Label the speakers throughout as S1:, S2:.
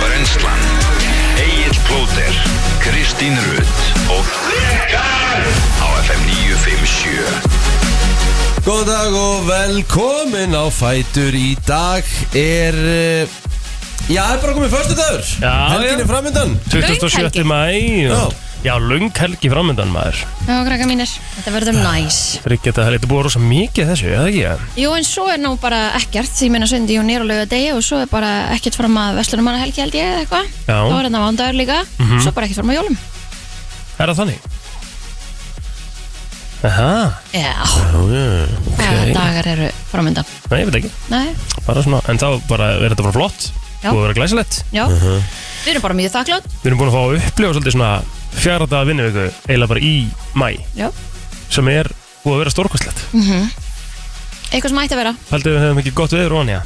S1: Brennslan Egil Plóter Kristín Rutt og á FM 957
S2: Góðan dag og velkomin á Fætur í dag er, eh, já, það er bara komið fyrstu dagur
S3: Já,
S2: Helgin
S3: já.
S2: er framöndan
S3: 27.
S4: Löng helgi.
S3: mæ
S2: Já.
S3: og, Já, lung helgi framöndan maður
S4: Já, krakka mínir, þetta verður næs
S3: Fyrir geta það, þetta er búið rosa mikið af þessu, eða ekki?
S4: Jú, en svo er nú bara ekkert ég minna sundi júni er á lögu degi og svo er bara ekkert fram að vestlunum manna helgi held ég eða eitthvað
S3: Já.
S4: þá er þetta vándagur líka, svo bara ekkert fram að jólum
S3: Er það þannig? Aha,
S4: Já,
S3: ok
S4: okay. dagar eru framöndan
S3: Nei, ég veit ekki,
S4: Nei,
S3: bara svona, en þá bara er þetta bara flott
S4: Já.
S3: Búið að vera glæsilegt
S4: já, við erum bara mjög þakklátt
S3: Við erum búin að fá að upplifa svolítið svona fjara daga vinnu eiginlega bara í mæ
S4: Já,
S3: sem er búið að vera stórkostlegt
S4: Mhm. eitthvað sem ætti að vera
S3: Haldið við höfum ekki gott veður ofan í það?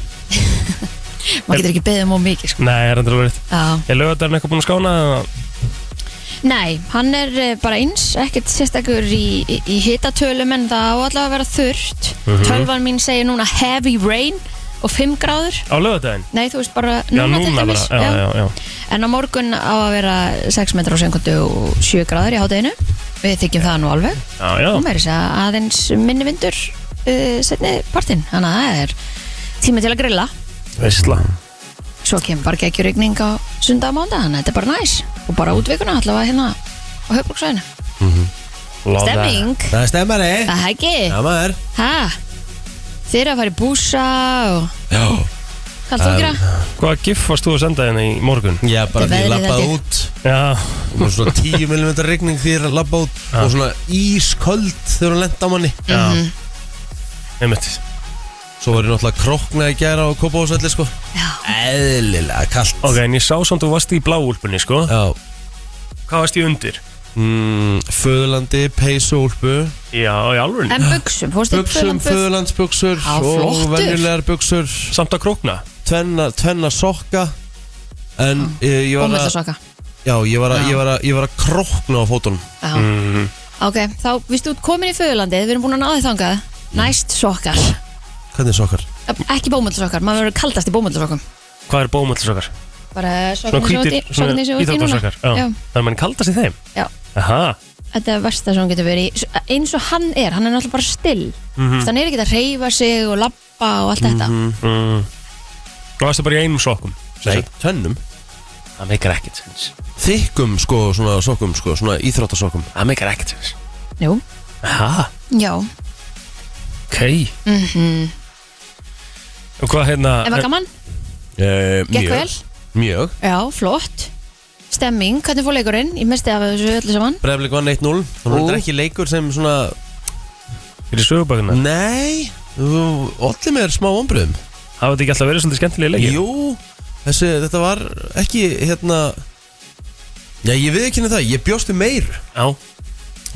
S4: maður getur ekki beðið um of mikið sko.
S3: Nei, er endur að verið
S4: Já.
S3: Er lögadarinn eitthvað búin að skána?
S4: Nei, hann er eh, bara eins ekkert sérstakur í, í, í hitatölum en það á allavega að vera þurrt tölvan mín segir núna heavy rain og 5 gráður
S3: Á lögadaginn?
S4: Nei, þú veist bara
S3: Já,
S4: núna til
S3: núna bara,
S4: dæmis.
S3: já, já, já
S4: En á morgun á að vera 6 metrar á sekundu og 7 gráður í hátæðinu Við þykjum það nú alveg
S3: Já, já,
S4: Og mér er þess að aðeins minni vindur uh, setni partinn Þannig að það er tími til að grilla
S3: veistla
S4: Svo kemur bara geggjur rigning á sunda á mánda Þannig að þetta er bara næs Og bara útvikuna allavega hérna á höfbruksvæðinu
S3: Mhm. Love that.
S4: Stemming,
S2: Það er stemmari
S4: það er ekki
S2: Já, maður
S4: ha, Þið eru að fara í búsa og
S2: Já
S4: hvað þú gera?
S3: Hvaða gif varst þú að senda hérna í morgun?
S2: Já, bara
S4: Þetta er
S2: því ég
S4: veðrið, held
S2: labbaði
S4: ég.
S2: út
S3: Já,
S2: Það var svona 10 mm rigning því ég er að labba út Og svona ísköld þegar hún lenda á manni
S3: já
S4: Mhm.
S3: Einmitt
S2: Svo var ég náttúrulega krokna í gæra á Kópavósvelli, sko
S4: Já.
S2: Eðlilega kalt
S3: Ok, en ég sá samt þú varst í bláúlpunni, sko
S2: Já
S3: Hvað varst ég undir?
S2: mm, Föðurlandi, peysúlpu
S3: Já, í alvörinni
S4: En buksum, fórstu
S2: Buxum, föðurlandsbuxur
S4: Já,
S2: Og
S4: flottur.
S2: venjulegar buxur
S3: Samt að krókna
S2: Tvenna, tvenna sokka En eh, ég
S4: og
S2: var að
S4: millasokka
S2: Já, ég var að, ég var að, ég var að krokna á fótunum
S4: Já.
S3: Mhm.
S4: Ok, þá, viðstu, komin í föðurlandið, við erum búin að náði þangað Næst sokkar,
S2: Hvernig sokkar?
S4: ekki bómöldasokkar, maður verður kaldast í bómöldasokkum
S3: Hvað er bómöldsakar?
S4: Bara
S3: Svona
S4: sokkarnir sem þú
S3: hvítir,
S4: ert í-
S3: svona
S4: sokkarnir sem þú ert í núna
S3: íþjóttarsakar
S4: Já,
S3: Það er mann kaldast í þeim
S4: já,
S3: Aha,
S4: þetta er versta sem hún getur verið í. S- Eins og hann er, hann er náttúrulega bara still
S3: Mhm.
S4: mm Hann er ekki að reyfa sig og labba og allt þetta
S3: mm. Nú varstu bara í einum sokkum sem
S2: Mhm. Nei,
S3: sagt.
S2: tönnum
S3: Það meikar ekkert sens
S2: Þykkum sko, svona sokkum sko, svona íþróttasokkum
S3: Það meikar ekkert sens
S4: Jú,
S3: Aha,
S4: já,
S3: ok Mhm Og hvað hérna
S4: ef að gaman,
S2: e,
S4: gekk vel
S2: Mjög
S4: Já, flott Stemming, hvernig fór leikurinn? Ég mesti af þessu öllu saman
S2: Breiðablik vann 1-0 Þannig að þetta er ekki leikur sem svona
S3: Er í sögubækuna?
S2: Nei, þú olli mér smá ombröðum
S3: Hafa þetta ekki alltaf verið svolítið skemmtilega leikir?
S2: Jú, þessi, þetta var ekki hérna Já, ég við ekki henni það, ég bjóst við meir
S3: Já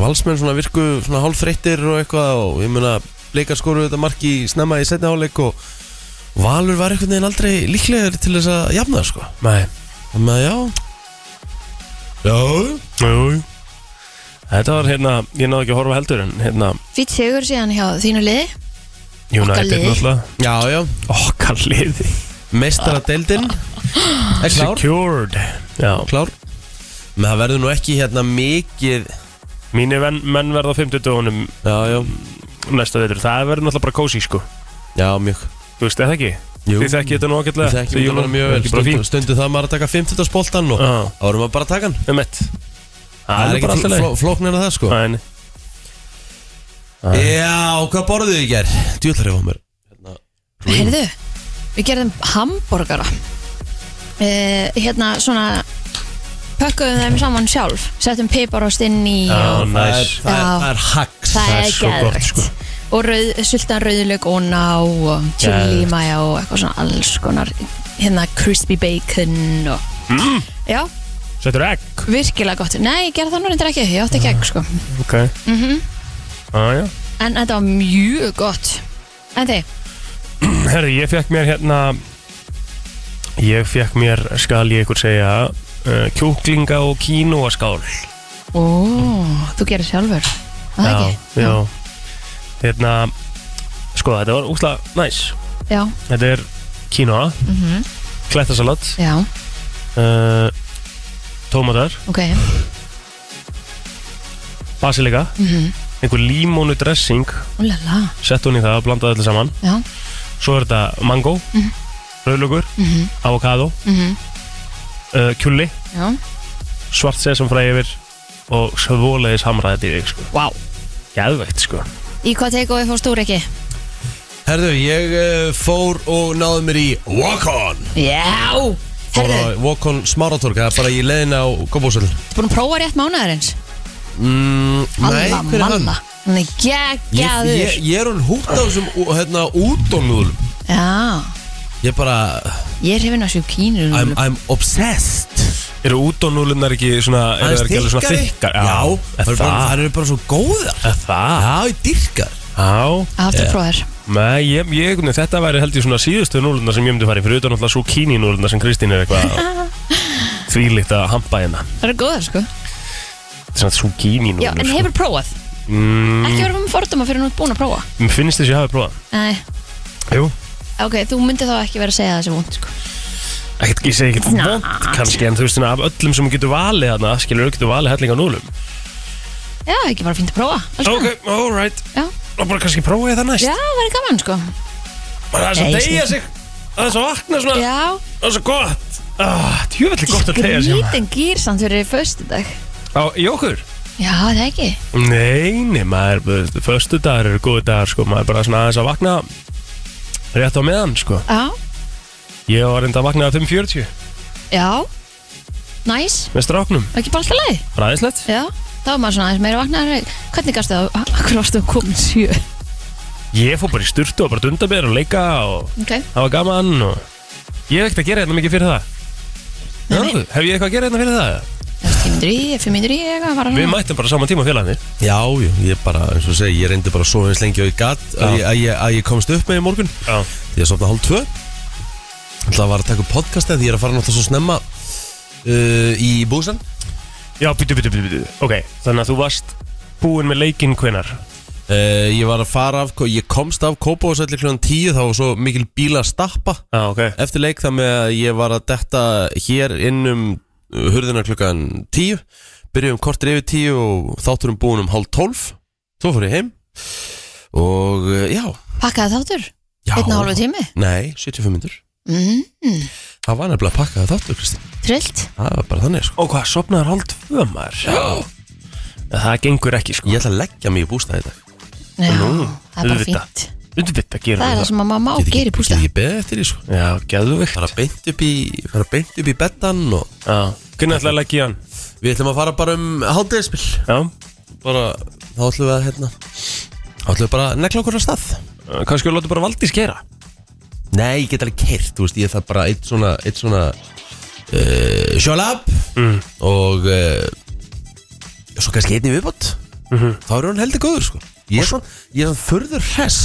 S2: Valsmenn svona virku svona hálfreyttir og eitthvað og ég meina Blikar skoruðu þetta marki snemma í setni áleik og Valur var einhvern veginn aldrei líklegur til þess að jafna sko
S3: Nei
S2: Þannig að já Já
S3: Jú Þetta var hérna, ég náði ekki að horfa heldur en hérna
S4: Fýtt sigur síðan hjá þínu liði
S3: United
S4: liði.
S3: náttúrulega
S2: Já, já,
S3: Okkar liði
S2: meistara deildin Er klár
S3: Secured Já,
S2: Klár Men það verður nú ekki hérna mikið
S3: mínir menn, menn verða á 50 dónum
S2: Já, já,
S3: næsta veitur Það verður náttúrulega bara kósi sko
S2: já, mjög
S3: Þú veist, er það ekki?
S2: Jú.
S3: Þið þekki þetta nú ágætlega
S2: Við þekkjum þetta bara mjög vel Stundu,
S3: vel
S2: stundu það maður að taka 50 spoltan og
S3: Já.
S2: þá erum við bara að taka hann
S3: Um mitt
S2: Það er
S3: Það er bara
S2: ekki
S3: alltaf
S2: fló,
S3: leið
S2: flóknir að það sko
S3: Það er
S2: Já, hvað borðuðu í ger? Djúllari var mér
S4: Heyrðu, við gerðum hamborgara eh, Hérna svona Pökkuðum þeim saman sjálf Settum piparost inn í
S3: Já,
S4: og,
S2: Það er,
S3: næs
S2: það er,
S4: Já.
S2: það er hags
S4: Það
S3: það er
S4: er
S3: svo gott,
S4: geðvegt
S3: sko.
S4: Og rauð, sultan rauðlög og ná og chili
S3: Geðvegt.
S4: maja og eitthvað svona alls konar hérna crispy bacon og Já,
S3: Mm. Settur egg
S4: virkilega gott Nei, ég gerði það nú reyndar ekki, ég átti ekki ekki sko
S3: Ok Mhm Ah, Já, já
S4: En þetta var mjög gott En þið,
S3: Herri, ég fekk mér hérna Ég fekk mér, skal ég ykkur segja uh, Kjúklinga og kínuaskál
S4: ó, þú gerir sjálfur Það
S3: Já,
S4: ekki
S3: já Hérna Sko, þetta var úslega næs
S4: Já, Mhm.
S3: Þetta er kínoa, klettasalat
S4: já,
S3: uh, Tómatar,
S4: ok
S3: basilika
S4: Mhm.
S3: Einhver límónu dressing
S4: Úlala,
S3: Sett hún í það, blandaði öllu saman
S4: já
S3: Svo er þetta mango mm -hmm. Rauðlugur, avokado
S4: Mhm.
S3: uh, Kjulli,
S4: Já,
S3: svart sesamfræði yfir Og svoleiðis hamraði þetta í þig sko.
S4: vá
S3: Geðveikt sko
S4: Í hvað teik og við fórst úr ekki?
S2: Herðu, ég uh, fór og náði mér í Walk-On
S4: Já
S2: Fór
S4: Herðu,
S2: á Walk-On Smáratorg, það er bara í leiðin á Kópúsöld
S4: þú búin að prófa rétt mánuðarins
S2: mm, Nei,
S4: Alla
S2: hver er hann?
S4: manna Hann er
S2: Ég, ég,
S4: geggjaður
S2: ég er hún hútt á þessum ú- hérna, útónúðlum
S4: Já,
S2: Ég bara,
S4: ég er hefinn á sjú kínur
S2: I'm, I'm obsessed
S3: Eru út og núlunar ekki svona Eru
S2: Aðeins
S3: þær ekki alveg svona þykkar
S2: Já,
S3: er
S2: það eru bara,
S3: það
S2: þær eru bara svo góðar
S3: Er það
S2: Já, ég dyrkar
S3: Já
S4: Aftur prófaður
S3: Nei, ég, ég, nei, þetta væri held ég svona síðustu núlunda sem ég myndi fara í fyrir utan alltaf svo kíni núlunda sem Kristín er eitthvað þvílíkt að hampa hérna
S4: Það eru góðar sko
S3: Þetta er svona svo kíni
S4: Já, en hefur prófað
S3: sko. mm,
S4: Ekki verið með fordóma fyrir hún er búin að prófa
S3: Mér finnst þess að ég hafi prófað
S4: Nei,
S3: Jú
S4: ok, þú myndir þá ekki verið að segja þessi vond sko
S3: Ekkert, ég segi ekkert
S4: Ná.
S3: vond kannski en þú veist svona af öllum sem getur valið hérna skilur þú getur valið helling á núlum
S4: Já, ekki bara fínt að prófa alls
S3: Ok,
S4: gaman.
S3: alright
S4: Já,
S3: Og bara kannski prófa ég það næst
S4: já það er gaman sko
S3: Bara
S4: Nei,
S3: þess að
S4: ég
S3: deyja
S4: skil.
S3: sig Það er svo vakna svona
S4: Já,
S3: Það er svo gott ah, Tjöfellig gott að deyja sig um.
S4: skrítinn gýr samt fyrir föstu dag
S3: Á, í okkur?
S4: Já, það ekki
S3: Nei, nei, maður, förstu dagar eru góði dagar, sko, maður er bara svona aðeins að vakna rétt á meðan, sko.
S4: Já,
S3: Ég var reynda að vakna að 5.40
S4: já Næs,
S3: með stráknum,
S4: ekki bara alltaf leið
S3: ræðislegt.
S4: Já, þá er maður svona aðeins meira vaknar Hvernig gastu það, akkur varstu að koma sjö
S3: Ég fór bara í sturtu og bara dunda mér og leika og
S4: Ok,
S3: það var gaman og ég hef ekkert að gera hérna mikið fyrir það.
S4: Nei,
S3: Já,
S4: nei.
S3: hef ég eitthvað að gera hérna fyrir það?
S4: það er tímindur í, fimm minnur í eitthvað bara
S3: Við
S4: svona.
S3: mættum bara saman tíma félagarnir.
S2: Já, jú, ég bara, eins og segi, ég reyndi bara að sofa eins lengi og ég gat að
S3: Já.
S2: ég, að, ég, að ég komst upp með í morgun
S3: Já.
S2: Því að sofna hálf tvö Það var að taka upp podcastið því ég er að fara náttúrulega svo snemma uh, í búsan
S3: Já, býtu, býtu, býtu, býtu. Ok, þannig að þú varst búinn með leikinn hvenar?
S2: uh, Ég var að fara af, ég komst af Kópavóðsælli kljóðan 10 þá var svo mikil bíla að stappa
S3: Já, ok.
S2: eftir leik þar með að ég var að detta hér inn um uh, hurðina klukkan 10 byrjuðum kortir yfir 10 og þátturum búin um hálf 12 svo fór ég heim og uh, já,
S4: Pakkaði þáttur,
S2: já
S4: einn og hálfu tími
S2: Nei, 75 myndur
S4: mm,
S2: Það var nefnilega að pakka það þáttur, Kristín
S4: Trillt
S2: Það var bara þannig, sko
S3: Og hvað, sopnaður hálf tvö maður? Já. Það gengur ekki, sko.
S2: Ég ætla að leggja mig í bústað hérna. í dag
S4: Já,
S3: Nú,
S4: það er bara
S3: auðvitað.
S4: fínt
S3: Auðvitað gerum
S4: Það er
S3: við
S4: það sem að maður má
S2: Get
S4: gera í
S2: ekki,
S4: pústa
S2: get ekki beðið eftir því, sko
S3: Já, geðvikt
S2: Fara beint upp í, fara beint upp í bettan og
S3: Já, hvernig ætlaði að leggja í hann?
S2: Við ætlum að fara bara um hátdegispil
S3: Já,
S2: Bara, þá ætlum við að, hérna Þá ætlum við bara að negla okkur á stað
S3: Uh, kannski við látum bara Valdís gera
S2: Nei, ég get alveg kert, þú veist, ég þarf bara eitt svona, eitt svona uh, Sjólab
S3: mm.
S2: Og uh, Svo kannski einnig viðbót
S3: Mhm.
S2: Þá er hann heldur góður, sko Ég er svona, ég er svona furður hress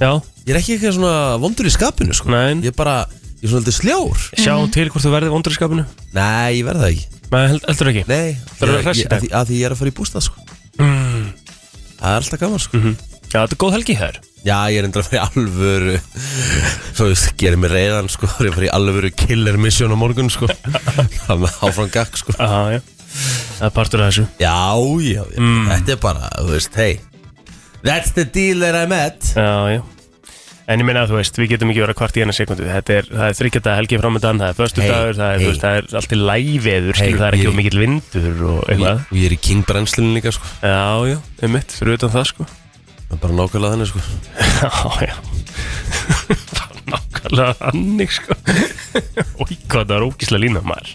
S3: Já,
S2: Ég er ekki eitthvað svona vondur í skapinu, sko
S3: Nein.
S2: Ég er bara, ég er svona heldur sljór
S3: sjáum til hvort þú verðið vondur í skapinu
S2: Nei, ég verða það ekki
S3: Nei, held, heldur ekki
S2: Nei,
S3: Það eru
S2: ég,
S3: hress í
S2: ég,
S3: dag.
S2: að, því, að því ég er að fara í bústað, sko
S3: mm.
S2: Það er alltaf gaman, sko
S3: Mhm. Já, þetta er góð helgi hér
S2: Já, ég er endur að fara í alvöru Svo veist, gerir mér reyðan, sko Ég er að fara í alvöru killer mission á morgun, sko Það með áfram gakk, sko
S3: Aha, já Það er partur af þessu
S2: Já, já, já
S3: Mm.
S2: Þetta er bara, þú veist, hey That's the deal that I met
S3: Já, já En ég meina að þú veist, við getum ekki verið að kvart í eina sekundu Þetta er, það er þryggjata helgi framöndan, það er föstu
S2: Hey,
S3: dagur, það er, hey.
S2: hey.
S3: veist, það er allt í læveður,
S2: Hey,
S3: skilur, það er ekki
S2: ég-
S3: of mikill vindur og eitthvað.
S2: Og ég er í King brennslinu líka, sko
S3: Já, já, um mitt, fyrir utan það, sko.
S2: Það er bara nákvæmlega þannig, sko
S3: Já, já Bara Nákvæmlega hannig sko Új, hvað það er ógíslega lína maður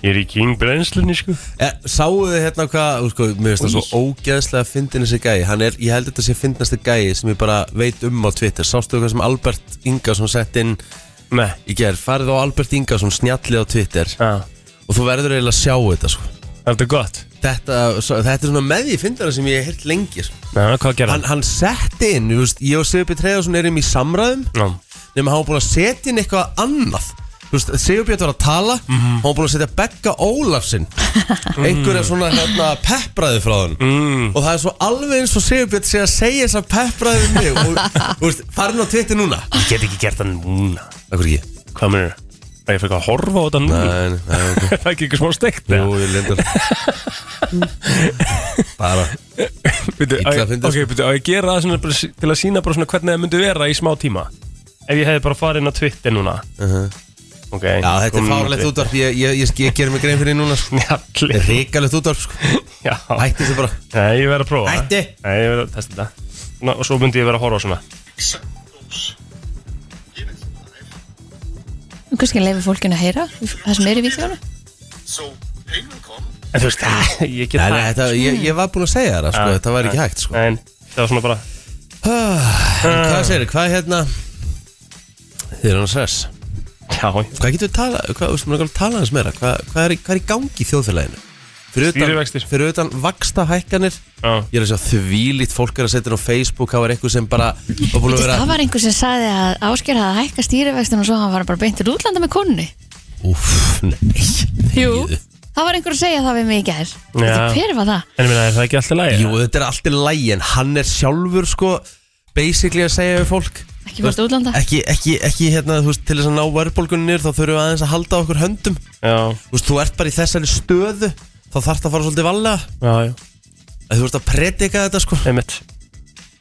S3: Ég er í king brennslunni sko
S2: Er, sáu þið hérna hvað, þú sko, mér finnst það svo ógeðslega fyndin þessi gæi, hann er, ég held þetta sé fyndnasti gæi sem ég bara veit um á Twitter sástu þau hvað sem Albert Ingarsson sett inn
S3: Nei,
S2: í gerð, farið á Albert Ingarsson snjallið á Twitter
S3: já,
S2: og þú verður eiginlega að sjá þetta sko.
S3: er þetta gott?
S2: þetta, svo, þetta er svona með því fyndina sem ég hef heyrt lengi sko.
S3: Já, hvað gerði
S2: hann,
S3: hann?
S2: hann sett inn, þú veist, ég og Sigurbjörn Treyðarsson erum í samræðum
S3: Já,
S2: nema hann var búin að setja inn eitthvað annað Þú veist, Sigurbjörn var að tala mm
S3: Mhm.
S2: -hmm. Hún var búin að setja Begga Ólafsinn Einhverja
S3: Mm.
S2: svona hérna peppræði frá hann mm. Og það er svo alveg eins og Sigurbjörn sé að segja þess að peppræði við mig Og þú veist, farin á tvitti núna
S3: Ég get ekki gert það núna
S2: Akkur ekki
S3: Hvað mennur? Það ég fyrir að horfa á þetta núna
S2: Nei, nei, ok
S3: Er Það er ekki eitthvað smá steikt
S2: Jú, ég lindar Bara
S3: Byrju,
S2: Illa
S3: á ég-
S2: fyndið,
S3: Ok,
S2: sko.
S3: byrju, á ég gera það svona, bara sí- til að sína bara svona hvernig það myndi vera í smá tíma Ef ég hefði bara farið inn á Twitter núna
S2: Já,
S3: Ok
S2: Uh-huh. þetta er fárlegt útvarp Ég, ég, ég, ég ger mig grein fyrir því núna sko. Þetta er
S3: Njallir
S2: Hrikalegt útvarp sko.
S3: Já
S2: Hætti þessu bara
S3: Nei, ég verð að prófa það.
S2: Hætti.
S3: Nei, ég verð að testa þetta Ná, Og svo myndi ég verð að horfa á svona
S4: Kannski leifir fólkinu að heyra það sem er í vídeónu
S3: En þú veist, ég get
S2: Nei, nei,
S3: það
S2: þetta, ég, ég var búin að segja það sko.
S3: Já,
S2: Þetta var ekki
S3: já.
S2: hægt sko.
S3: Nei, það var svona bara
S2: Ah, En Hvað segir þið? Hvað er hérna? Þið eru hann stress
S3: Já,
S2: Hvað getur við tala, hvað, þú veist, tala hans meira hvað, hvað, er, í- hvað er í gangi í þjóðfélaginu? Fyrir
S3: Stýrivextir.
S2: fyrir utan vaksta hækkanir
S3: já
S2: Ég er að sjá þvílít fólk er að setja inn á Facebook Það var eitthvað sem bara var búin að vera
S4: Það var einhver sem sagði að Ásker hafði að hækka stýrivextin og svo hann var bara beintir útlanda með konni
S2: Úff, nei
S4: Jú Það var einhver að segja það við mig í gær
S3: Já.
S4: Hver var það?
S3: En ég meina, er það ekki alltaf lægi?
S2: Jú, þetta er allt í lægi En hann er sjálfur, sko Basically að segja við fólk
S4: Ekki fórst útlanda?
S2: Ekki, ekki, ekki hérna, þú veist, til þess að ná verðbólgunir Þá þurfum við aðeins að halda á okkur höndum
S3: Já,
S2: Þú veist, þú ert bara í þessari stöðu Þá þarf að fara svolítið valega
S3: já, já
S2: Að Þú ert að predika þetta, sko
S3: einmitt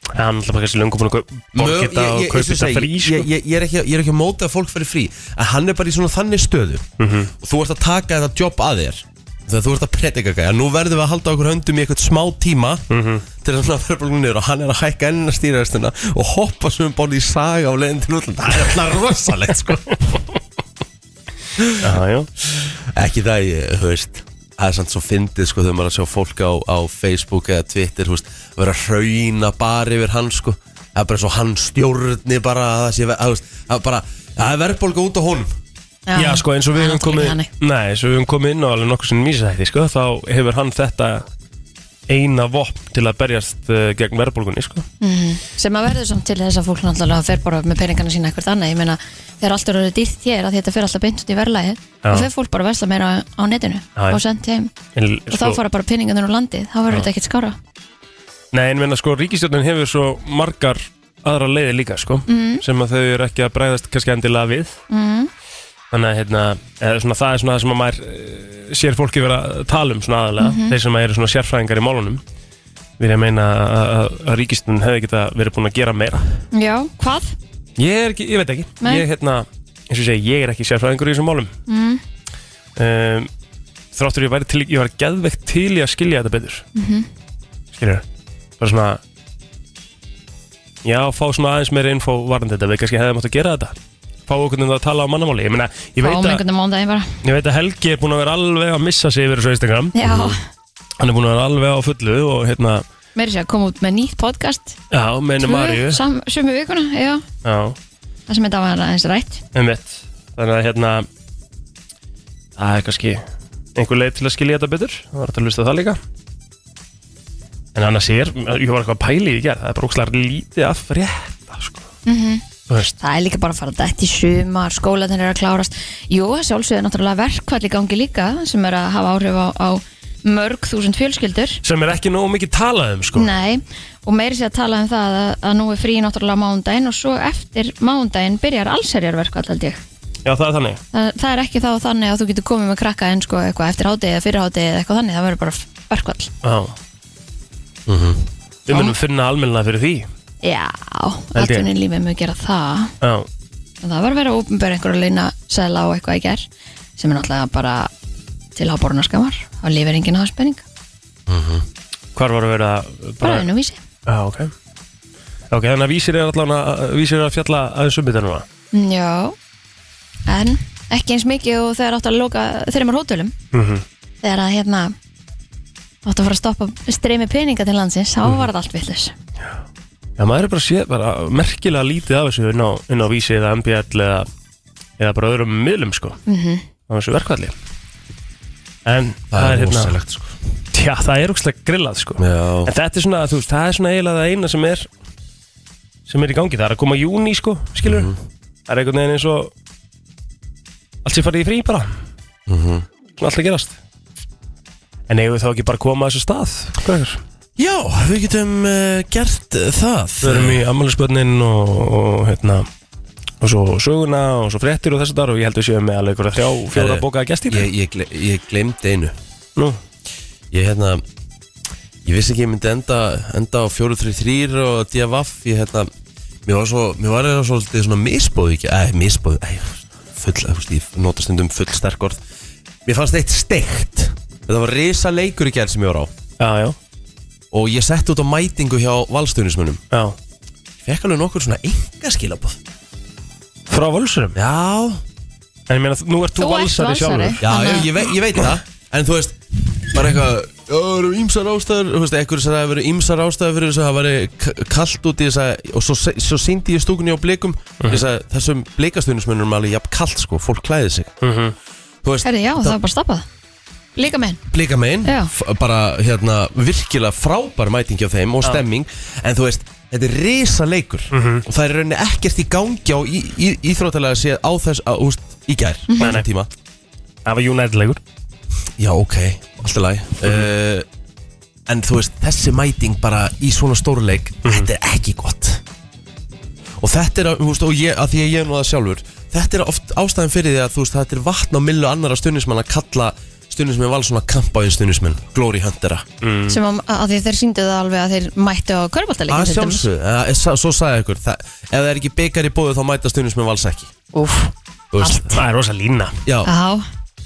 S3: Það er náttúrulega kannski löngu búin að kau- borga
S2: Mög-
S3: þetta
S2: ég-
S3: og
S2: ég-
S3: kaupa
S2: eins og
S3: þetta
S2: segi,
S3: frí sko.
S2: ég, ég, ég, er ekki, ég er ekki að móta að fólk fyrir frí að hann er bara í svona þannig stöðu
S3: Mhm.
S2: og þú ert að taka þetta jobb að þér þegar þú ert að predika gæja nú verðum við að halda okkur höndum í eitthvað smá tíma
S3: Mhm.
S2: til þess að verðbólgunum niður og hann er að hækka ennina stýraðistuna og hoppa sem um bóli í saga á leiðin til útlanda það er alltaf rosalegt sko
S3: Já, já
S2: ekki það ég, þú veist það er samt svo fyndið sko þegar maður er að sjá fólk á, á Facebook eða Twitter, þú veist að vera að hrauna bara yfir hann sko það er bara svo hann stjórni bara að það sé, að, þú veist, það er bara það er verðbólga út á honum
S3: Já, sko, eins og við
S4: Það er
S3: höfum
S4: náttúrulega
S3: komið
S4: ekki þannig.
S3: Nei, eins og við höfum komið inn á alveg nokkuð sem mísætti sko, þá hefur hann þetta eina vopn til að berjast uh, gegn verðbólgunni sko.
S4: sem að verður samt til þess að fólk náttúrulega fer bara með peningana sína eitthvað annað ég meina þegar allt er orðið dýrt hér að þetta fer alltaf beint út í verðlægi
S3: Já.
S4: og fer fólk bara að versla meira á- á netinu
S3: Já, já.
S4: og senda heim
S3: en, sko-
S4: og þá fara bara peningarnir úr landi þá verður þetta ekkert skára
S3: Nei, en menna sko, ríkistjórnin hefur svo margar aðra leiðir líka sko, sem að þau eru ekki að bregðast kannski endilega við
S4: mm.
S3: þannig að hérna, eða, svona, það er svona það sem að maður eh, sér fólki vera að tala um svona aðalega, þeir sem eru svona sérfræðingar í málunum vil ég meina að, að, að ríkistun hefði geta verið búin að gera meira
S4: já, hvað?
S3: ég, er ekki, ég veit ekki,
S4: Nei.
S3: ég, hérna, eins og ég segi ég er ekki sérfræðingur í þessum málum
S4: Mm.
S3: um, þráttur ég væri til, ég var geðveikt til í að skilja þetta betur mm -hmm. skilja bara svona já, fá svona aðeins meira info varðan þetta, við kannski hefði mátt að gera þetta fá okkur um það að tala á mannamáli ég, meina, ég veit
S4: á
S3: að
S4: mengunum mándaginn bara
S3: Ég veit að Helgi er búin að vera alveg að missa sig yfir þessu Instagram Mhm.
S4: já,
S3: Hann er búin að vera alveg á fullu og hérna
S4: meiri sér að koma út með nýtt podcast
S3: Já, meina Maríu Já,
S4: sam, sumu vikuna, já það sem þetta var aðeins rætt
S3: einmitt Þannig að hérna Það er kannski einhver leið til að skilja þetta betur Það var hægt að lusta það líka En annars ég er, ég var eitthvað að pæli í gerð Það er bara ókslega lítið að frétta sko. -hmm. Þú veist,
S4: Mhm. það er líka bara að fara dætt í sumar skólanir eru að klárast jú, þessi álsöðu er náttúrulega verkvall í gangi líka sem er að hafa áhrif á, á mörg þúsund fjölskyldur
S3: sem er ekki nógu mikið talað um sko.
S4: Nei, og meiri sér að tala um það að, að nú er frí náttúrulega mándaginn og svo eftir mándaginn byrjar allserjarverk alltaf
S3: Já, það er þannig
S4: það, það er ekki þá þannig að þú getur komið með krakka en sko eitthvað eftir hádegi eða fyrir hádegi eða eitthvað þannig, það verður bara verkvall
S3: Já Mhm. Við munum finna almenna fyrir því
S4: Já,
S3: Held ég.
S4: alltunni lífið mjög gera það
S3: Já,
S4: og það var að vera ópenbær einhverja launa sæla og eitthvað í ger sem er náttúrulega bara til háborunarskammar þá lifir enginn á það spenning,
S3: Mhm. hvar var að vera
S4: bara einu vísi
S3: Já, ok Ok, þannig að vísir er allan að vísir er að fjalla aðeins um þetta núna
S4: Já, en ekki eins mikið og þegar áttu að loka þreymar hótelum
S3: Mhm.
S4: þegar að hérna áttu að fara að stoppa streymi peninga til landsins þá var það allt villus
S3: Já, maður er bara séð bara merkilega lítið af þessu inn á, inn á vísi eða MBL eða, eða bara öðrum miðlum sko mm -hmm. á þessu verkvalli En það, er hérna
S2: rosalegt, sko.
S3: Já, það er úkslega grillað sko
S2: Já,
S3: En þetta er svona, þú veist, það er svona eiginlega það eina sem er
S2: Mhm.
S3: sem er í gangi, það er að koma júni sko, skilur Það er einhvern veginn eins og allt sem farið í frí bara Svona allt að gerast En eigum við þá ekki bara að koma að þessu stað Gregor?
S2: Já, við getum uh, gert uh, það
S3: Við erum í ammælisbönnin og, og hérna Og svo söguna og svo fréttir og þessu dar Og ég held við séum með alveg ykkur þrjá, fjóra
S2: Herri,
S3: bókaða gestir
S2: Ég, ég, gle- ég glemdi einu
S3: Nú,
S2: Ég hérna Ég vissi ekki að ég myndi enda, enda á 433 og DFF Ég hérna Mér var svo, mér var eða svolítið svona misbóð ekki Æ, misbóð, æ, full þú veist, Ég nota stundum full sterk orð Mér fannst eitt steikt Þetta var risa leikur í gerð sem ég var á
S3: já, já,
S2: Og ég setti út á mætingu hjá valstunismunum
S3: já
S2: Fekk alveg nokkur svona enga skilabóð
S3: Frá valsurum
S2: Já,
S3: En ég meina, nú ert
S4: Þú
S3: þú,
S4: ert
S3: valsari
S4: valsari.
S3: sjálfur
S2: Já,
S4: Þannig
S2: ég,
S4: að-
S2: ég, veit, ég veit það En þú veist, bara eitthvað Já, það eru ímsar ástæður Þú veist, eitthvað sem það hefur verið ímsar ástæður fyrir þess að það væri kallt út í þess að Og svo, se- svo síndi ég stúkunni á blikum
S3: Mhm.
S2: Þess að þessum blikastunismunum er alveg jafn kallt sko Fólk klæði sig
S3: Mhm.
S2: Þú veist,
S4: Herri, já, það var bara stappað Líka menn
S2: blika megin
S4: Já.
S2: Bara, hérna, virkilega frábær mætingi á þeim Og stemming En þú veist, þetta er risa leikur
S3: Mhm.
S2: Og það er í rauninni ekkert í gangi á í, í, Íþróttalega séð á þess, á, úst, í gær á
S3: Mhm. Nei,
S2: þessum
S3: nei.
S2: tíma.
S3: Það var United-leikur Mhm.
S2: Já, ok, allt í lagi uh, En þú veist, þessi mæting bara í svona stórleik
S3: Mhm.
S2: Þetta er ekki gott Og þetta er, að- þú veist, og ég, að því að ég er nú það sjálfur Þetta er oft ástæðan fyrir því að þú veist Þetta er vatn á millu annara stuðnismenn að kalla stuðnismenn val svona kampáin stuðnismenn Glory Huntera
S3: Mm.
S4: sem að, að því þeir síndu það alveg að þeir mættu á körbáltaleikinu
S2: Mm. Að sjálfsögðu, eh, sa- svo sagði ykkur það, Ef það er ekki byggar í bóðu þá mæta stuðnismenn vals ekki
S4: Úf,
S2: Þú veist,
S3: Það er rosa lína
S2: já
S4: á,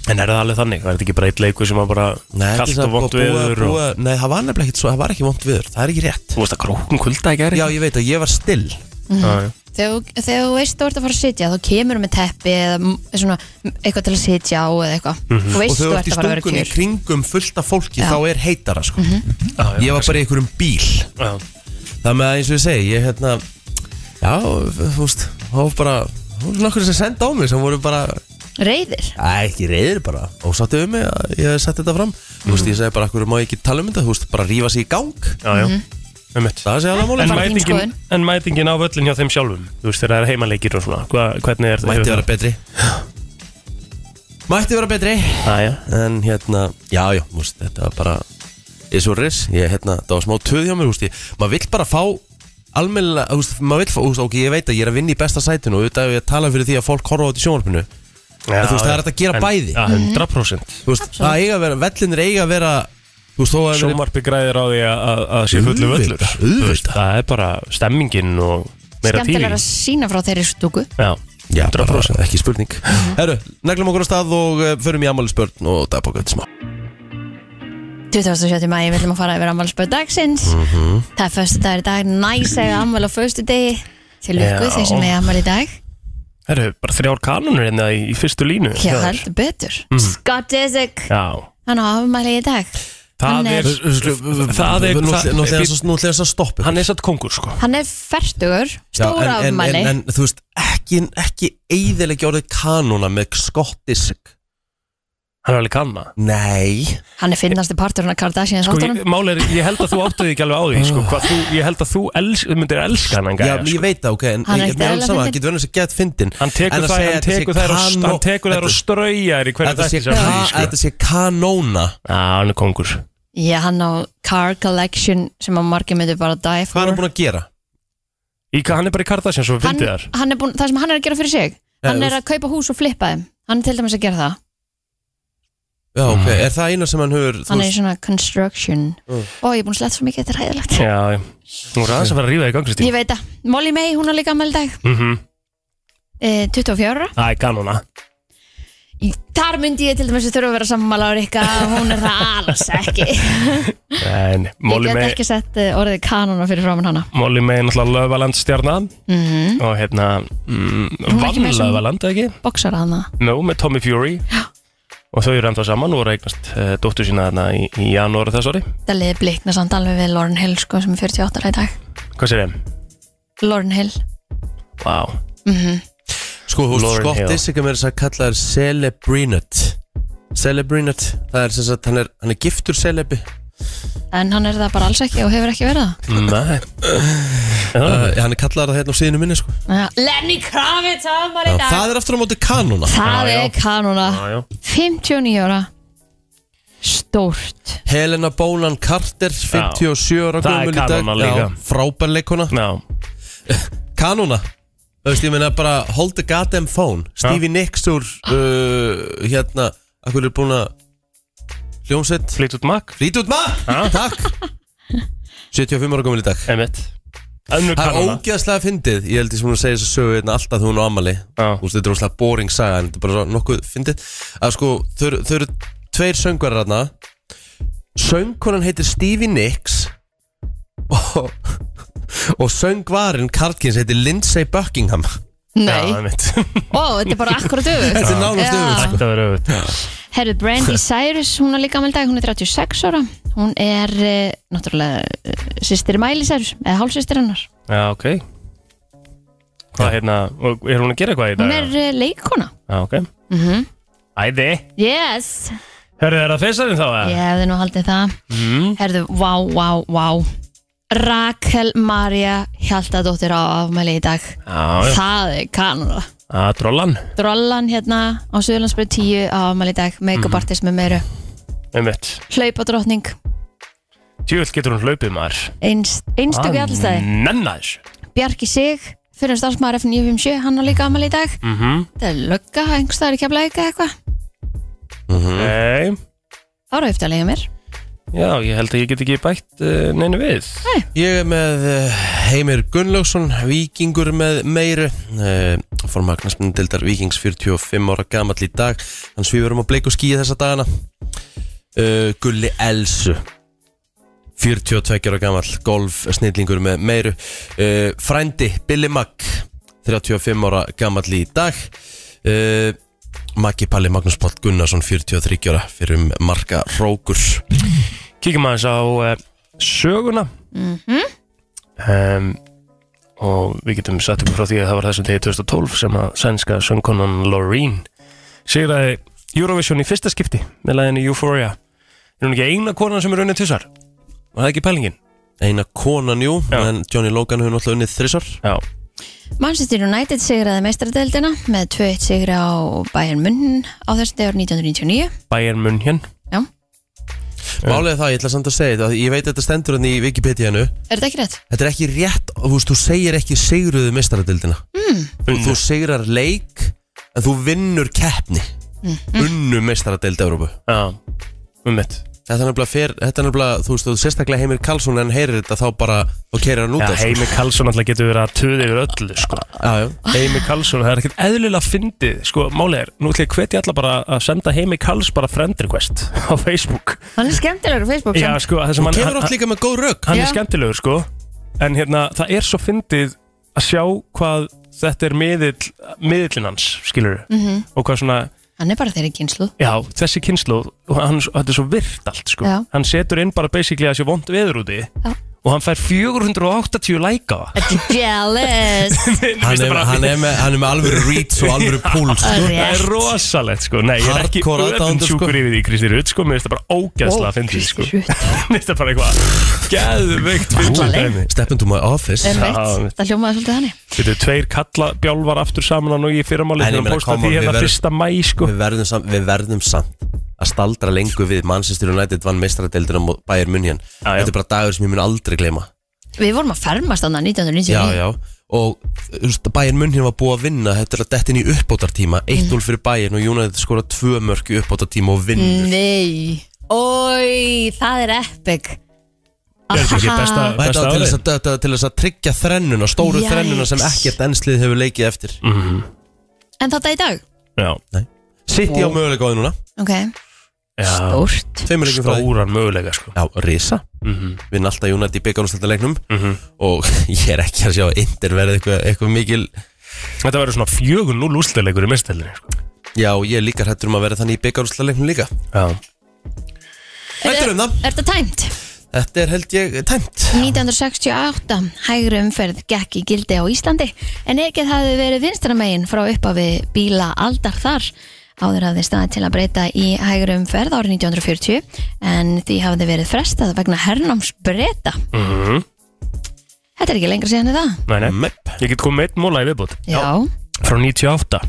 S3: En er það alveg þannig? Það er þetta ekki bara eitt leikur sem var bara
S2: Nei,
S3: kallt og vond
S2: búa,
S3: viður og...
S2: búa, nei, það var nefnilega ekkert svo, það var ekki vond viður, það er ekki rétt
S3: Þú veist að krókum kulda í gæri
S2: Já, ég veit að ég var still
S3: já,
S4: þegar þú- þegar þú veist þú ert að fara að sitja þá kemur með teppi eða m- svona, m- eitthvað til að sitja á eða eitthvað þú
S2: Mhm. og
S4: veist
S2: þau
S4: þú
S2: ert
S4: ert
S2: í
S4: að fara að vera
S2: stúkunni
S4: kjur
S2: kringum fullt af fólki
S4: Já.
S2: þá er heitara sko.
S3: já, já,
S2: ég var bara í einhverjum bíl
S3: já.
S2: það með að eins og ég segi ég hérna já, þú veist þá var bara þá voru nokkur sem senda á mig sem voru bara
S4: reyðir
S2: Æ, ekki reyðir bara og sáttu um mig að ég hef sett þetta fram þú veist ég segi bara hverju má ég ekki tala um þetta þú veist bara rífa sig í gang
S3: Mhm. já, já. Um mitt
S2: það sé alveg
S3: En
S2: málið
S4: bara mín
S3: mætingin,
S4: skoðun.
S3: en mætingin á völlin hjá þeim sjálfum Þú veist þegar það er heimaleikir og svona Hva, Hvernig er
S2: mætti vera betri mætti vera betri
S3: Aja.
S2: en hérna, já, já, múst, þetta var bara is or is, ég, hérna, það var smá töð hjá mér, úst, ég, maður vill bara fá almennilega, úst, maður vill fá, úst, ok, ég veit að ég er að vinna í besta sætinu og auðvitað ef ég tala fyrir því að fólk horfa á þetta í sjónvarpinu
S3: Já,
S2: En þú veist, það er
S3: já.
S2: hægt að gera
S3: En-
S2: bæði.
S3: Já, 100%
S2: þú veist, það eiga að vera, vellinir eiga að vera þú veist, þó að vera
S3: Sjómarpi græðir á því að- að að sé fullu
S2: Auðvitað,
S3: völlur Þú veist,
S2: auðvitað.
S3: Það er bara stemmingin og meira tíli
S4: skemmtilega að sína frá þeirri stúku
S3: Já,
S2: já, bara,
S3: 100%
S2: ekki spurning herru, neglum okkur á stað og uh, förum í ammælisbörn og dagbóka þetta smá
S4: 27. mæði, við ætlum að fara yfir ammálspöð dagsins það er föstu dagur í dag næs eða ammál á föstu degi til lukku
S3: Já.
S4: þeir sem er ammál í dag
S3: Það eru bara þrjár kanunur hérna í, í fyrstu línu
S4: já,
S3: hjá þér.
S4: heldur betur
S2: Mhm.
S4: Scott Disick,
S3: Já,
S4: hann á afmæli í dag
S3: það
S4: Hann er-
S3: er, það er,
S2: nú
S3: það er
S2: ætlum ég að stoppa
S3: Hann er satt kongur sko
S4: hann er færtugur,
S2: Já,
S4: stór
S2: en, en,
S4: afmæli
S2: en, en þú veist, ekki, ekki eiðilegja orðið kanóna með skottisk
S3: Hann er alveg kanna
S2: Nei
S4: Hann er finnasti parturinn af Kardashian
S3: Sko,
S4: þáttunum
S3: ég- mál er, ég held að þú áttu þig ekki alveg á því sko, hvað þú, Ég held að þú els, þú myndir elska hann
S2: Já,
S3: gæja,
S2: ég
S3: sko.
S2: veit það, ok, en
S4: Hann er ekkert
S2: ég mér er alveg
S4: eðlilega
S2: saman,
S4: fyndinn.
S2: það getur verið þess að get fyndin
S3: Hann tekur
S2: En að
S3: það,
S2: segja
S3: hann
S2: þetta sé
S3: tekur það
S2: kanó-
S3: Hann tekur það og
S2: Þetta-
S3: strauja þér í hverju
S2: Þetta
S3: þætti
S2: sé,
S3: sem hann er
S2: ka-
S3: í, sko.
S2: þetta sé kanóna
S3: Já, hann er kongur
S4: Já, hann á Car Collection sem að margir myndu bara að die for
S2: Hvað er hann búin að gera?
S3: Í hvað, hann er bara í Kardashian svo
S4: hann,
S3: fyndið þar
S4: hann er búin, Það sem hann er að gera fyrir sig Hann
S2: þú
S4: er að kaupa hús og flippa þeim Hann er til dæmis að gera það
S2: Já,
S3: Mhm.
S2: ok, er það eina sem hann hefur þú
S4: Hann er í
S2: veist- Mm.
S4: svona construction Ó, ég er búin að slett svo mikið, þetta er hæðilegt
S3: Já, já. nú er aðeins að fara að rífa í gangstí
S4: Ég veit það, Molly May, hún er líka ammæli í dag
S3: mm -hmm.
S4: e, 24 ára
S3: Æ, kanona
S4: Í- Þar myndi ég til dæmis að þurfa að vera sammála á Rikka Hún er það alls ekki
S3: En,
S4: Ég
S3: Molly
S4: get
S3: May
S4: ekki sett eh, orðið kanona fyrir framan hana
S3: Molly May er náttúrulega löfaland stjarnan
S4: mm
S3: og hérna mm,
S4: Hún var ekki
S3: vann
S4: með sem-
S3: löfaland, ekki?
S4: Boksar hana
S3: No, með Tommy Fury og þau eru ennþá saman og voru að eignast uh, dóttur sína þarna í, í janúari þess ári
S4: Það liði blikna samt alveg við Lauren Hill sko, sem er 48 ára í dag
S3: Hvað sér þeim?
S4: Lauren Hill
S3: Vá
S4: Mhm.
S2: Sko, þú veist,
S3: Lauren Hill.
S2: skottisk ekki með þess að kalla þær celebrinut Celebrinut, það er sem sagt, hann er, hann er giftur celebi
S4: En hann er það bara alls ekki og hefur ekki verið það
S3: Nei
S2: uh, Hann er kallar það hérna á síðinu minni sko.
S4: Já, Lenny Kravitz afmæli í
S2: Já,
S4: dag
S2: Það er aftur á móti kanona
S4: Það
S3: Já, já.
S4: er kanona
S3: Já, já.
S4: 59 ára Stórt
S2: Helena Bólan Carter 57 ára gömul
S3: Það er
S2: í dag.
S3: kanóna líka.
S2: Já, Frábær leikona
S3: Já,
S2: Kanona Þú veist, ég meina bara Hold the goddamn phone Stevie Nicks úr uh, Hérna Akkur er búin að Hljómsveit
S3: flýtt út makk
S2: Rítut maður Takk 75 ára gömul í dag
S3: Emmett Önnur
S2: Það er
S3: kannana
S2: ógeðslega fyndið Ég held ég sem hún segja þess að sögu hérna alltaf þegar hún á amali
S3: Já.
S2: Þú veist, þetta er ógeðslega boring saga En þetta er bara svo nokkuð fyndið Að sko, þau eru- þau eru tveir söngvarar hérna Söngkonan heitir Stevie Nicks Og, og söngvarinn Karlkins heitir Lindsay Buckingham
S3: Já,
S4: Nei,
S3: Emmett
S4: ó, þetta er bara akkurat öfugt
S2: Þetta er nánast
S4: Já.
S2: öfugt sko.
S3: Þetta verður auðvitað
S4: Herðu, Brandy Cyrus, hún er líka gammal dag, hún er 36 ára Hún er, eh, náttúrulega, eh, systir Miley Cyrus, eða hálfsystir hennar
S3: Já, ok Hvað hérna, og er hún að gera eitthvað í dag?
S4: Hún er eh, leikona
S3: Já, ok Æði
S4: Yes,
S3: Hörðu þér að feysarinn þá? eða?
S4: ég hefði nú haldið það
S3: Mm.
S4: Herðu, vá, vá, vá Rakel Maria Hjaltadóttir á afmæli í dag
S3: Já, já
S4: Það er kanona
S3: Að drollan
S4: Drollan hérna á Suðurlandsbyrð 10 á afmæli í dag
S3: Mhm.
S4: Make-up artist með meiru
S3: Emmett
S4: Hlaupadrottning,
S3: Tjúvill getur hún hlaupið maður
S4: einst, einstök í allstæði
S3: Nenna þessu
S4: Bjarki Sig, fyrir starfsmaður F957, hann á líka amal í dag
S3: mm -hmm.
S4: Það er lögga, einhverstaðar í kemleika eitthvað
S2: Mhm.
S3: Nei
S4: Það var eftir að lega mér
S3: Já, ég held að ég get ekki bætt uh, neinu við
S2: Ég er með eh, Heimir Gunnlaugsson, vikingur með meiru eh, Forma knaspindildar vikings 45 ára gamall í dag Hann svífur um á bleiku skíi þessa dagana uh, Gulli Elsu 42 ára gamall golf snillingur með meiru uh, Frændi Billy Mack 35 ára gamall í dag uh, Maggi Palli Magnús Páll Gunnarsson 43 ára fyrir um marga rókur
S3: Kíkjum aðeins á uh, söguna um, Og við getum satt upp frá því að það var þessum degi 2012 sem að sænska söngkonan Loreen sigraði Eurovision í fyrsta skipti með læginu Euphoria Er hún ekki eina konan sem er unnið tvisar? Var það ekki pælingin?
S2: Eina konan jú,
S3: Já.
S2: en Johnny Logan hefur náttúrulega unnið þrissar
S3: Já,
S4: Manchester United sigraði meistaradeldina með 2-1 sigri á Bayern Munn á þessum dagur 1999
S3: Bayern München
S4: Já,
S2: Málega það, ég ætla samt að segja þetta af því Ég veit þetta stendur hann í Wikipedia-nu
S4: er þetta ekki rétt?
S2: Þetta er ekki rétt, þú veist, þú segir ekki sigruðu mistaradildina
S4: Hmm.
S2: mm. Þú sigrar leik En þú vinnur keppni Unnu mistaradildi Európu
S3: Já, um mitt
S2: Þetta er nefnilega, fer, þetta er nefnilega, þú veist, þú sérstaklega Heimir Karlsson En heyrir þetta þá bara, þá keirir hann út
S3: Já,
S2: af, sko.
S3: Heimi Karlsson alltaf getur verið að töði yfir öllu sko.
S2: já, já.
S3: Heimi Karlsson, það er ekkert eðlilega fyndið sko, Málið er, nú ætlum ég hvetja alla bara að senda Heimi Karls bara friend request á Facebook
S4: Hann er skemmtilegur á Facebook
S3: Já,
S4: samt.
S3: sko, það sem hann,
S2: Kemur
S3: hann,
S2: oft líka með góð rögg
S3: hann
S4: Já.
S3: er skemmtilegur sko. En hérna, það er svo fyndið að sjá hvað þetta er miðill, miðillinn hans, skilur -hmm. Og hvað svona,
S4: Mhm. Hann er bara þeirri kynslu
S3: já, þessi kynslu hann, Þetta er svo virt allt, sko
S4: Já.
S3: Hann setur inn bara basically að sé vond veður úti
S4: Já.
S3: Og hann fær 480 læka á það.
S4: Þetta er jealous
S2: hann,
S3: finnst það
S2: er-
S3: bara-
S2: hann, er með- hann er með alvöru reach og alvöru púls sko.
S4: Rétt.
S3: Það er rosalegt sko Nei, ég er ekki
S2: Hardcore aðdáandi, sko.
S3: öfundsjúkur yfir því Kristi Rutt sko Mér finnst það bara ógæðslega að finna því sko
S4: Kristi Rut.
S3: Mér finnst það bara eitthvað Gæðveikt fyndið
S4: Alvarleg.
S3: dæmi
S2: Step into my office
S4: Um
S3: Já.
S4: eitt, það hljómaði svolítið þannig
S3: Þetta er tveir kalla bjálvar aftur saman að nú í fyrramáli
S2: En ég
S3: Þegar hann
S2: meina,
S3: posta
S2: come
S3: því
S2: on,
S3: hérna
S2: við verðum-
S3: fyrsta mæ sko
S2: við verðum, samt, við verðum samt að staldra lengur við Manchester United vann meistradeildina á Bayern München
S3: Já, já.
S2: þetta er bara dagur sem ég mun aldrei gleyma
S4: Við vorum að fermast þannig 1999
S2: já, já. og þú veist, Bayern München var búið að vinna þetta er að dettin í
S4: Mm.
S2: uppbótartíma 1-0 fyrir Bayern og United skora 2 mörg í uppbótartíma og
S4: Mm.
S2: vinnur
S4: Nei Ói, það er epic
S3: Er þetta ekki
S4: Aha.
S3: besta,
S2: Og Þetta
S3: besta
S2: var til
S3: árið?
S2: þess, að, þetta var til þess að tryggja þrennuna, stóru
S4: Yikes.
S2: þrennuna sem ekkert ennslið hefur leikið eftir mm.
S4: En þetta í dag
S3: Mhm. Já,
S2: Sitt á möguleika á því núna,
S4: Ok,
S3: já
S4: bórt
S2: tveimur leikum frá því
S3: Stóran mögulega sko Mhm.
S2: Já, Risa Vinn alltaf United í byggarnastættaleiknum mm Og ég er ekki að sjá að Inder verði eitthvað, eitthvað mikil
S3: Þetta verður svona 4-0 úsleilegur í mistælinni sko
S2: Já, ég er líka hættur um að vera þannig í byggarnastættaleiknum líka
S3: Já
S2: Hættur um það
S4: Er þetta tæmt?
S2: Þetta er held ég tæmt
S4: 1968, hægri umferð gekk í gildi á Íslandi en ekkert hafði verið vinstramegin frá upphafi bíla aldar þar áður hafði staði til að breyta í hægri umferð árið 1940 en því hafði verið frestað vegna hernáms breyta Þetta er ekki lengra síðan en það
S3: Mhm. Nei, nei.
S2: Mepp
S3: Ég get komið með einn móla í viðbútt
S4: Já,
S3: frá 98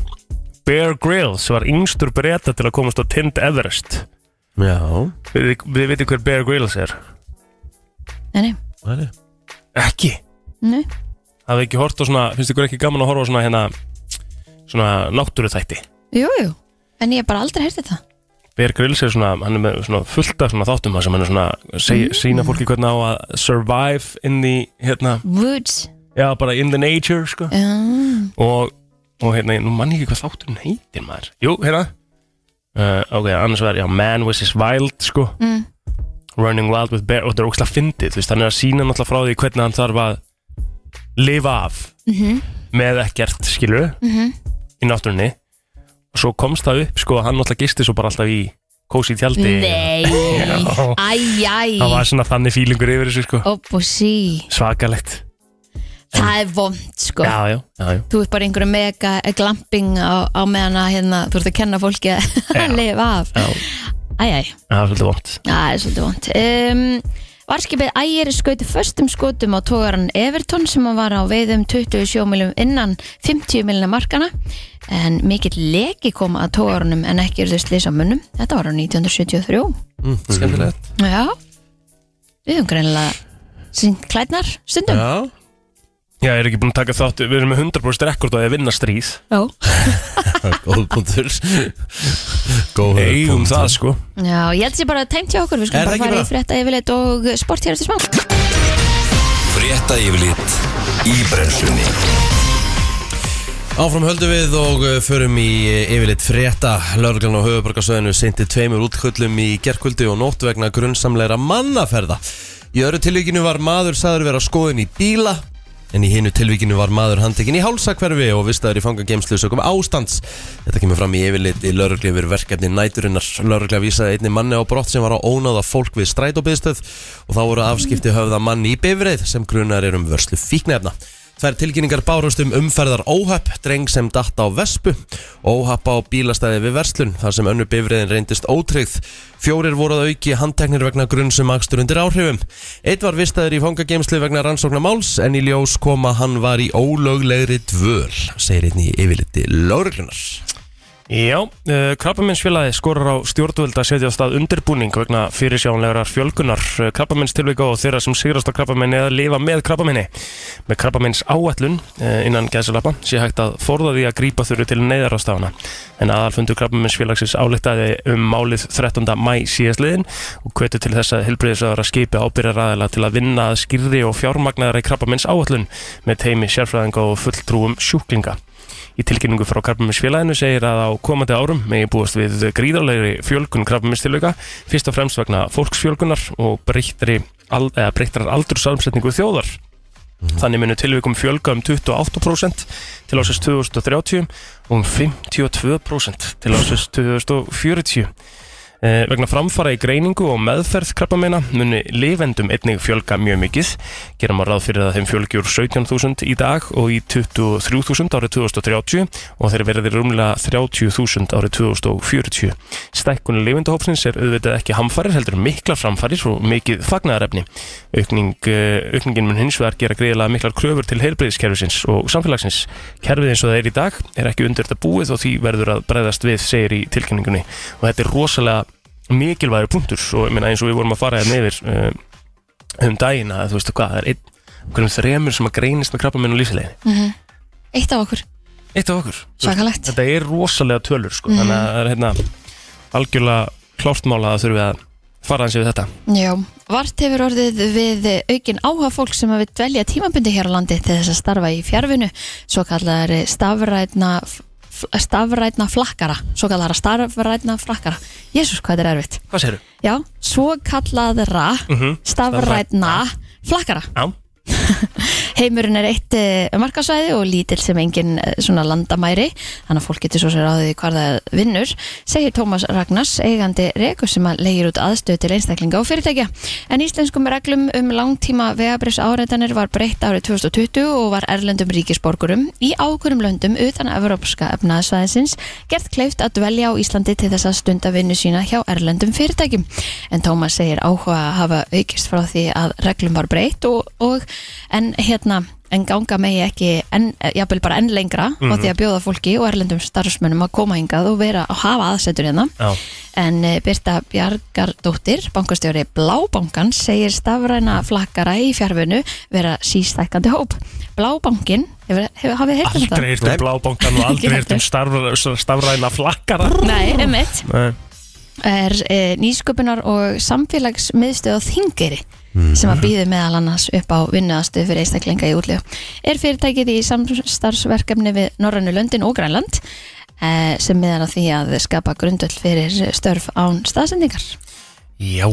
S3: Bear Grylls var yngstur breyta til að komast á tind Everest
S2: Já,
S3: Við, við veitum hver Bear Grylls er
S4: nei, nei,
S2: það er
S3: Ekki
S4: nei
S3: Það er ekki hort á svona, finnst ykkur ekki gaman að horfa á svona hérna Svona náttúru þætti
S4: Jú, jú, en ég hef bara aldrei heyrt þetta
S3: Bear Grylls er svona, hann er með svona fullt af svona þáttum þar sem hann er svona seg,
S4: Mm.
S3: sína fólki hvernig á að survive in the, hérna,
S4: Woods
S3: já bara in the nature sko
S4: Já,
S3: og, og hérna, nú mann ég ekki hvað þátturinn heitir maður Jú, hérna uh, Ok, annars verður, já, Man vs. Wild, sko
S4: Mm.
S3: Running Wild with Bear, og þetta er ógslag fyndið, þú veist, hann er að sína náttúrulega frá því hvernig hann þarf að lifa af
S4: Mhm.
S3: með ekkert, skilur
S4: Mhm.
S3: í náttúrunni og svo komst það upp, sko, að hann náttúrulega gisti svo bara alltaf í kósi tjaldi
S4: nei Æjæj,
S3: Það var svona þannig fílingur yfir þessu, sko
S4: upp og sí
S3: Svakalegt
S4: Það er vond, sko
S3: Já, já, já, já
S4: Þú ert bara í einhverju mega eh, glamping á, á meðan að hérna, þú ert að kenna fólki
S3: Já.
S4: að lifa af
S3: Já,
S4: Æjæj,
S3: það var svolítið vont
S4: það er svolítið vond um, Varskipið Ægir skauti föstum skotum á tógaran Everton sem hann var á veiðum 27 miljum innan 50 miljuna markana en mikill leki kom að tógaranum en ekki eru þau slýs á munnum Þetta var á 1973
S3: Mhm.
S2: Skemmtilegt
S4: Já, við höfum greinilega sínt klædnar stundum
S2: Já,
S3: Já, ég er ekki búin að taka þátt, við erum með 100% rekord á því að vinna stríð
S4: Já,
S2: góð punktur Góð
S3: Eigum það sko
S4: Já ég held sér bara að tæmt hjá okkur Við
S2: Er
S4: skulum
S2: það
S4: bara
S2: ekki
S4: fara
S2: bara?
S4: í frétta yfirleitt og sport hér eftir smá
S1: Frétta yfirlit í brennslunni
S2: Áfram höldum við og uh, förum í uh, yfirleitt frétta Lörglann á höfubarkasöðinu seinti tveimur útköllum í gerkvöldi og nótt vegna grunnsamleira mannaferða Í öru tilvíkinu var maður sagður vera skoðin í bíla En í hinu tilvíkinu var maður handtekinn í hálsakverfi og vistaður í fangagemslu sökum ástands Þetta kemur fram í yfirleitt í lörgli yfir verkefni næturinnar Lörgla vísaði einni manni á brott sem var á ónáða fólk við strætóbiðstöð og þá voru afskipti höfða manni í bifreið sem grunar er um vörslu fíknefna Tvær tilkynningar bárust um umferðar óhöpp, dreng sem datt á Vespu, óhöpp á bílastæði við Verslun, þar sem önnu bifriðin reyndist ótryggð. Fjórir voru að auki handteknir vegna grunn sem akstur undir áhrifum. Eitt var vistaður í fangageimslu vegna rannsóknar máls, en í ljós kom að hann var í ólöglegri dvöl, segir einni í yfirliti lauruglunar.
S3: Já, uh, krabbaminsfélagi skorar á stjórnvöld að setja á stað undirbúning vegna fyrirsjánlegarar fjölgunar uh, krabbaminstilvika og þeirra sem sigrast á krabbaminni eða lifa með krabbaminni með krabbamins áætlun uh, innan gæðsalappa sé hægt að forða því að grípa þurru til neyðarastafana en aðalfundur krabbaminsfélagsins álitaði um málið 13. mæ síðastliðin og hvetu til þess að helbriðisöðara skipi ábyrjar aðila til að vinna að skýrði og fjármagnaðar í krabbamins áætlun með teimi sérfræðinga og fulltrúum sjúklinga Í tilkynningu frá krabbaminsfélaginu segir að á komandi árum megi búast við gríðarlegri fjölgun krabbaminstilauka, fyrst og fremst vegna fólksfjölgunar og breyttri al, eða breyttrar aldursamsetningu þjóðar. Þannig munu tilvikum fjölga um 28% til ásins 2030 og um 52% til ásins 2040. Eh, vegna framfara í greiningu og meðferð krabbameina muni lifendum einnig fjölga mjög mikið. Gerum að ráð fyrir að þeim fjölgi úr 17.000 í dag og í 23.000 árið 2030 og þeir verðir rúmlega 30.000 árið 2040. Stækkun lifendahópsins er auðvitað ekki hamfarir heldur mikla framfarir og mikið fagnaðarefni. Aukning, eh, aukningin mun hins vegar gera greiðlega miklar kröfur til heilbreyðiskerfisins og samfélagsins. Kerfið eins og það er í dag er ekki undir þetta búið og því verður að breyðast við segir í tilkynningunni og þetta er rosalega mikilvægur punktur og ég meina, eins og við vorum að fara hérna yfir eh, um daginn að þú veistu hvað, það er einn hverjum þremur sem að greinist með krabba minn og lýsilegin
S4: Mhm. Eitt af okkur,
S3: eitt af okkur, Þú veist,
S4: svakalegt
S3: þetta er rosalega tölur sko, þannig að það er hérna algjörlega klárt mála að þurfi að fara hans yfir þetta
S4: Já, vart hefur orðið við aukin áhuga fólk sem að við dvelja tímabundi hér á landi til þess að starfa í fjárvinu svo kallar stafrætna stafrætna flakkara svo kallar stafrætna flakkara Jésús, hvað þetta er erfitt
S3: hvað segirðu?
S4: Já, svo kallaðra
S3: Mhm.
S4: stafrætna flakkara
S3: Já,
S4: Heimurinn er eitt eh, markasvæði og lítill sem engin eh, svona landamæri þannig að fólk getur svo sér á því hvar það vinnur segir Tómas Ragnars eigandi Reku sem að leigir út aðstöð til einstaklinga og fyrirtækja. En íslenskum reglum um langtíma vegabrifs áreitanir var breytt árið 2020 og var erlendum ríkisborgurum í ákvörum löndum utan Evrópska efnaðsvæðisins gert kleift að dvelja á Íslandi til þess að stunda vinnu sína hjá erlendum fyrirtækjum. En Tómas segir áhuga að hafa aukist frá því að reglum var breytt og, og en hérna en ganga megi ekki en, jafnvel bara enn lengra á því að bjóða fólki og erlendum starfsmönnum að koma hingað og vera að hafa aðsetur hérna
S3: Já.
S4: en eh, Birta Bjargardóttir bankastjóri Blábankan segir stafræna flakkara í fjárfinu vera sístækandi hóp Blábankin, hefur, hefur, hafið heilt um þetta?
S3: Aldrei hýrt um
S2: Nei.
S3: blábankan og
S4: Ekki
S3: aldrei hýrt um
S4: heldur.
S3: starf- stafræna flakkara
S4: Nei, einmitt
S3: Nei.
S4: er e, nýsköpunar og samfélagsmiðstöð á þingeri
S3: Mhm.
S4: sem að býðu meðal annars upp á vinnuðastöð fyrir einstaklinga í útlögu. Er fyrirtækið í samstarfsverkefni við Norrannu Löndin og Grænland e, sem meðan að því að skapa grundöll fyrir störf án staðsendingar.
S3: Já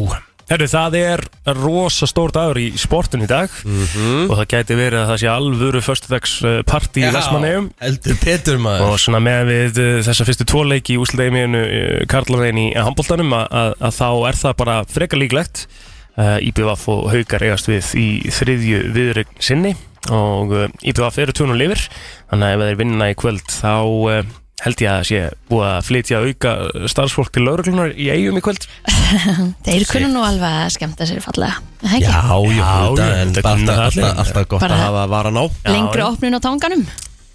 S3: Herru, það er rosa stór dagur í sportun í dag og það gæti verið að það sé alvöru föstudagsparti í Vestmanneum
S2: Eldur Petur maður
S3: og svona með við uh, þessa fyrstu tvo leiki í úsledeiminu uh, Karlarvegin í handbóltanum að, að, að þá er það bara frekar líklegt uh, IBVF og Haukar eigast við í þriðju viðrögn sinni og uh, IBVF eru tjónu lifir þannig að ef þeir vinna í kvöld þá uh, held ég að það sé búið að flytja auka starfsfólk til lauruglunar í eigum í kvöld
S4: Þeir kunnu nú alveg að skemmta sér fallega. er það
S2: Já,
S4: ekki?
S2: já, þetta
S3: já,
S2: er
S3: þetta
S2: bara alltaf,
S3: kunna það allir.
S2: alltaf, alltaf gott
S4: Bara-
S2: að hafa varan á
S3: Já,
S4: Lengri
S3: já.
S4: opnun á tanganum.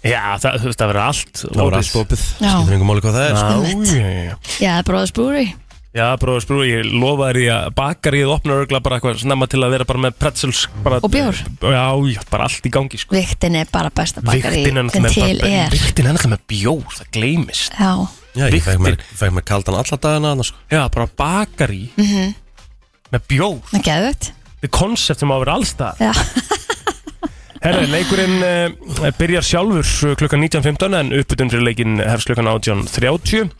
S3: Já, það, þú veist, það verður allt
S2: Það voru
S3: opið.
S2: allt opið,
S4: Já.
S2: skiptir engum máli hvað það er
S3: Já,
S4: Einmitt.
S3: já, já, já.
S4: Já, bróðs búri.
S3: Já, bróður Sprú, ég lofa þér í að bakarið opnar örgla bara eitthvað snemma til að vera bara með pretzels bara,
S4: Og bjór.
S3: Já, já, bara allt í gangi sko.
S4: Viktin er bara besta bakari
S3: Vigtin er
S4: sem
S3: náttúrulega
S4: til
S3: með, bara-
S4: er.
S3: vigtin er náttúrulega með bjór, það gleymist
S4: Já,
S2: Já, ég fekk mér,
S3: Viktir.
S2: fekk mér kaldan alla dagana annars sko.
S3: Já, bara bakari með bjór
S4: mhm. það geðvögt.
S3: Þetta er konsept sem á að vera allstað
S4: Já.
S3: Herra, leikurinn uh, byrjar sjálfur eh, klukkan 19.15 en uppbytun fyrir leikinn hefst klukkan 18.30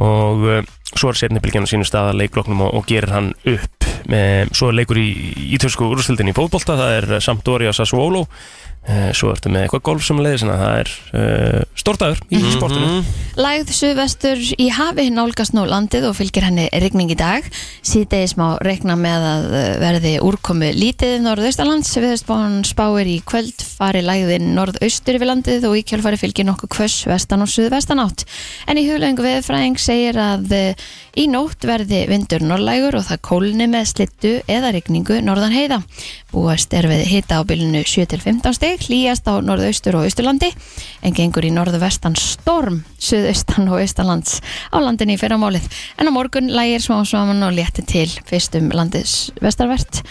S3: og uh, svo er setni bylgjana sínu stað að leikbloknum og, og gerir hann upp með, svo er leikur í ítölsku úrstildin í fótbolta, það er eh, Sampdoria Sassuolo uh, svo ertu með eitthvað golf sem leiðis en það er uh, stórtaður í
S2: Mhm.
S3: sportinu
S4: Lægð suðvestur í hafi nálgast nú landið og fylgir henni rigning í dag. Síðdegis má rekna með að eh, verði úrkomu lítið norðaustalands. Viðspán spáir í kvöld fari lægðin norðaustur yfir landið og í kjálfari fylgir nokkuð kvöss vestan og suðvestan átt. En í huglöfingu veðfræðing segir að eh, í nótt verði vindur norðlægur og það kólni með slittu eða rigningu norðan heiða. Búast er við hita á bylunu 7-15 stig, hlýjast á norðaustur og austurlandi en gengur í norðvestan storm suðaustan og austalands á landinni í fyrramálið. En á morgun lægir smá saman og létti til fyrst um landis vestarvert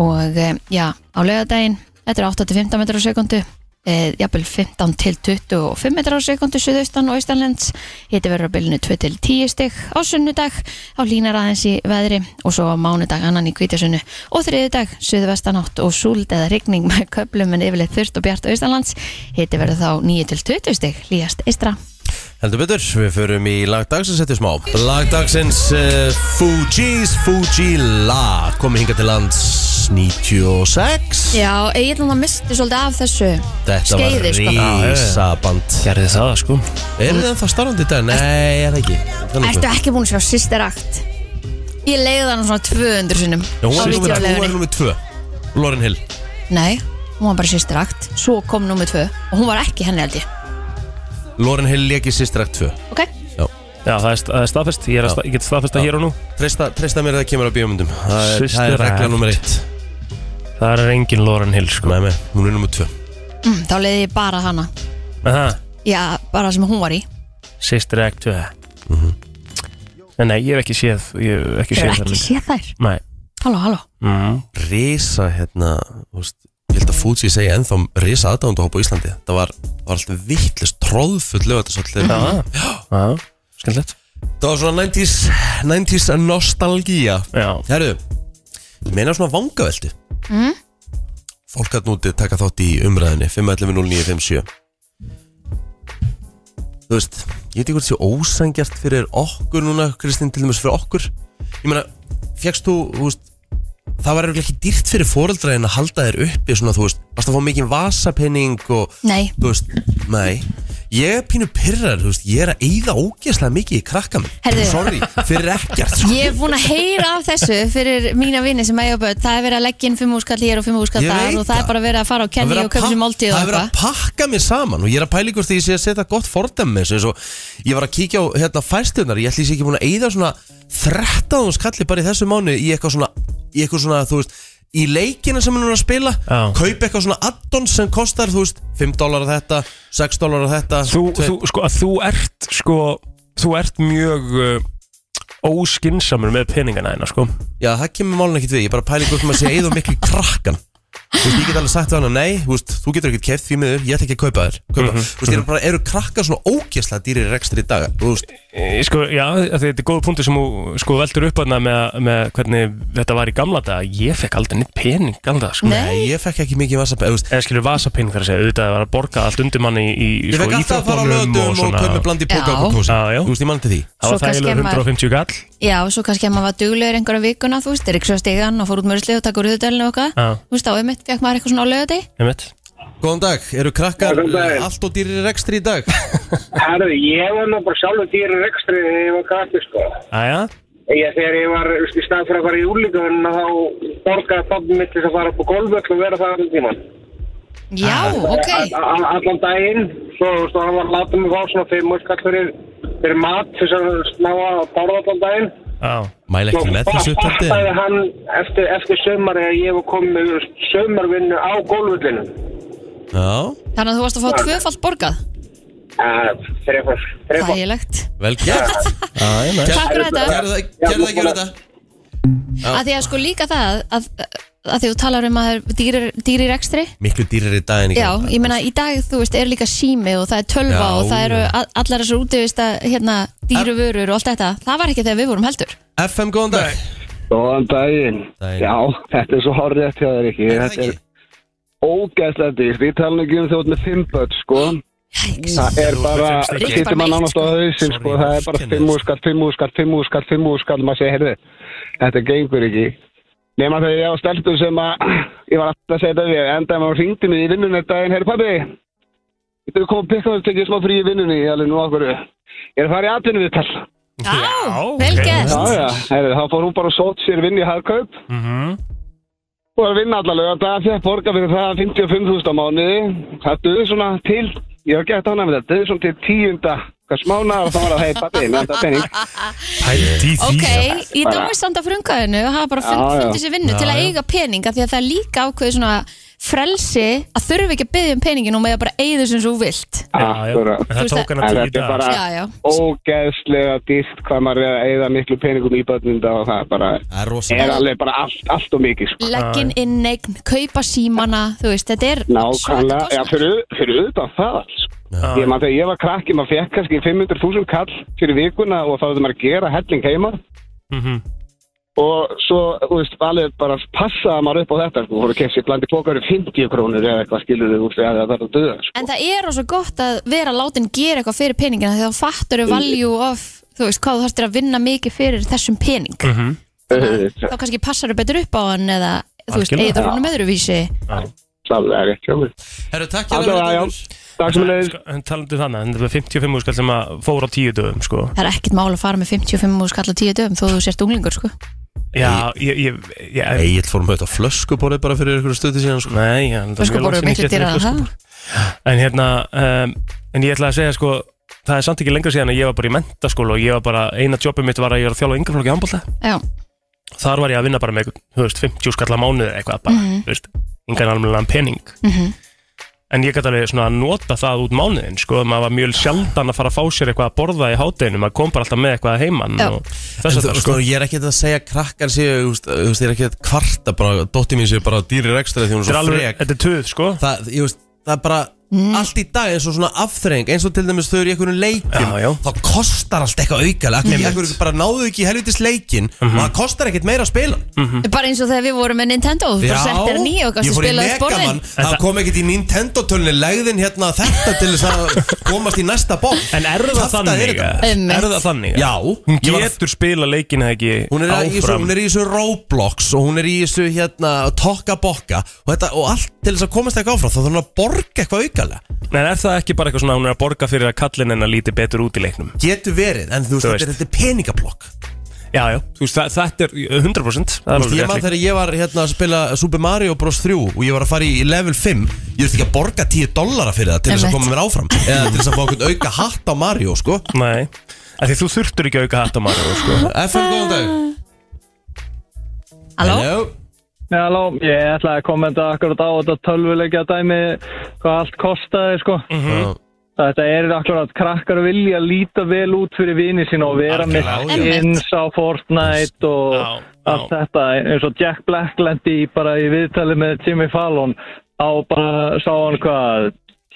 S4: og eh, já, á laugardaginn þetta er 8-15 metrar á sekundu eh, jafnvel 15 til 25 metrar á sekundu suðaustan og austanlands hiti verður á bylunu 2 til 10 stig á sunnudag, þá línar aðeins í veðri og svo á mánudag annan í kvítasunnu og þriðudag, suðvestan átt og súld eða rigning með köplum en yfirleitt þurft og bjart austanlands, hiti verður þá 9 til 20 stig, líjast eistra
S2: Heldur betur, við förum í lagdagsins eftir smá Lagdagsins uh, Fuji's Fuji La Komið hingað til lands 96
S4: Já, eiginlega misti svolítið af þessu
S2: Þetta var
S4: Skeiði, sko.
S2: risaband
S3: Gerði það sko
S2: Er það ennþá starfandi í dag? Nei, er það ekki Það er nokkuð.
S4: Ertu ekki búin að sjá sýstir akt? Ég leiði hann svona 200 sinnum
S2: Já,
S4: á
S2: Hún var númer- hún var
S4: videólegunni
S2: nummið tvö Lauren Hill
S4: Nei, hún var bara sýstir akt Svo kom nummið 2 og hún var ekki henni held ég
S2: Lauren Hill leki sýstrakt tvö
S4: Ok,
S3: Já, það er, sta- það er staðfest, ég, er að sta, ég get staðfest að hér og nú
S2: Treysta, treysta mér að það kemur á bíómyndum Það er, það
S3: Systir
S2: er regla
S3: Act.
S2: nummer eitt
S3: Það er engin Lauren Hill sko
S2: Nei, nei, hún er nummer tvö
S4: mm, þá leiði ég bara hana
S3: Aha.
S4: Já, bara sem hún var í
S3: Sister Act 2 Nei, Nei, ég hef ekki séð Ég hef ekki
S4: Ég
S3: séð
S4: hef
S3: þær
S4: ekki
S3: líka.
S4: séð þær
S3: Nei
S4: Halló, halló
S3: mm.
S2: Risa, hérna þú veist, Ég held að Fuji segja ennþá um Risa aðdándu á Íslandi Það var, var alltaf vittlust tróðfull lögatarsall
S3: Já,
S2: þegar-
S3: já, skemmtilegt
S2: Það var svona 90s, 90s nostalgía
S3: Já,
S2: Herru, ég meina svona vangaveldi mm? Fólk að núti taka þátt í umræðinni 5.11.09.57 Þú veist, ég veit ekki hvort sé ósangjart fyrir okkur núna Kristín, til dæmis fyrir okkur Ég meina, fegst þú, þú veist það var örugglega ekki dýrt fyrir foreldra en að halda þér uppi svona, þú veist, varst að fá mikið vasapenning og,
S4: Nei.
S2: þú veist, nei ég er pínu pyrrar, þú veist, ég er að eyða ógeðslega mikið í krakka minn
S4: Herðu.
S2: sorry, fyrir ekkert sko.
S4: Ég hef búin að heyra af þessu fyrir mína vinni sem eiga börn Það er verið að leggja inn fimm úrskall hér og fimm úrskall
S2: Ég
S4: þar
S2: veit
S4: og það er
S2: það.
S4: bara verið að fara á
S2: Það er
S4: kenni
S2: verið
S4: og köpa
S2: að
S4: sér
S2: pak-
S4: máltíð og
S2: Það er verið
S4: eitthvað
S2: að pakka mér saman og ég er að pæla ykkur því ég sé að setja gott fordæmi með þessu eins og ég var að kíkja á hérna fæstunar ég ætli ég sé ekki búin að eyða svona 13 skalli bara í þessu mánu í eitthvað svona, í eitthvað svona þú veist í leikina sem hann er að spila
S3: Já.
S2: kaupa eitthvað svona addons sem kostar þú veist 5 dólar á þetta, 6 dólar á þetta
S3: þú,
S2: tveir-
S3: þú, sko, að þú ert sko, þú ert mjög uh, óskinsamur með peningana hérna sko.
S2: Já, það kemur málun ekkert við, ég er bara að pæla ykkur sem að segja eyða miklu í krakkan Þú veist, ég get alveg sagt við hana, nei, þú veist, þú getur ekkert keft því miður, ég ætla ekki að kaupa þér kaupa.
S3: Mhm.
S2: Þú veist, ég er bara, eru krakkar svona ógeðslega dýrir rekstur í dag, þú veist,
S3: Eh, Sko, já, af því þetta er góða punktu sem þú sko, veldur upp aðna með, með hvernig þetta var í gamla dag Ég fekk aldrei neitt pening gamla dag sko.
S4: Nei.
S2: Nei, ég fekk ekki mikið vasapenning þú veist,
S3: Eða skilur vasapening þar að segja, auðvitað var að borga allt undir manni í, í
S2: Ég
S3: sko,
S2: fekk alltaf að fara á
S3: íþróttunum
S2: löðum og
S3: svona.
S2: kaupa bland í
S4: Já.
S2: bóka og kósi
S3: Já, já.
S2: Þú veist, ég mann til því
S3: Það
S4: Svo
S3: var
S4: kannski
S3: þægilega
S4: maður-
S3: 150 gall
S4: Já, og svo kannski að maður var duglegur einhverja vikuna, þú veist, er ekki svo stegan og fór út mörgsli og taka úr yðurdælinu og eitthvað.
S3: Já,
S4: Þú veist, á einmitt fekk maður eitthvað svona á lögadei.
S3: einmitt
S2: Góðan dag, eru
S5: Já,
S2: krakkar
S5: góðan daginn.
S2: allt og dýrir rekstri í dag?
S5: Herðu, ég var nú bara sjálfur dýrin rekstri þegar ég var krakki, sko.
S3: Æja,
S5: Ég, þegar ég var, þú veist, í stað fyrir að fara í úrlíkaðunna þá borgaði pabbi mitt til þess að fara upp á golföll og vera um það allan tíman.
S4: Já, ok.
S5: Allan daginn, svo, þú veist, hann var að láta mig fá svona fimm og skall fyrir, fyrir mat til þess að sná að borða allan daginn.
S3: já,
S2: Mæla ekki með þessu uppeldi
S5: fattaði hann eftir, eftir sömari að ég var komið með þú veist, sömarvinnu á golföllinu.
S2: Já,
S4: Þannig að þú varst að fá tvöfalt borgað.
S5: Uh, þreifar, þreifar.
S4: Þægilegt.
S2: vel gert
S3: já, já
S4: Takk fyrir þetta.
S2: Gerðu það, gerðu það, gerðu það
S4: Að því að sko líka það að, að því þú talar um að það er dýrir, dýrir ekstri.
S2: Miklu dýrir í dag en í
S4: Já,
S2: gamla daga.
S4: ég meina í dag, þú veist, er líka sími og það er tölva
S2: Já,
S4: og það eru
S2: já.
S4: a- allar þessar útivista, hérna, dýruvörur og allt þetta. Það var ekki þegar við vorum heldur.
S2: FM, góðan dag
S6: Góðan daginn.
S2: Daginn.
S6: Já, þetta er svo horrið hjá þér ekki.
S2: Er það
S6: Þetta er
S2: ekki?
S6: ógæslega dýrt. Ég tala nú ekki um þjótt með fimm börn, sko.
S4: Jæks.
S6: Það er
S3: þú
S6: bara,
S3: ert með fimm stykki.
S6: hittir
S4: Bara
S6: mann
S4: neitt,
S6: annars á
S4: sko.
S6: hausinn,
S2: Sorry,
S6: sko. Það er bara
S2: vorkenni
S6: fimm
S2: þér.
S6: úrskall, fimm úrskall, fimm úrskall, fimm úrskall. Maður segir, heyrðu, þetta gengur ekki. Nefna þegar ég á stelpum sem að, ég var alltaf að segja þetta við, enda maður ringdi mig í vinnunni einn daginn, heyrðu pabbi, getur þú komið að pikka og tekið smá frí í vinnunni, ég alveg nú okkur. Ég er að fara í atvinnu við tal.
S4: Já,
S3: ok.
S4: vel gert.
S6: Já, já, heyrðu, þá fór hún bara og sótt sér vinn í hagkaup.
S3: Mhm.
S6: og að vinna allavega það fekk borga fyrir það 55.000 á mánuði það duði svona til ég var gett ánæg með þetta, duði svona til tíunda hvers mánuða og þá var það hei pabbi, með þetta pening
S3: Pældi í því
S4: Ok,
S3: samt.
S4: ég dái samt af frungaðinu og hafa bara fund,
S6: Já, já.
S4: fundið sér vinnu til að eiga peninga því að það er líka ákveðið svona frelsi að þurfi ekki að byggja um peningin og með að bara eigið sem þú vilt
S3: Já, já,
S6: Akkúrat.
S3: En það
S4: Þú
S3: tók
S4: veist
S6: Ah, en
S3: hann að
S6: þetta er bara
S4: Já, já.
S6: ógeðslega dýrt hvað maður er að eyða miklu peningum í börnum og það bara
S2: Það er
S6: er
S2: rosalega
S6: alveg bara allt, allt og mikið sko.
S4: leggin inn eign, kaupa símana þú veist, þetta er
S6: nákvæmlega,
S4: svaka
S6: já
S4: kostnaður.
S6: fyrir, fyrir utan það alls sko.
S3: Já.
S6: Ég maður þegar ég var krakki, maður fekk kannski 500.000 kall fyrir vikuna og þá þetta maður að gera helling heima
S3: Mhm.
S6: og svo, þú veist, alveg bara passaði maður upp á þetta, sko, voru kemst í blandi pókari 50 krónur eða eitthvað skilur þú, úst, eða það er að döða, sko.
S4: En það er ós gott að vera látin gera eitthvað fyrir peningina því þá fattur þau value of þú veist, hvað þú þarftir að vinna mikið fyrir þessum pening þá
S6: Eh, Það
S4: kannski passar þau betur upp á hann eða, þú veist,
S3: Algjörlega.
S4: eigið þú húnum öðruvísi
S6: er rétt hjá mig.
S2: Herru, takk
S6: Alla
S2: hérna
S6: vega, já.
S2: fyrir
S6: Takk sem leiðis.
S3: Sko, En talandi um þannig, en þetta var 55 skall sem að fór á 10 dögum sko.
S4: Það er ekkit mál að fara með 55 og skalla 10 dögum þó þú sért unglingur, sko
S3: Já, ég, ég, ég, ég
S2: Egil fór með þetta flöskuborðið bara fyrir ykkur stöti síðan sko.
S3: Nei, já, en það er mjög langt
S4: Flöskuborð eru
S3: síðan ég
S4: miklu
S3: keypti
S4: dýrar en það
S3: flöskuborð. En hérna, um, en ég ætla að segja sko Það er samt ekki lengra síðan að ég var bara í mentaskóla og ég var bara, eina jobbið mitt var að ég var að þjálfa yngreflokki handbólta
S4: Já,
S3: Þar var ég að vinna bara með, einhvern, þú veist, 50 skallar mánuð eða eitthvað bara, þú veist, yngan alveg pening
S4: Mhm.
S3: En ég gæti alveg svona að nota það út mánuðin, sko, maður var mjög sjaldan að fara að fá sér eitthvað að borða í hátæðinu, maður kom bara alltaf með eitthvað að heiman
S4: Já.
S3: og þess
S2: En
S3: að
S2: þú-
S3: það,
S2: Sko,
S3: sko,
S2: ég er ekki að segja að krakkar séu, þú veist, þú veist, ég er ekki að kvarta bara, dótti mín séu bara dýrir ekstra því hún er
S3: þetta
S2: svo
S3: er alveg,
S2: frek
S3: þetta er töð, sko,
S2: það, ég veist, það er bara
S4: Mm.
S2: allt í dag eins og svona afþreng eins og til dæmis þau eru í einhverjum leikum
S3: Já, já.
S2: þá kostar allt eitthvað aukalega mm. einhverjum bara náðu ekki í helvitis leikin
S3: Mhm.
S2: og það kostar ekkert meira að spila
S4: Bara eins og þegar við vorum með Nintendo Þú bara settir hann í og gafst
S2: ég
S4: að
S2: fór í
S4: spila á
S2: Megaman
S4: sporðin
S2: það kom ekkert í Nintendo-tölni legðin hérna þetta til þess að komast í næsta bók
S3: En er það þannig? eða?
S4: Einmitt.
S3: Er það þannig? eða?
S2: Já,
S3: Hún
S2: ég var að-
S3: getur spila leikin eða ekki
S2: Hún er, í þessu,
S3: áfram
S2: hún er í þessu Roblox og hún er í þessu hérna Tokka bokka og, þetta, og allt til þess að komast ekki áfram þá þarf hún að borga eitthvað aukalega
S3: En er það ekki bara eitthvað svona að hún er að borga fyrir að kallin hennar líti betur út í leiknum?
S2: Getur verið, en þú veist,
S3: Þú
S2: þetta er-
S3: veist.
S2: þetta er peningablokk
S3: Já, já, þú veist, það, þetta er 100% Það er
S2: Þú veist,
S3: alveg
S2: Ég maður
S3: rétt líka.
S2: þegar ég var hérna að spila Super Mario Bros 3 og ég var að fara í level 5 Ég veist ekki að borga 10 dollara fyrir það til þess að
S4: Einmitt.
S2: koma mér áfram Eða til þess að fá einhvern auka hatt á Mario sko
S3: Nei, af því þú þurftur ekki að auka hatt á Mario, sko
S2: FM, góðan dag
S4: Halló?
S7: Já, halló, ég ætlaði að kommenta akkurat á þetta tölvuleikja dæmi hvað allt kostaði, sko.
S2: Halló
S7: Þetta er akkurat krakkar vilja líta vel út fyrir vini sína og vera með
S2: Algjörlega,
S4: já.
S7: skins á Fortnite og
S3: Já, já.
S7: allt þetta. eins og Jack Black lendi í bara í viðtali með Jimmy Fallon á bara, sá hann hvað,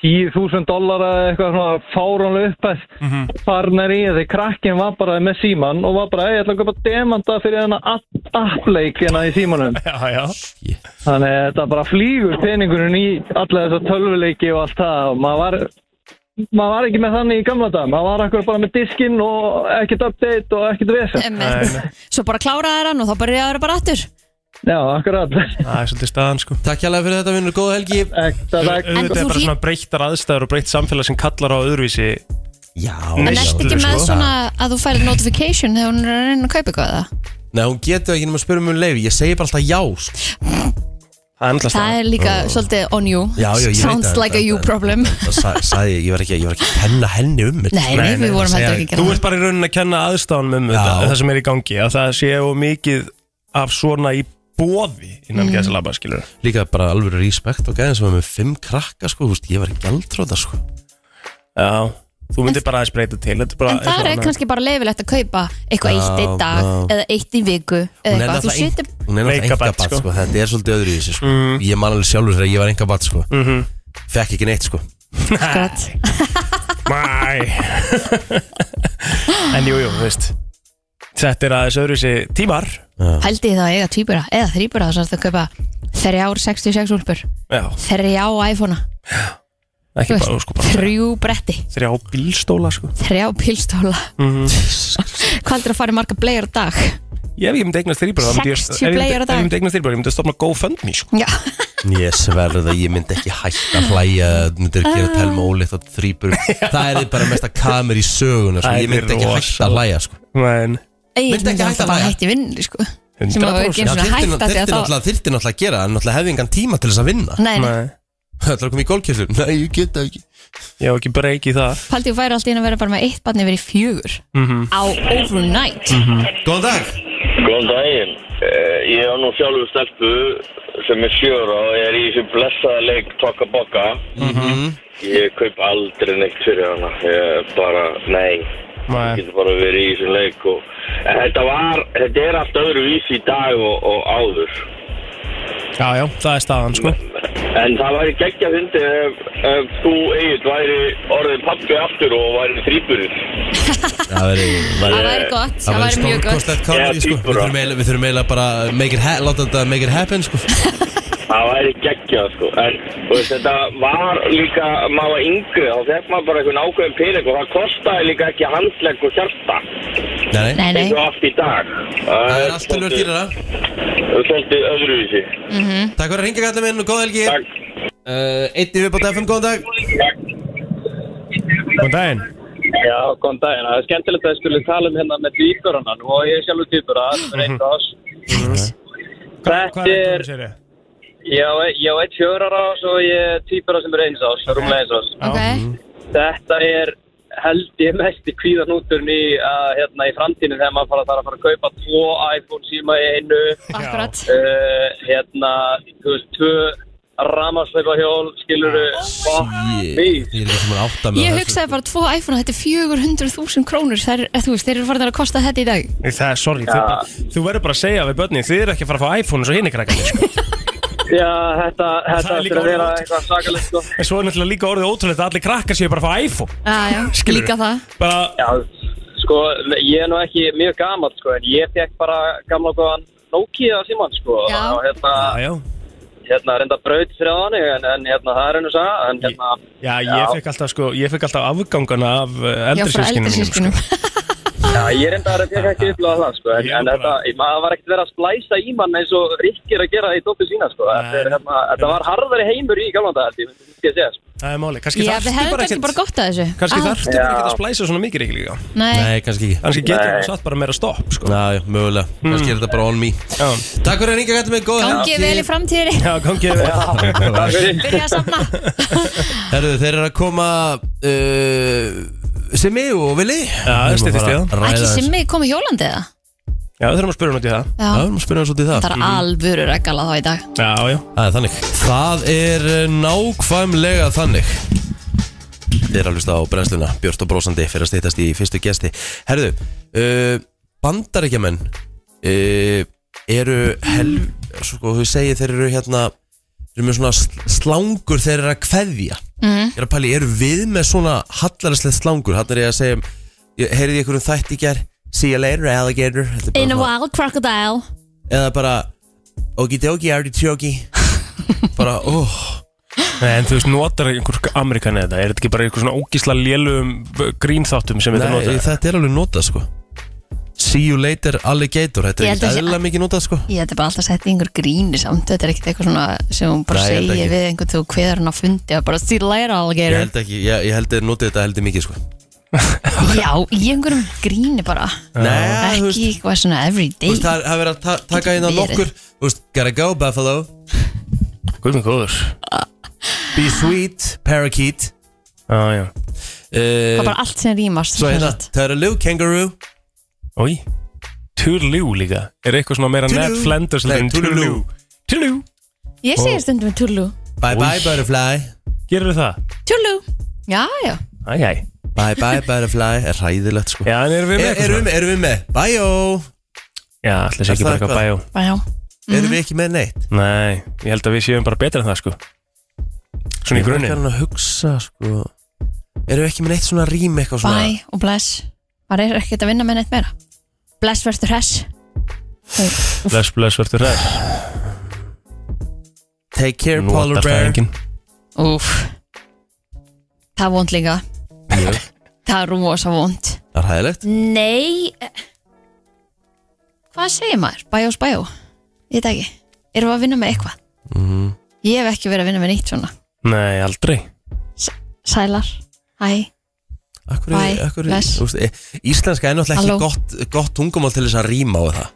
S7: 10.000 dólar eða eitthvað svona fáránlega uppæð mm
S3: Mhm.
S7: -hmm. farnar í því krakkin var bara með síman og var bara, "Hey, ég ætla að köpa demanta fyrir hennar app-leik hérna í símanum.
S3: Já, já
S7: Þannig að þetta bara flýgur peningurinn í alla þessa tölvuleiki og allt það og maður var, maður var ekki með þannig í gamla dag, maður var akkur bara með diskinn og ekkert update og ekkert vesen.
S4: Einmitt. Svo bara kláraði hann og þá bara reyðaði bara aftur
S7: Já, akkurat.
S3: Það er svolítið staðan, sko
S2: Takk hérlega fyrir þetta vinnur, góða helgi
S7: Ekta dag.
S4: En
S3: Þetta
S4: þú
S3: er bara
S4: hlý-
S3: svona breyktar aðstæður og breytt samfélag sem kallar á öðruvísi
S2: Já
S4: En
S3: Veislu,
S4: ertu ekki með
S3: sko.
S4: svona að þú færir notification þegar hún er að reyna að kaupa eitthvað eða?
S2: Nei, hún getur ekki nema að spyrja mig um leifi Ég segi bara alltaf já sko.
S3: Það er ennlega
S4: Það
S3: staðan
S4: er líka svolítið on you
S2: Já, já, ég veit
S4: Sounds
S2: það,
S4: like a
S2: þetta-
S4: you problem
S2: Það sa, sagði ég, ég var ekki, ég var ekki að kenna henni um þetta.
S4: Nei, nei, við vorum heldur ekki að
S3: Þú
S4: gera
S3: ert bara í raunin að kenna aðstæðan með
S2: Já.
S3: þetta, það sem er í gangi að það sé of mikið af svona í bóði innan mm. gæðsalaba, skilur
S2: Líka bara alveg respekt og gæðin sem var með fimm krakka sko, þú veist, ég var gjaldróta sko
S3: Já, þú myndir bara aðeins breyta til þetta er bara
S4: En
S3: eins og
S4: það er
S3: annað.
S4: kannski bara leifilegt að kaupa eitthvað
S2: Já,
S4: eitt í dag
S2: já.
S4: eða eitt í viku eða
S2: Hún er
S4: eitthvað, þú
S2: náttúrulega
S4: setur
S2: ein- hún er náttúrulega
S3: Veikabarn,
S2: engabat
S3: sko. Mm.
S2: sko, þetta er svolítið öðru í þessu sko Ég man alveg sjálfur þegar ég var engabat sko
S3: Mhm.
S2: Fekk ekki neitt sko
S4: akkurat
S3: Mæ En jú, jú, þú veist Þetta er aðeins öðruvísi tímar
S4: Pældi ég það að eiga tvíbura eða þrýbura þá sérst að kaupa þrjár 66 úlpur,
S3: Já,
S4: þrjá iPhone-a
S3: ekki bara, sko, bara
S4: þrjú bretti,
S3: Þrjá bílstóla, sko Mhm.
S4: þrjá pílstóla Hvað heldur að fara í marga blegar á dag?
S3: Ég hef ekki myndi eignast þrýbara þá myndi ég-
S4: 60
S3: ef ég myndi-
S4: player á dag.
S3: Ef ég myndi eignast þrýbara, ég myndi að stopna GoFundMe, sko
S4: Já,
S2: Ég sverð að ég myndi ekki hægt að hlæja Myndir gera
S4: Ah.
S2: telma óleitt að þrýpur Það er bara mesta kamer í söguna sko.
S3: Það
S2: Ég myndi
S3: er
S2: ekki hægt að
S3: rosalegt.
S2: hlæja sko
S4: ég
S3: Men,
S2: Myndi ekki
S4: myndi
S2: hætta
S4: alltaf
S2: að
S4: bara
S2: hlæja.
S4: hætti vinn sko. sem að ekki
S3: 100%
S4: eins
S2: Já,
S4: og hætta
S2: þyrfti þyrfti
S4: því að þá
S2: náttúrulega þyrfti náttúrulega að gera En náttúrulega hefði engan tíma til þess að vinna
S4: Nei, nei,
S3: Nei,
S2: Það er að koma í golfkjörslu Nei, ég get það ekki
S3: ég hef ekki breykið það
S4: paldi þú færi alltaf inn að vera bara með eitt barni verið fjögur
S3: Mhm.
S4: á overnight
S2: Góðan dag
S8: Góðan daginn. Eh, Ég á nú sjálfur stelpu sem er sjöra og er í þessu blessaða leik Tokka Bokka.
S2: Mhm.
S8: Ég kaup aldrei neitt fyrir hana. Ég bara, nei. Ég
S3: Nei,
S8: getur bara verið í þessum leik og... En þetta var, þetta er allt öðru vísi í dag og, og áður.
S3: já, já, það er staðan, sko
S8: En það væri geggja fyndi ef, ef þú, Egil, væri orðið pappi aftur og væri þrýburinn.
S2: Það væri
S4: Það væri gott, það
S2: Það væri
S4: væri mjög gott
S2: stórkostlegt comedy
S8: Eða
S2: sko Við
S8: tvíbura.
S2: þurfum eiginlega- Við þurfum eiginlega bara að make it ha- Láta þetta make it happen sko
S8: Það væri geggjað sko, en þú veist, þetta var líka, maður var yngri, þá fekk maður bara einhvern ákveðin pening og það kostaði líka ekki handlegg og hjarta,
S2: Nei, nei
S4: Nei, nei,
S8: eins og allt í dag.
S2: Það er allt tölvöld dýrara
S8: Svolítið öðruvísi.
S4: Mhm.
S2: Takk fyrir að ringa kallið minn og góða helgi
S8: Takk.
S2: uh, Eitt í viðbótt FM, góðan dag
S3: Góðan daginn
S7: Já, góðan daginn. Það er skemmtilegt að ég skulle tala um hérna með dýburana nú og ég er sjálfur dýbura, það er eitt ás. Þetta er,
S3: sér ég?
S7: ég á e- ég á eitt fjörar ás og ég er dýbura sem er eins ás, rúmlega eins ás.
S4: ok
S7: Þetta er held ég mest í kvíðanúturinn í, uh, hérna, í framtíðinu þegar maður fara, þarf að fara að kaupa tvo iPhone síma í einu,
S4: Akkurat,
S7: uh, hérna, þú veist, tvö ramarsleipa hjól, skiluru,
S2: Oh Ég ég er ekki sem að
S3: um
S2: átta með
S4: ég hugsaði bara tvo iPhone þetta er 400.000 krónur þær, eh, þú veist, þeir eru farin að kosta þetta í dag
S3: Nei, Það er, sorry, þið bara, þú verður bara að segja við börnin, þið eru ekki að fara að fá iPhone eins og hinni krakkarnir, sko.
S7: Já, þetta, þetta
S3: er
S7: er
S3: líka
S7: að vera
S3: orðið
S7: eitthvað svakalegt sko.
S3: En svo er náttúrulega líka orðið ótrúlegt að allir krakkar séu bara að fá iPhone
S4: já, Ah, já,
S3: Skilurðu?
S4: líka það
S3: Bara,
S7: Já, sko, ég er nú ekki mjög gammal sko, en ég fekk bara gamla góðan Nokia síman sko.
S4: Já.
S7: Og hérna,
S3: já, já
S7: hérna reynda braut fyrir á hann, en, en hérna það er hennu sá, en hérna,
S3: Já, ég
S7: Já.
S3: fekk alltaf, sko, ég fekk alltaf afgangana af eh,
S4: Já,
S3: eldri
S4: frá
S3: sískinu mínum, sko.
S4: eldarsískinum
S7: já, ég reynda að reynda ekki upplega það sko, en,
S3: Ég
S7: en
S3: bara-
S7: þetta, maður var ekkert verið að splæsa í mann eins og Rikki er að gera í dóttu sína sko. Þetta, er,
S3: Nei.
S7: hérna, þetta var harðari heimur í gamla dag, þetta ég myndi að segja sko.
S3: Það er máli, kannski
S4: Já,
S3: þarftu
S4: við hefum
S3: bara
S4: kannski
S3: ekkert-
S4: bara gott að þessu
S3: Kannski
S4: Ah,
S3: þarftu bara
S7: Já.
S3: ekkert að splæsa svona mikið ekki líka
S4: Nei,
S2: Nei, kannski ekki
S3: Kannski getur þú satt bara meira stopp, sko
S2: Já, já, mögulega, kannski er þetta bara on me
S3: Já,
S2: Takk fyrir að ringa gæti mig, góða
S4: gangi vel í framtíðinni
S3: já, gangið Já,
S4: Byrja að safna
S2: Herðu, þeir eru að koma uh, Simmi og Vili
S3: það styttist í það.
S4: Ekki Simmi kom í hjólandi eða?
S3: já við þurfum að spyrja hún út í það
S4: Já,
S2: Já, við erum að spyrja hans út í það Mhm.
S4: það er alvöru reggala þá í dag
S3: Já, já,
S2: Það er þannig Það er eh, nákvæmlega þannig Þið er að hlusta á brennsluna Björn og brósandi fyrir að stýttast í fyrstu gesti Herðu, uh, bandaríkjamenn uh, eru hel... Sko, þú segir þeir eru hérna Þeir eru með svona sl- slangur þeir eru að kveðja
S4: Mhm.
S2: mm. Ég er að pæli, eru við með svona hallarslegt slangur Hann er ég að segja ég- Heyrið ég ykkur um þætt í ger See you later, alligator Þetta er bara
S4: In a
S2: svona-
S4: wild crocodile
S2: eða bara okidoki, artichoki bara, óh
S3: oh. Nei, en þú veist, notar einhver amerikani þetta? Er þetta ekki bara einhver svona ógísla lélugum eh, grínþáttum sem þetta
S2: Nei,
S3: notar?
S2: þetta er alveg notað sko See you later alligator þetta
S4: Ég
S2: er
S4: held
S2: ekki
S4: að sé-
S2: eðlilega mikið notað sko
S4: Ég held bara alltaf að setja einhver gríni samt Þetta er ekkert eitthvað svona sem hún bara
S2: Nei, ég held
S4: segir
S2: ekki.
S4: við einhvern þú kveður hann á fundi og bara stíl læra
S2: ég
S4: algeir
S2: held ekki, ég, ég held að notið þetta heldur mikið sko
S4: Já, í einhverjum gríni bara
S2: Nei, þú veist,
S4: Ekki eitthvað svona
S2: þú
S4: everyday
S2: veist, það það er verið að ta- taka inn á
S4: Verið.
S2: nokkur Þú veist, gotta go buffalo
S3: Guð minn góður
S2: Be sweet, parakeet
S3: Já, Ah, já
S4: Það er
S2: uh,
S4: bara allt sem rýmast
S2: Svo hérna,
S4: sem sagt.
S2: turaloo, kangaroo
S3: Ói Turljú líka Er eitthvað svona meira
S2: Turljú.
S3: Ned Flanders
S2: Nei,
S3: heldur en Turljú
S2: Turljú.
S3: Turljú
S4: Ég segir stundum með tullu
S2: Bye bye butterfly
S3: Gerðu það?
S4: Tullu Já, já
S3: Æ, æ
S2: Bye bye butterfly, er hræðilegt sko
S3: Já, en erum við með
S2: Er-
S3: eitthvað?
S2: Erum erum við með, bye-o
S3: Já, ætla sér
S2: Er
S3: ekki
S2: það
S3: bara eitthvað bæjó
S4: Bara já
S2: Erum við
S4: Mhm.
S2: ekki með neitt?
S3: Nei, ég held að við séum bara betra en það sko Svona í
S2: Ég
S3: grunninn
S2: er að hugsa sko Eru ekki með neitt svona rím eitthvað svona
S4: Bæ og bless Það er ekkert að vinna með neitt meira Bless verður hess
S3: Bless, bless, verður ræð
S2: Take care
S3: Nú
S2: polar
S3: vantar það
S2: bear
S3: enginn
S4: Úf Það er vond líka Það er rosa vond
S2: Það er hæðilegt
S4: Nei eh, Hvað segir maður? Bæjós bæjó Ég veit ekki Erum við að vinna með eitthvað?
S2: Mhm.
S4: Ég hef ekki verið að vinna með neitt svona
S3: Nei, aldrei
S4: Sælar Hæ
S2: akkur,
S4: Bye,
S2: akkur,
S4: bless.
S2: úst, e, Íslenska er náttúrulega
S4: Halló.
S2: ekki gott, gott tungumál til þess að ríma á það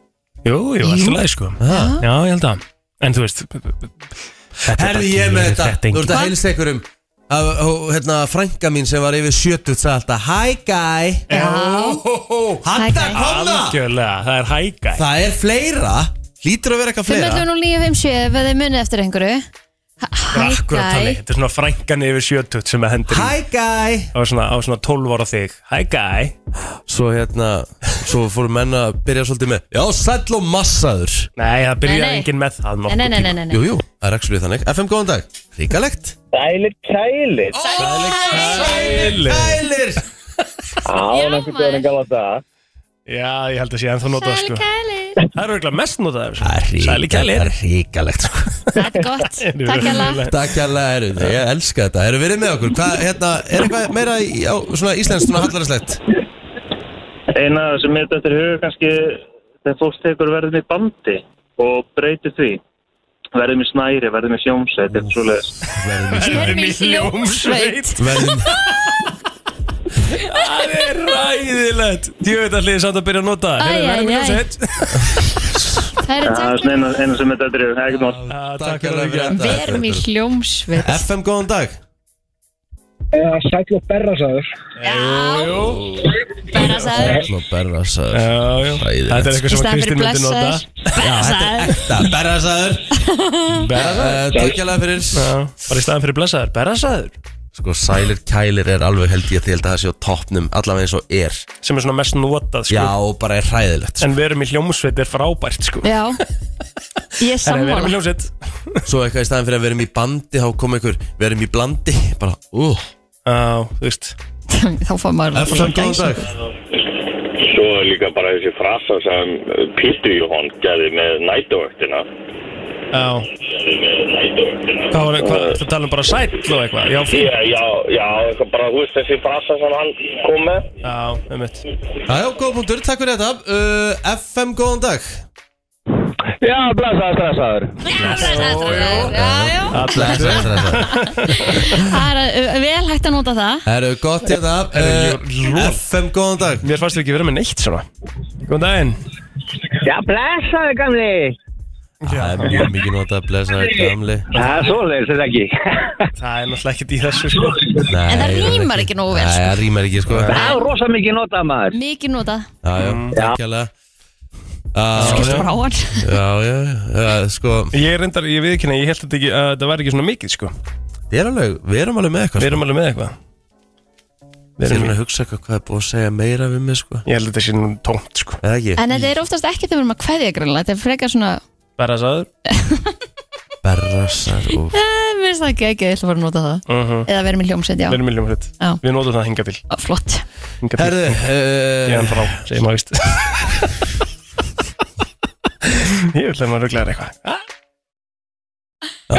S3: Jú, jú,
S4: Jú.
S3: alltaf leið sko
S2: Ah.
S3: Já, ég held að En þú veist þetta er bara-
S2: Herði ég með þetta Þú
S3: enginn-
S2: ert að heilsa ykkur um að, og, hérna, Frænka mín sem var yfir sjötut sagði alltaf Hi guy
S4: Hi,
S2: Hatta
S4: guy.
S2: komna
S3: Algjörlega, það er hægæ
S2: Það er fleira Lítur að vera eitthvað fleira
S4: 5.957 Ef þið munið eftir einhverju Hæ
S3: Akkurat þannig,
S4: gæ
S3: þetta er svona frænkan yfir 70 sem að hendur í
S2: Hi guy
S3: á svona, á svona 12 ára þig Hæ gæ
S2: Svo hérna Svo fórum menna að byrja svolítið með Já, sæll og massaður
S3: Nei, það
S4: Nei,
S3: byrjaði
S4: nei.
S3: enginn með það
S4: Nei,
S3: nokkuð
S4: nei, nei, nei, nei, nei.
S2: Jú, jú, það er actually þannig FM, góðan dag Ríkalegt
S5: Sælir, sælir.
S3: Sælir.
S2: Sælir
S5: Það var nokkuð góður en gala það.
S3: Já, ég held að sé ennþá notað sko
S4: kælir
S3: Það eru eiginlega mest notað
S2: Sælir kælir
S3: Sæli
S2: sko.
S3: kælir
S2: Ríkalegt
S4: Þetta er gott Takk hella
S2: Takk kærlega, eru þið Ég elska þetta Eru verið með okkur Hvað, hérna Er eitthvað meira í, á, svona íslenskt Svona hallarslegt
S8: Eina sem mitt eftir huga kannski þegar fólk tekur verðum í bandi og breytir því. Verðum í snæri, verðum í sjómsveit, eitthvað svoleiðis.
S4: Erum í hljómsveit
S2: Verðum
S3: Það er ræðilegt Djöfið allir samt að byrja að nota
S4: Æ,
S3: það Heyrðu,
S4: æ, æ.
S3: verðum við ljósveit?
S4: Það er
S8: Það er
S4: takk
S8: svona eina, eina sem mitt eftir huga, ekkert mál.
S3: Já, Takk fyrir að
S2: fyrir þetta.
S4: Verum í hljómsveit
S2: FM, góðan dag
S6: Eða sæll og berrasaður.
S4: Já,
S3: Jú, jú
S4: bara sæður
S2: Sæll og berrasaður
S3: Já, já.
S2: Hræðilegt.
S3: Þetta er eitthvað
S4: Í
S3: sem að
S4: staðan fyrir
S3: Kristín myndi nota
S4: blessaður Bara sæður
S2: Það, berrasaður Eh, Takk kærlega fyrir
S3: Já, Bara í staðan fyrir blessaður, berrasaður
S2: Sko, sælir kælir er alveg held ég Því held að það sé á toppnum Allavega eins og er
S3: Sem er svona mest notað
S2: Já,
S3: sko
S2: og bara er hræðilegt
S3: En verum í hljómsveit er frábært sko
S4: Já, ég er
S3: Herra, Við erum í
S4: sammála
S3: hljómsveit
S2: Svo eitthvað í staðin fyrir að við erum í bandi Þá kom einhver, við erum í blandi Bara, ú,
S3: Já, þú veist
S4: Þá fá maður
S2: eftir góðan dag
S8: Svo er líka bara þessi frasa sem Pítur Jóhann gerði með nætuvöktina.
S3: Já,
S8: Gerði með nætuvöktina.
S3: hvað var, hvað, það tala um bara sæll og eitthvað Já, fín
S8: Já, já, já, eitthvað bara, þú veist, þessi frasa sem hann kom með.
S3: Já, með um mitt
S2: Jájá, góða punktur, takk fyrir þetta uh, FM, góðan dag
S6: Já, blæsaður, blæsaður.
S4: Það
S2: Blessa, blessa
S4: er uh, vel hægt að nota það
S2: Það eru gott hérna
S3: Herru, ég
S2: uh,
S3: lof.
S2: FM, góðan dag
S3: Mér fannst þér ekki vera með neitt svona Góðan daginn
S6: Já, blæsaður, gamli.
S2: Það er mjög mikið notað að blessa gamli
S6: Það er svoleiðis, þetta ekki.
S3: Það er náttúrulega ekkert í þessu sko
S2: Nei,
S4: En það
S2: ég veit
S4: rýmar ekki nógu vel,
S2: Nei,
S4: sko.
S2: það rýmar ekki sko
S6: Það er rosa mikið notað maður.
S4: Mikið nota,
S2: Jájá, takk hérlega
S4: skilst
S2: Ah, Já,
S4: bara á hann
S2: já, já, já, sko
S3: Ég reyndar, ég við ekki, ég held þetta ekki að þetta væri ekki svona mikið sko
S2: Við erum alveg, við erum alveg með eitthvað
S3: Við
S2: sko.
S3: erum alveg með eitthvað
S2: Við
S3: Við
S2: erum
S3: erum
S2: að hugsa eitthvað hvað er búið að segja meira við mig sko
S3: Ég held þetta sé nú tómt sko
S2: Eða ekki?
S4: En þetta er oftast ekki þegar við erum að kveðja greinlega Þetta er frekar svona,
S3: Bara sagður
S2: Berrasar og
S4: eh, mér finnst það ekki ekki, ég ætla bara að nota það
S3: uh
S2: Uh-huh.
S3: -huh.
S4: Eða verið með hljómsveit, já,
S3: Við erum miljum hlut
S4: Já.
S3: Við notum það hinga til
S4: Á, flott
S3: Hinga til
S2: Herðu,
S3: Ég er hann
S2: uh,
S3: frá, segir maður víst Ég vil að maður ruglaður eitthvað Ah,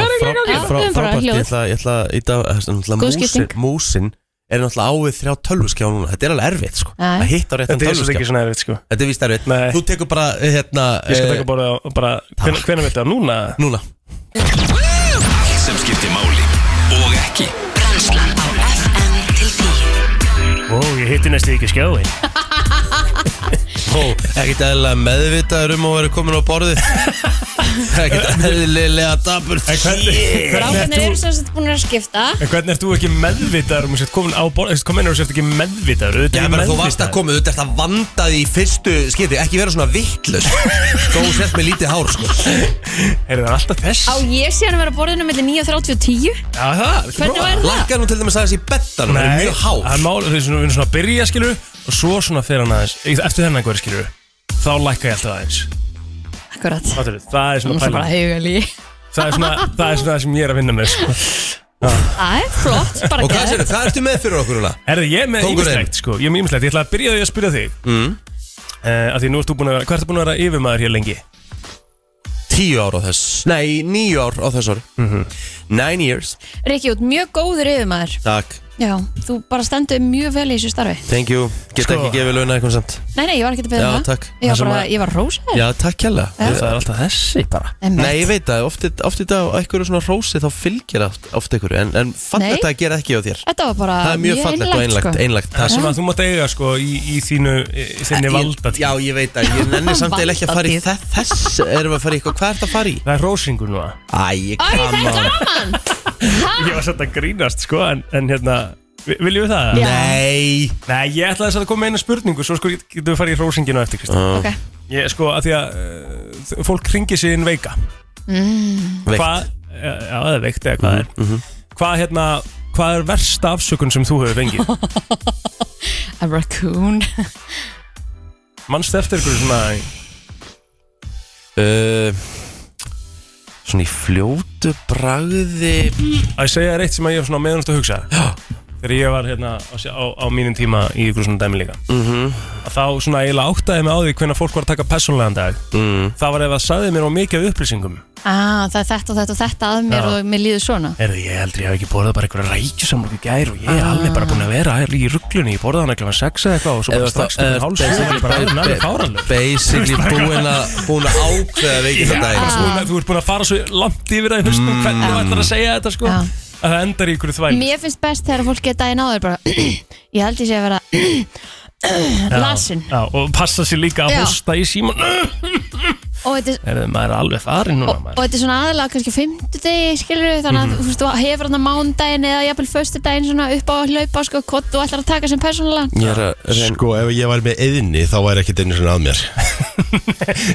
S2: já, frá-
S4: Já,
S2: frá-
S4: við erum bara
S2: frábært, ég
S4: hljóð.
S2: ætla, ég ætla í dag, þess að
S4: Góð
S2: náttúrulega
S4: skipting.
S2: músin, músin er náttúrulega ávið þrjá tölvuskjá núna, þetta er alveg erfitt sko
S4: Já, já.
S2: að hitta á réttan
S3: Þetta er svolítið
S2: tölvuskjá,
S3: ekki svona erfitt sko
S2: þetta er víst erfitt
S3: Nei.
S2: þú tekur bara, eh, hérna
S3: Ég skal
S2: eh,
S3: taka bara, bara hvenær hvenær veit það? Núna?
S2: núna
S1: Allt sem skiptir máli og ekki
S9: Brennslan á FM til 10
S3: Ó, ég hitti næstu ekki skjáin
S2: Ó, ekkert eðlilega meðvitaður um að vera komin á borðið ekkert eðlilega dabur
S3: Hvernig
S4: Rákarnir eru sem sagt búin að skipta
S3: En hvernig ert þú ekki meðvitaður um þessi komin á borð, þessi komin er þessi ekki meðvitaður,
S2: Já,
S3: auðvitað
S2: menn,
S3: ekki
S2: þú varst að
S3: meðvitaður.
S2: koma, þú ert að vandað í fyrstu skipti, ekki vera svona vittlust Þó sett með lítið hár, sko
S3: Er það alltaf þess?
S4: Á ég sé hann að vera á borðinu mellir 9.30 og 10
S3: Já, það, viltu
S4: Hvernig
S3: prófa?
S4: væri það?
S2: Lækkar nú til dæmis aðeins í bettan, það er mjög hár
S3: það er mál, við erum svona að byrja skilur og svo svona fer hann aðeins, eftir þennan hverju skilur þá lækka ég alltaf aðeins.
S4: Akkurat
S3: Fattar þú? Það er svona
S4: Þannig að bara
S3: pæling.
S4: hauga lí
S3: Það er svona, það er svona það sem ég er að vinna með. Sko.
S4: Það er flott, bara
S2: Og hvað
S4: gæð
S2: sérðu, hvað ertu með fyrir okkur núna?
S3: Herði, ég er með
S2: Kóngurinn.
S3: ýmislegt, sko, ég er með ýmislegt. Ég ætla að byrja á því að spyrja þig. Mm. að því nú ert þú búin að vera, hvað ertu búin að vera yfirmaður hér lengi?
S2: Tíu ár á þess, nei, níu ár á þess ári
S3: Mhm.
S2: Mm. Nine years
S4: Rikki út, mjög góður yfirmaður
S2: Takk,
S4: Já, þú bara stendur mjög vel í þessu starfi
S2: thank you, get
S3: Sko.
S2: ekki gefið launa eitthvað samt
S4: Nei, nei, ég var ekki að beða
S2: Já,
S4: um það
S2: takk.
S4: Ég
S3: Það
S4: var
S3: sem
S4: bara,
S3: að-
S4: ég var rósað
S2: Já, takk hella
S4: Já.
S3: Það er alltaf þessi bara.
S2: Nei, ég veit það, oft, oft í dag á einhverju svona rósi þá fylgir oft, oft einhverju en, en
S4: Nei.
S2: fallegt að gera ekki á þér
S4: Þetta var bara
S2: Það er mjög fallegt og einlagt,
S4: sko.
S2: einlagt
S3: Það
S2: Það
S3: sem að þú mátt eiga sko í, í þínu, í þinni valdatíð.
S2: Já, ég veit það, ég nenni samt eða ekki að fara í þess, þess erum við að fara í eitthvað, hvað er það að fara í?
S3: Það er rósingur núna
S4: Æ,
S2: Æ,
S4: það er
S2: come on
S4: gaman
S3: Ég var svolítið að grínast sko En, en hérna, vi- viljum við það?
S4: Já.
S2: Nei
S3: Nei, ég ætlaði samt að koma með eina spurningu Svo sko get- getum við farið í rósinginu á eftir Kristi
S2: Uh,
S4: Ok,
S3: Ég sko, að því að uh, fólk hringir sig inn veika
S4: Mm.
S2: veikt. Mhm,
S3: Hvað, já, já, það er veikt eða hvað er Hvað hérna, hvað er versta afsökun sem þú hefur fengið?
S4: a raccoon
S3: Manstu eftir ykkur svona
S2: Uh, Svona í fljótu bragði
S3: Að ég segja þér eitt sem að ég er svona meðanast að hugsa Já Þegar ég var hérna á, sjá- á, á mínum tíma í ykkur svona dæmi líka mm
S2: Mhm.
S3: -hmm. Þá svona eiginlega áttaði mig á því hvernig fólk var að taka persónlegan dag
S2: mm.
S3: Það var ef það sagði mér á mikið af upplýsingum
S4: ah, Það er þetta og þetta og þetta að mér
S3: Já.
S4: og mér líður svona
S3: Erðu, ég heldur ég hef ekki borðað bara einhverja rækjusamlug í gær og ég er alveg bara búin að vera hérna í rugglunni, ég borðaði hann eitthvað sex eða eitthvað og svo bara
S2: Eða
S3: strax
S2: þá-
S3: til
S2: eða
S3: háls og ég er bara orðin alveg fáranlöf.
S2: Basically búin að búin að ákveða veikið þetta sko. Mm.
S3: Þú þú ert búin að fara svo langt yfir það í höstum hvernig þú ætlar að segja þetta sko
S4: Já.
S3: að það endar í ykkur þvæl
S4: Mér finnst best þegar fólk geta daginn áður bara Ég held ég sé að vera lasin
S3: Já, og passa sér líka að
S4: Já.
S3: hosta í síman
S4: og þetta, er-
S3: Erðu, maður er alveg farin núna
S4: og, og
S3: maður
S4: þetta er svona aðalega kannski fimmtudegi skilur við þannig að þú veist, þú hefur hann að mándaginn eða jafnvel föstudaginn svona upp á að hlaupa sko hvort þú ætlar að taka sem persónulegan
S2: Ég er að reyna
S10: Sko, ef ég væri með eðinni þá væri ekkert einu svona að mér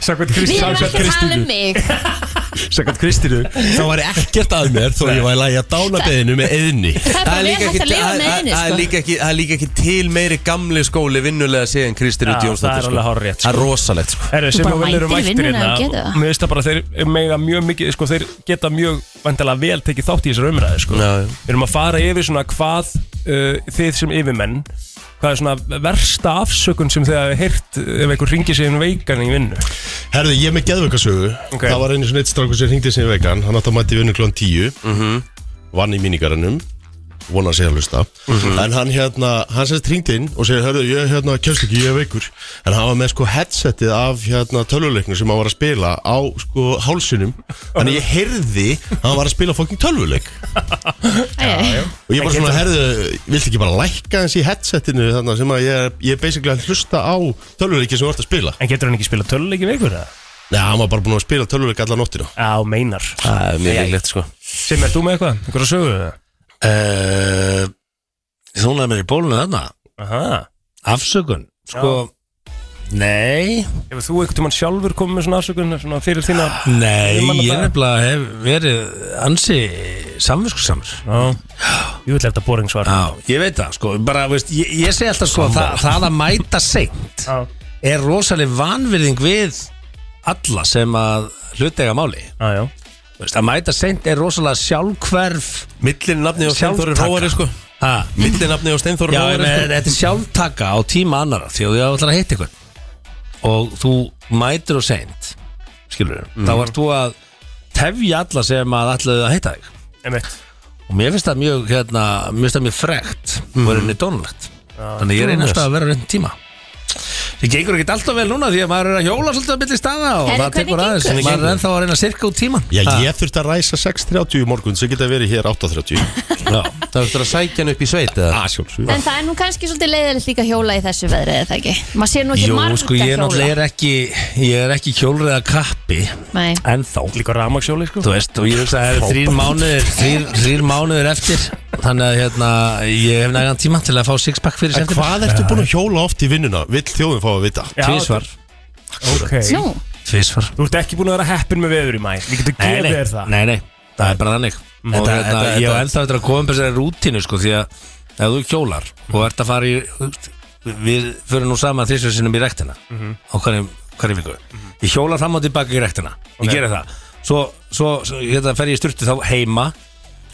S3: Sá hvernig
S4: Við
S3: Kristi
S4: erum
S3: sá
S4: ekki að tala um mig
S10: Sækert Kristínu Þá var ekkert að mér Þó ég var að lægja dánabeðinu með eðni
S4: Það er bara vel hægt að lifa með
S2: það-
S4: einni,
S2: það er
S4: sko.
S2: líka ekki- það er líka ekki til meiri gamli skóli vinnulega séðan Kristín
S3: Já,
S2: Rúti
S3: það er
S2: Jónsdóttir sko.
S3: alveg hárrétt, sko.
S2: Það er rosalegt sko.
S3: Herru,
S4: Þú
S3: sem
S4: bara
S3: að vel eru
S4: mætir í
S3: mættir
S4: vinnuna
S3: hérna
S4: og getur það.
S3: Mér veist það bara að þeir mega mjög mikið sko, Þeir geta mjög vandilega vel tekið þátt í þessar umræði sko.
S2: Já, já.
S3: Við erum að fara yfir svona hvað uh, Þið sem yfirmenn Hvað er svona versta afsökun sem þið hafi heyrt Ef einhver ringir sig um veikan í vinnu
S10: Herðu, ég er með geðveikasögu
S3: Ok.
S10: Það var einu svona eitt strákur sem hringdi sinni vegan Hann átti að mæti vinnu klón 10 Vann í mínigarannum Vonar sig að hlusta En hann hérna, hann sérst hringdi inn Og segir, herðu, ég hérna, kemst ekki, ég er veikur En hann var með sko headsetið af hérna tölvuleiknum Sem hann var að spila á sko hálsinum Þannig ég heyrði að Hann var að spila fokking tölvuleik
S4: Æ,
S10: Og ég bara
S3: hérna-
S10: svona, herðu, viltu ekki bara lækka hans í headsetinu Þannig sem að ég er, ég er basically að hlusta á tölvuleiki sem þú ert að spila
S3: En getur hann ekki spila töluleiki veikur það?
S10: Nei, hann var bara búin að spila tölvuleik alla nóttina
S3: Já, meinar
S2: Það er mjög leiklegt sko.
S3: Sem er þú með eitthvað? Einhverja sögu?
S11: uh, Þú nefnir mér í bólunum þarna
S3: Aha.
S11: Afsökun Sko Nei,
S3: Hefur þú einhvern tímann sjálfur komið með svona afsökun svona fyrir þína
S11: nei,
S3: Ég man að
S11: ég
S3: það.
S11: nefnilega hef verið ansi samviskusamur
S3: Já, ég vil eftir að boring svar
S11: Já, ég veit það, sko, bara, veist, ég, ég segi alltaf sko, það, það að mæta seint
S3: Já,
S11: er rosaleg vanvirðing við alla sem að hlutega máli,
S3: já, já
S11: Þú veist, að mæta seint er rosalega sjálfhverf
S2: Millin nafni á Steinþóri
S11: Sjálftaka.
S2: Róari sko.
S11: ha,
S2: Millin nafni á Steinþóri
S11: Já, en
S2: Róari sko.
S11: þetta er sjálftaka á tíma annara því að þú ætlar að hitta ykkur og þú mætir og seint skilur við, þá ert þú að tefja alla sem að ætlaðu að hitta þig
S3: Einmitt.
S11: og mér finnst það mjög, hérna, mér finnst það mjög frekt og er henni dónulegt þannig ég reyna alltaf að vera reynd tíma það gengur ekki alltaf vel núna því að maður er að hjóla svolítið að byrja staða og
S4: Herri,
S11: það tekur
S4: hvernig
S11: aðeins
S4: gengur?
S11: maður er ennþá að reyna cirka út tíman
S10: Já, ég þurfti að ræsa 6.30 í morgun sem geta verið hér Ah, 8.30
S2: Það er eftir að sækja hann upp í sveit eða?
S4: En það er nú kannski svolítið leiðilegt líka að hjóla í þessu veðri eða það ekki? Maður sé nú ekki
S11: Jú,
S4: marga
S11: sko, ég er
S4: hjóla
S11: náttúrulega er ekki ég er ekki hjólriða kappi
S4: Nei,
S11: ennþá
S3: Líka rafmagsjóli, sko
S11: Þú veist, og ég hugsa að það eru þrýr mánuðir þrýr, þrýr mánuðir eftir þannig að hérna, ég hef nægan tíma til að fá sixpack fyrir
S10: En
S11: september
S10: hvað ertu búin að hjóla oft í vinnuna? Vill þjóðum fá að vita
S3: Já,
S11: Tvísvar,
S3: Ok
S4: nú,
S11: tvísvar
S3: Þú ert ekki búin að vera heppin með veður í mæ Við getum
S11: Nei,
S3: gefið
S11: nei,
S3: þér það
S11: nei, nei, það er bara þannig
S3: Mm.
S11: Og
S3: Þetta-
S11: hérna,
S3: þetta-
S11: Ég á
S3: þetta-
S11: ennþá eftir að koma um þessari rútínu sko, því að ef þú hjólar og ert að fara í þú veist, við förum nú saman þrísvar sinnum í rektina á hverjum hverju viku
S3: Mhm.
S11: ég hjóla fram og tilbaka í rektina ég gera það svo, svo, svo hérna, fer ég styrti þá heima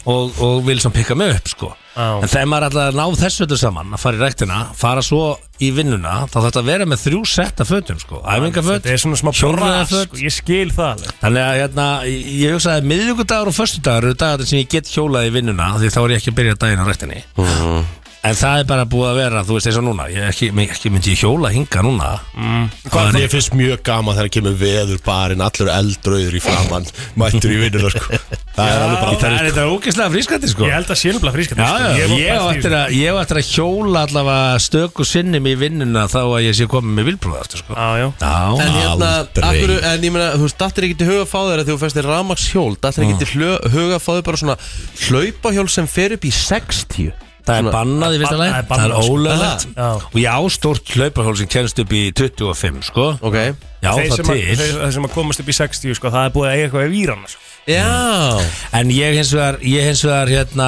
S11: og, og vil sem pikka mig upp sko.
S3: Já.
S11: en þegar maður er alltaf að ná þessu öllu saman að fara í rektina, fara svo í vinnuna þá þarf þetta að vera með þrjú setta fötum sko. æfingaföt,
S3: Þetta er svona smá bra,
S11: hjólreiðaföt,
S3: sko Ég skil það alveg
S11: Þannig að hérna, ég ég hugsa að miðvíkudagur og föstudagur eru dagar sem ég get hjólað í vinnuna því þá er ég ekki að byrja daginn á rættinni
S2: Mhm.
S11: En það er bara búið að vera, þú veist eins og núna ég ekki, mig- ekki myndi ég hjóla hinga núna
S3: Mm.
S10: Hvað ég finnst mjög gaman þegar kemur veður barinn allur eldrauður í framann mættur í vinnuna sko Það er alveg bara
S11: Það er þetta ógeðslega frískandi sko
S3: Ég held að sé nefnilega sko. frískat
S11: Já, já, ég á eftir að, ég á eftir að hjóla allavega stöku sinnum í vinnuna þá að ég sé komið með vilbróða aftur sko
S3: Já, já
S11: Já,
S2: En hérna,
S10: Aldrei.
S2: akkur, en ég meina, þú veist, dattir ekki til huga að fá þér að þegar þú festir ramax hjól Dattir ekki
S10: Mhm.
S2: til hlu- huga að fá þér bara svona hlaupahjól sem fer upp í 60
S11: það er
S2: Svona-
S11: bannað í visslega
S3: Það er
S11: Það
S3: bannað,
S11: er
S3: sko.
S11: ólöðlegt
S3: Já.
S11: Og ég á stórt hlaupahól sem kennst upp í 25 sko
S2: Ok
S11: Já,
S3: Þeir
S11: það
S3: sem, að,
S11: til
S3: þeir, þeir sem að komast upp í 60 sko, það er búið að eiga eitthvað í víran sko.
S2: Já
S11: En ég hins vegar, ég hins vegar hérna,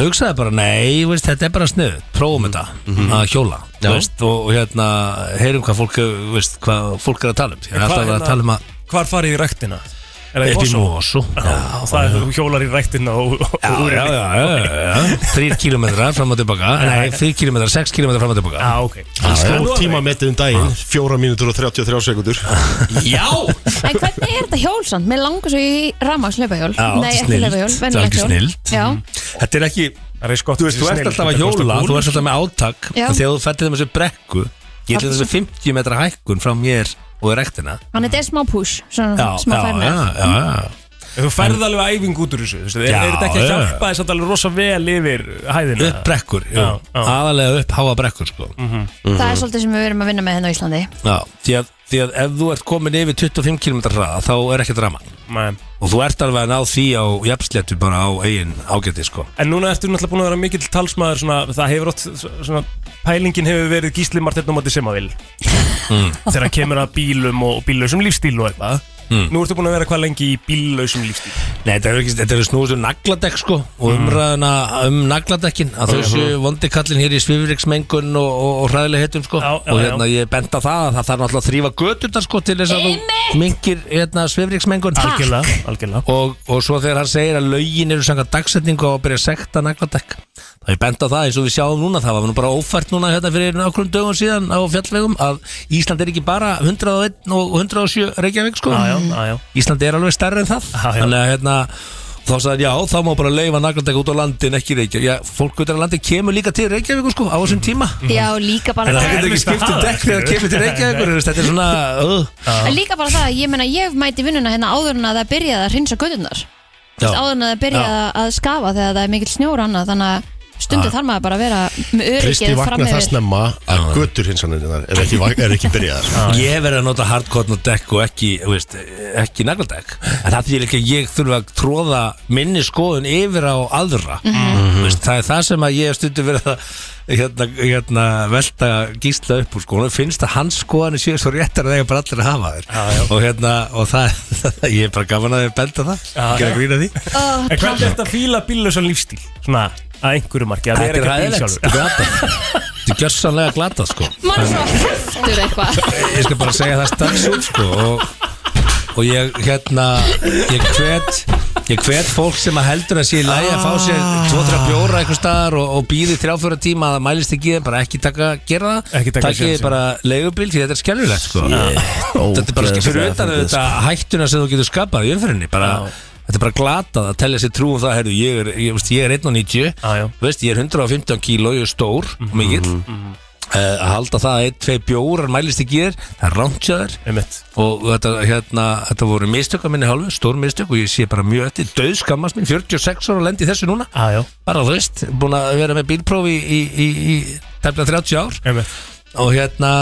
S11: hugsaði bara, nei, þú veist, þetta er bara snöð, prófum þetta að hjóla, þú
S2: Mhm. Já.
S11: veist, og, og hérna, heyrum hvað fólk, þú veist, hvað fólk er að tala um, ég er
S3: En hvað
S11: alltaf að,
S3: hérna-
S11: tala um að
S3: Hvar farið þið í ræktina? Er það
S11: upp í
S3: Fossó?
S11: Mosó, já,
S3: Já, það er þú hjólar í ræktina og, og,
S11: já,
S3: og úr
S11: já,
S3: henni.
S11: já, já, já, þrýr kílometrar fram og tilbaka, nei, þrýr kílometrar, sex kílometrar fram og tilbaka,
S3: Já, Ah, ok
S10: Stór tíma metið um daginn, 4 mínútur og 33 sekundur
S11: já,
S4: en hvernig er þetta hjól samt? Mér langar svo í ramags laupahjól
S11: Já,
S4: Nei, ekki
S11: snilld.
S4: laupahjól,
S11: Það er
S4: venjulegt
S11: ekki
S4: hjól
S11: snilld.
S4: Já,
S11: þetta er ekki,
S3: Það er skott
S11: þú veist, þú ert alltaf að hjóla, þú ert alltaf með átak,
S4: Já.
S11: en þegar þú fættir þeim þessu brekku, getur þessu 50 metra hækkun frá mér og rektina,
S4: hann þetta er smá push Svona
S11: já,
S4: Mm, smá
S11: já,
S4: færna
S11: já, já, já.
S3: Þú færð alveg æfing út úr þessu þú veist, Er
S11: Já,
S3: er þetta ekki að
S11: já.
S3: hjálpa þess að alveg rosa vel yfir hæðina?
S11: upp brekkur jú.
S3: Já, já. Mhm.
S11: aðalega upp háa brekkur sko.
S4: Það er svolítið sem við erum að vinna með hérna á Íslandi
S11: já, því, að, því að ef þú ert komin yfir 25 km hraða þá er ekki drama
S3: Nei.
S11: og þú ert alveg að ná því á jafnsléttu bara á eigin ágæti sko.
S3: En núna ertu náttúrulega búin að vera mikill talsmaður svona, það hefur ótt, svona, pælingin hefur verið gísli Marteinn og Matti Simavil þegar kemur að bílum og bílum sem lífstíl og eitthvað
S11: Mm.
S12: Nú ertu búin að vera hvað lengi í bíllausum lífstíl Hmm.
S11: Nei, þetta er, ekki, þetta er snúðust um nagladekk sko og umræðuna um nagladekkin að þau séu vondi kallin hér í svifriksmengun og, og, og hræðileg heitum sko
S12: já,
S11: og
S12: já.
S11: hérna ég bent á það að það þarf náttúrulega að þrýfa göturnar sko til þess að þú mingir hérna svifriksmengun
S12: Takk. Algjörlega, algjörlega
S11: og, og svo þegar hann segir að lögin eru sanga dagsetningu á að byrja að sekta nagladekk þá ég bent á það eins og við sjáum núna það var nú bara ófært núna hérna fyrir nokkrum dögum síðan á fjallvegum að Ísland er ekki bara 101 og 107 Reykjavík sko
S12: Já, já, já, já.
S11: Ísland er alveg stærri en það
S12: já.
S11: þannig að hérna þá sagði hann, já, þá má bara leifa nagladekk út á landin ekki í Reykjavík, já, fólk út á landi kemur líka til Reykjavík sko, á þessum tíma
S4: Já, líka bara
S11: en það getur ekki skipt um dekk þegar það kemur til Reykjavík þetta er svona
S4: En
S11: uh.
S4: líka bara það, ég meina ég mæti vinnuna hérna áður en að það byrjaði að hreinsa gödunar
S11: Já.
S4: áður en að það byrjaði að skafa þegar það er mikill snjór og annað þannig að stundu
S10: Já.
S4: þarf maður bara að vera með
S10: Kristi
S4: öryggið fram
S10: vaknar það
S4: yfir
S10: snemma að götur hinsanirnar er ekki, vak- er ekki byrjaðar
S12: Ah,
S11: ég verði að nota hardkotn og dekk og ekki, þú veist, ekki nagladekk en það því líka að ég þurfa að tróða minni skoðun yfir á aðra
S12: Mhm.
S11: Þú veist, það er það sem að ég hef stundum verið að hérna, hérna, velta gísla upp úr sko, hún finnst að hans skoðanir séu svo réttar að eiga bara allir að hafa þér
S12: Ah,
S11: og hérna, og það, ég er bara gaman að benda það,
S12: Ah,
S11: gera grína því
S12: En hvernig er þetta að fíla bíllausan lífstíl? Svona, að einhverju marki að vera
S11: Þetta er
S12: ekki að bíl
S11: hræðilegt,
S12: sjálfur
S11: þetta er glatað Þetta er gjörsanlega glatað sko
S4: Maður er svo heftur eitthvað
S11: Ég skal bara segja það strax út sko og, og ég hérna ég hvet Ég hvet fólk sem að heldur að sé í lægi að fá sér 2-3 bjóra eitthvað staðar og, og býði 3-4 tíma að það mælist ekki í þeim, bara ekki taka að gera það
S12: Ekki taka
S11: Takið
S12: sénsinn.
S11: bara leigubíl því þetta er skelvilegt sko Þetta er bara
S12: ógeðslega
S11: skil fyrir utan
S12: fyndið,
S11: þetta hættuna sem þú getur skapað í umfyrinni bara, Þetta er bara glatað að tellja sér trú um það, heyrðu, ég er, ég, veist, ég er 1,90 ah, veist, ég er 115 kíló, ég er stór mm -hmm. mikill
S9: Mhm.
S11: Eh, að halda það að einn, tvei bjórar mælist ekki þér, það er rántjaður og þetta, hérna, þetta voru mistöka minni hálfu, stór mistök og ég sé bara mjög eftir, döðskammast minn, 46 ára og lendi í þessu núna,
S12: ah,
S11: bara þú veist búin að vera með bílprófi í, í, í, í tæmlega 30 ár
S12: Einmitt.
S11: og hérna,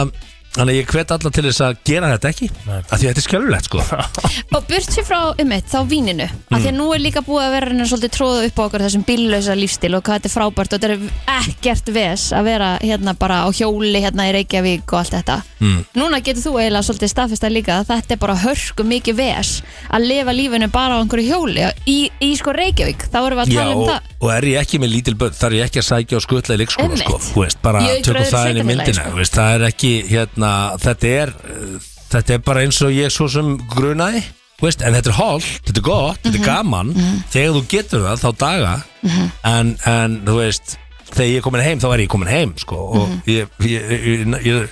S11: þannig að ég hvet alla til þess að gera þetta ekki, af því að þetta er skjálfulegt sko
S4: og burt sér frá um eitt, þá víninu af því að nú er líka búið að vera hennar svolítið tróða upp á okkur þessum bíllausa lífstil og hvað þetta er frábært og þetta er ekkert ves að vera hérna bara á hjóli hérna í Reykjavík og allt þetta
S2: Mhm.
S11: Mm.
S4: Núna getur þú eiginlega svolítið staðfesta líka að þetta er bara hörku mikið ves að lifa lífinu bara á einhverju hjóli í, í sko Reykjavík, þá erum við að
S11: Já,
S4: tala um
S11: og,
S4: það
S11: og er ég ekki með lítil börn þarf ég ekki að sækja og skutla í leikskóla
S4: Einmitt.
S11: sko, Þú veist, bara
S4: Í einhverju
S11: tökum
S4: öðru
S11: það inn í
S4: sveitarfélagi,
S11: myndina
S4: sko.
S11: þú veist, það er ekki, hérna, þetta er uh, þetta er bara eins og ég svo sem grunaði þú veist, en þetta er holt, þetta er gott, þetta
S4: Mhm.
S11: er gaman þegar þú getur það, þá daga
S12: Mhm.
S11: en, en þú veist þegar ég er komin heim, þá er ég komin heim sko, og
S4: Mhm.
S11: ég, ég, ég, ég, ég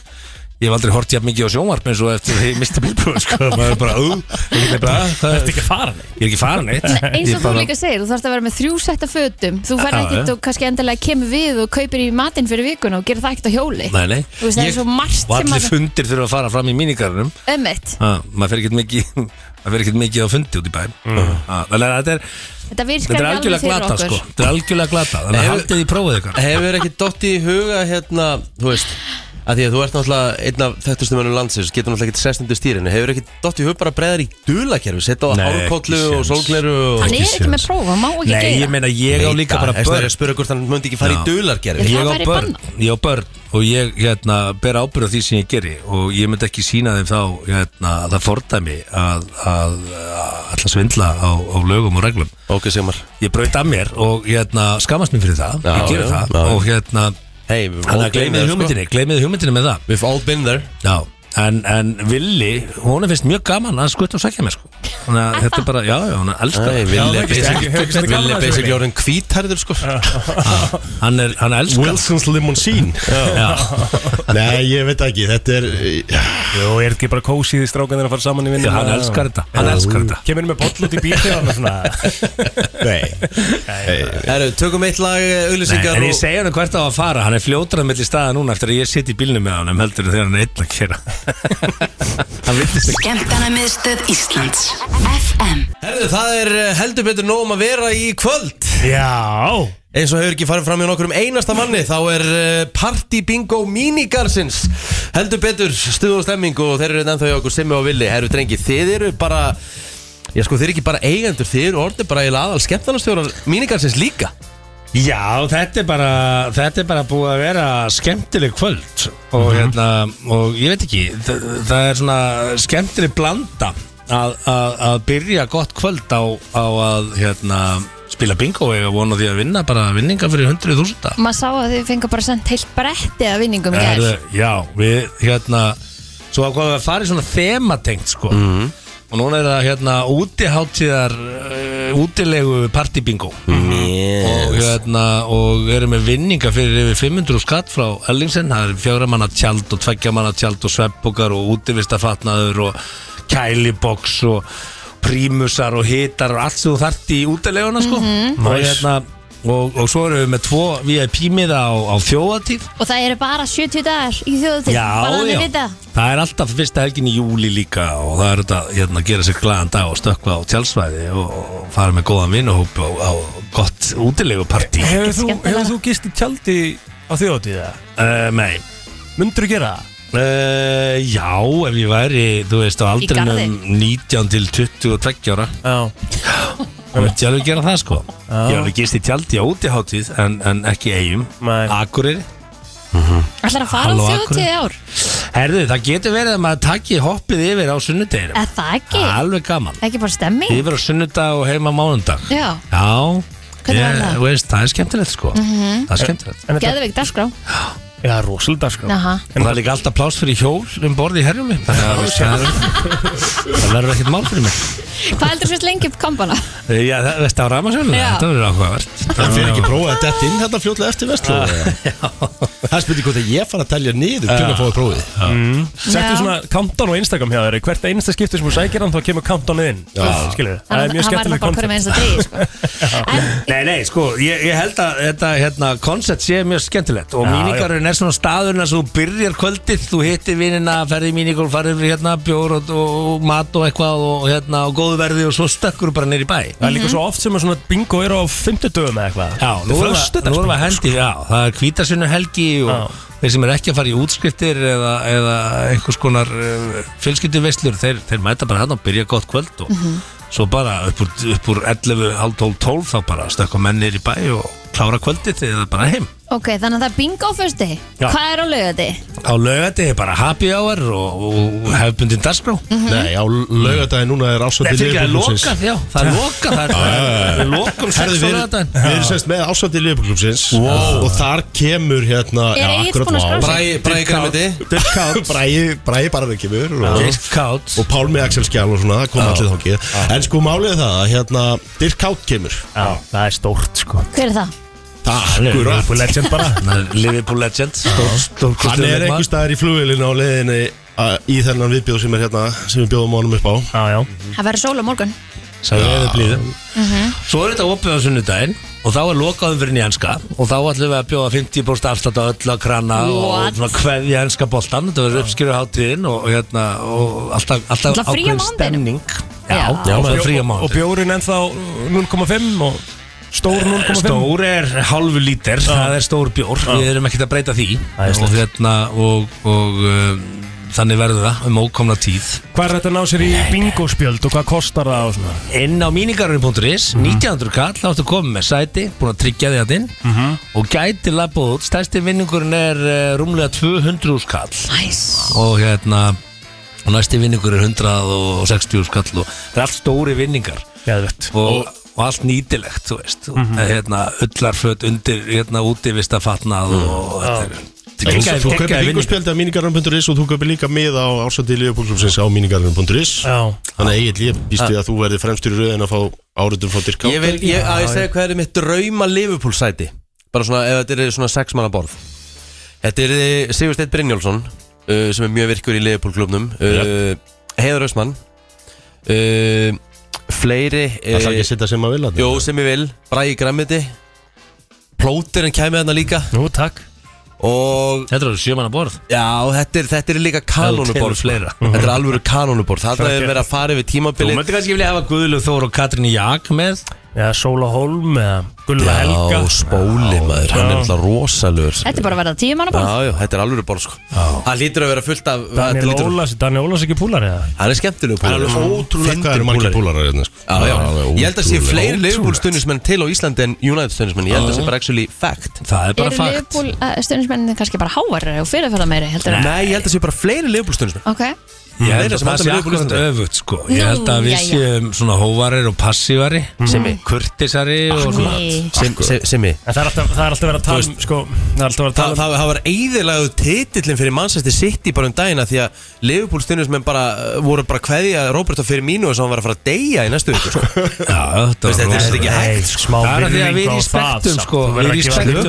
S11: Ég hef aldrei hort jafn mikið á sjónvarp eins og eftir því ég misti bílbúð, sko, maður er bara, ú, ég er bara, það er ekki
S12: farin eitt.
S11: Ég er ekki farin eitt.
S4: Nei, eins
S11: Ég
S4: og þú
S11: bara-
S4: líka segir, þú þarfst að vera með þrjú setta fötum þú
S11: Já,
S4: verð
S11: já.
S4: ekkert og kannski endilega kemur við og kaupir í matinn fyrir vikuna og gerir það ekkert á hjóli
S11: Nei, nei
S4: Þú veist, það er
S11: Ég-
S4: svo margt
S11: Og
S4: sem
S11: allir
S4: að-
S11: fundir þurfa að fara fram í mínigarunum
S4: Ömmett,
S11: Maður fer ekkert mikið Maður fer ekkert mikið á fundi út í bæm Þannig að þetta er
S4: þetta virkar
S11: Þetta er
S4: ekki alveg
S11: algjörlega
S4: fyrir
S11: glata
S4: okkur
S11: sko Þetta er algjörlega glata Þannig að
S2: Hefur-
S11: haldið í prófið ykkur
S2: Hefur ekki dotti í huga hérna, þú veist að Því að þú ert náttúrulega einn af þekktustu mönnum landsins Getur náttúrulega ekki sestundu stýrinu Hefur ekki dotti í hug bara breyðar í dulakerfi Sett á
S11: Nei,
S2: hárkóllu
S11: ekki
S2: og
S11: séns.
S2: sólgleru og...
S4: Hann er ekki með prófa, má ekki
S11: Nei, ég meina ég á líka bara
S2: börn Það er
S11: börn.
S2: að spura hvort hann möndi ekki fara í
S11: Já.
S2: dulargerfi
S11: Ég á börn Ég á börn Og ég hérna ber ábyrð á því sem ég geri Og ég myndi ekki sína þeim þá hérna að Það fordæmi að að Alla svindla á, á lögum og reglum
S2: Ok, Sigmar
S11: Ég braut að mér og hérna skammast mér fyrir það
S2: Já,
S11: Ég geri
S2: já,
S11: það
S2: já.
S11: Og hérna
S2: Hey,
S11: Þannig að gleymið hugmyndinni, gleymið hugmyndinni með það
S2: sko. We've all been there
S11: Já, en, en Willi, hún finnst mjög gaman að skutta og sækja mér sko Þannig að þetta er bara, já, já, hún elskar
S2: Nei,
S11: það.
S2: Willi er
S11: Já, það
S2: basic-
S11: ekki- hefur ekki sett
S2: Willi
S11: gaman
S2: er
S11: að þessu,
S2: basically
S11: Willi.
S2: orðin kvíthærður sko
S11: Hann er, hann elskar
S10: Wilson's Limousine
S11: Já.
S10: Nei, ég veit ekki, þetta er
S12: Jó, er ekki bara kósið í strákanir að fara saman í vinnu
S10: Já, hann elskar þetta, hann elskar þetta.
S12: Kemur með boll út í bíl þegar hann er svona
S2: Herru, tökum eitt lag eh, auðlýsingar
S11: Nei, en ég segja hann hvert á að fara, hann er fljótrað mellir staða núna eftir að ég sitt í bílnum með hann heldur en þegar hann er einn að kera Hann villist ekki
S9: Skemmtanamiðstöð Íslands FM
S2: Herðu, það er eh, heldur betur nóg um að vera í kvöld
S12: Já
S2: Eins og hefur ekki farið fram í nokkur um einasta manni Þá er eh, Party Bingo Minigarsins Heldur betur stuð og stemming og þeir eru ennþá hjá okkur Simmi og Villi Herru drengi, þið eru bara Já sko, þið eru ekki bara eigendur Þið eru orðið bara í laðal skemmtanastjórar Minigarsins líka
S11: Já, þetta er bara þetta er bara búið að vera skemmtileg Mhm. kvöld og, hérna, og ég veit ekki það, það er svona skemmtileg blanda að, að, að byrja gott kvöld á, á að hérna, spila bingo eða vona á því að vinna bara vinninga fyrir 100.000
S4: Maður sá að þið fengur bara sendt heilt bretti af vinningum í gær
S11: Herðu, Já, við hérna Svo ákvaðum við að fara í svona thematengt sko Og núna er það hérna útiháttíðar uh, Útilegu partybingo yes. Og hérna Og erum með vinninga fyrir yfir 500 skatt frá Ellingsen Það er fjögra manna tjald og tveggja manna tjald Og sveppbúkar og útivistafatnaður Og kæliboks og prímusar og hitar og allt sem þú þarft í útileguna sko
S4: Mhm.
S11: og,
S12: Nice.
S11: hérna, og, og svo erum við með tvo VIP-miða á, á þjóðatíð
S4: Og það eru bara 70 dagar í þjóðatíð
S11: Já,
S4: Bara þannig
S11: já.
S4: vita
S11: Það er alltaf fyrsta helgin í júli líka og það er þetta hérna, að gera sér glaðan dag og stökkva á tjálsvæði og, og fara með góðan vinahóp á, á gott útilegupartí
S12: Hefur þú, hefur þú gist í tjaldi á þjóðatíða?
S11: Uh, nei
S12: Mundur þú gera það?
S11: Uh, já, ef ég væri, þú veist, á
S12: Í
S11: aldrinum 19 til 22 ára Já Það myndi ég alveg gera það sko Ég hef alveg gist í tjaldi á útiháttíð en, en ekki eigum Akureyri
S4: Ætlar Mhm. að fara á
S11: Halló,
S4: þjóðatíð í ár
S11: Herðu, það getur verið að maður taki hoppið yfir á sunnudeginum
S4: Eða það ekki
S11: Það er alveg gaman
S4: Ekki bara stemming
S11: Yfir á sunnudag og heima á mánundag
S4: Já
S11: Já
S4: Hvernig var
S11: Ég-
S4: það?
S11: þú Veist, það er skemmtilegt sko
S4: Mhm.
S11: Það er skemmtilegt
S4: Geðveik dagskrá
S11: Já, rosalega sko
S4: Aha.
S11: En það er líka alltaf pláss fyrir hjól um borði í herjumli Þannig að það verður- það verður ekkert mál fyrir mig
S4: Hvað heldur þú sérst lengi upp kampana?
S11: Já, það veist á rafmasjónu
S4: Já.
S11: Þetta verður áhugavert
S10: Það fyrir ekki
S11: Já.
S10: prófað að detta inn þetta hérna, fljótlega eftir vestló Það er spurning hvort að ég fara að telja niður Hvernig að fóða prófið
S12: Mm.
S10: Já.
S12: Settu svona countdown á Instagram hjá þér í Hvert einasta skipti sem þú sækir hann þá kemur countdownið inn
S11: Já.
S12: Skilur við Það
S4: Hann
S12: er mjög
S4: hann var
S12: skemmtileg
S4: bara hverjum
S12: koncept
S4: einasta degi sko.
S11: Nei, nei, sko, ég, ég held að þetta hérna, koncept sé mjög skemmtilegt og
S12: Já,
S11: míningarinn er svona staðurinn að þú byrjar kvöldið, þú hittir vinnina, ferði í míningur, farið yfir hérna, bjór og, og, og mat og eitthvað og hérna og góðu verði og svo stökkur bara neyri bæ.
S12: Það er líka svo oft sem að svona bingo er á fimmtudöfum eða eitthvað
S11: Já, nú erum við- nú erum við að hendi, já, það er hvítasunnu helgi og þeir sem er ekki að fara í útskriftir eða, eða einhvers konar uh, fjölskylduveslur, þeir, þeir mæta bara hérna og byrja gott kvöld og svo bara upp úr, upp úr 11, halv 12, 12 þá bara stökka mennir í bæ og klára kvöldið eða bara heim.
S4: Ok, þannig að það er bingo á fyrstu
S11: Já.
S4: Hvað er á lögati?
S11: Á laugardegi er bara happy hour og, og hefbundin dagskrá
S4: Mhm.
S10: Nei, á laugardagi núna er ásvöldin
S11: Þetta er ekki að loka, já, það er lokað, það er- við lokum sex á laugardaginn.
S10: Við erum semst með ásvöldin liðbúklubsins Og þar kemur hérna
S11: Er Egill búinn að skrá sig? Bragi- Bragi grænmeti.
S10: Bræði Bræði bara ekki mjög
S11: Já.
S10: Dirk
S11: Kátt
S10: Og Pálmi Axel Skjál og svona, það kom
S11: Já.
S10: allir þangið En sko málið er það að hérna Dirk Kátt kemur Já, það er stórt sko
S4: Hver er það?
S10: Liverpool legend bara.
S11: Liverpool legend stór- stór- stór-
S10: Hann er
S11: leikmaður.
S10: einhver staðar í flugvélina á leiðinni a- í þennan viðbjóð sem er hérna sem við bjóðum honum upp á
S12: Já, já
S4: Það verður sól á morgun
S11: Sæðu eða blíðu
S4: Mhm.
S11: Svo er þetta opið á sunnudaginn og þá er lokaðum fyrir nýjanska og þá ætlum við að bjóða 50% afslátt á öll á krana
S4: What?
S11: og svona kveðja enska boltan þetta verður uppskýru hátíðin og, hérna, og alltaf, alltaf
S12: Ætla frí á
S11: ákveðin
S12: mánudinum.
S11: stemning Já, já, það er frí á
S12: Og
S11: mánu
S12: bjórin ennþá 0,5 og stór 0,5
S11: Stór er hálfu lítir, það er stór bjór Við erum ekkert að breyta því
S12: Æðislegt.
S11: Og, hérna, og, og um, þannig verður það um ókomna tíð
S12: Hvað er þetta að ná sér í bingospjöld og hvað kostar það á svona?
S11: Inn á míningarunni.is 1900 kall, þá ertu komið með sæti Búin að tryggja því að inn
S12: Mhm.
S11: Og gæti labbað út, stærsti vinningurinn er uh, rúmlega 200 skall
S4: nice.
S11: Og hérna Og næsti vinningur er 160 skall Og það er allt stóri vinningar
S12: Geðvett
S11: og, og allt nýtilegt, þú veist mm
S12: Mhm.
S11: Hérna, ullarföt undir, hérna, útivista fatnað Og þetta er
S10: Þú
S11: geggjaði-
S10: þú
S11: geggjaði
S10: kaupir
S11: vinningur.
S10: vingarspjaldi á míningarnum.is og þú kaupir líka miða á ásvöldi liðbúklubsins á míningarnum.is Þannig að Egil, ég býst við að þú verði fremstur í rauðin að fá áriður frá Dirk Kátt
S2: Ég vil, ég, að ég segja hvað er mitt drauma Liverpool sæti Bara svona, ef þetta er svona sex manna borð Þetta er eh, Sigursteinn Brynjálsson uh, Sem er mjög virkur í Liverpool klubnum uh, Heiður Ösmann uh, Fleiri uh,
S10: Það er ekki að setja sem að vilja
S2: Jó, sem ég vil, Bragi Grammiti Plóterinn kæmi þarna líka
S12: Nú, takk
S2: Og
S11: Þetta eru sjömanna borð
S2: Já, þetta er, þetta er líka
S11: telur
S2: kanónuborð sko.
S11: fleira.
S2: Þetta er alvöru kanónuborð Það er verið að fara yfir
S11: Þú
S2: tímabilið
S11: myndir kannski vilja hafa Guðlug Þór og Katrín í jak með
S12: Já, Sóla Holm eða
S3: Gulla Helga
S2: Já, spóli maður, hann
S3: Já.
S2: er alltaf rosalur
S4: Þetta er bara að verða tíu manna borð
S2: Já, já, þetta er alveg borð sko Það lítur að vera fullt af þetta
S3: Daniel
S2: lítur-
S3: Ólas, Daniel Ólas ekki púlar eða?
S2: Hann er
S10: Það
S2: skemmtilegu
S10: er
S2: púlari
S10: alveg ótrúlegt hvað eru margir púlarar hérna, sko.
S2: Já, já,
S10: Alveg
S2: ég held að sé
S10: ótrúlegt.
S2: fleiri Liverpool stunnismenn til á Íslandi en United stunnismenn Ég held að
S10: Já.
S2: sé bara actually fact
S11: Það
S4: Eru Liverpool uh, stundismennin kannski bara hávarir og fyrirferða meiri heldur en
S2: Nei, ég held að sé bara fleiri Liverpool stunnismenn
S4: Ok,
S11: Ég
S2: Meira
S11: held að
S2: sem
S11: það
S2: alltaf
S11: sé
S2: Liverpool
S11: akkurat
S2: Íslandi.
S11: öfut sko Ég held
S4: Nú,
S11: að við
S4: jæja.
S11: séum svona hóvarir og passívarir
S2: Sem
S11: er Kurtisari og svona
S4: Nei.
S2: Sem- sem- Simmi
S3: En það er alltaf, það er alltaf verið að tala um, sko, það er alltaf verið að
S2: Það,
S3: tala um
S2: það, það var eðilagðu titillin fyrir Manchester City bara um dagina því að Liverpool stundismenn bara uh, voru bara kveðja Roberto Firmino þess að hann var að fara að deyja í næstu viku sko.
S11: Já, þetta
S2: Veist, þetta er þetta ekki hægt,
S3: Nei,
S2: sko.
S3: smá
S11: Það er að því að
S3: virðing
S11: við erum
S3: á
S11: í spektum,
S3: samt.
S11: sko.
S3: Þú verður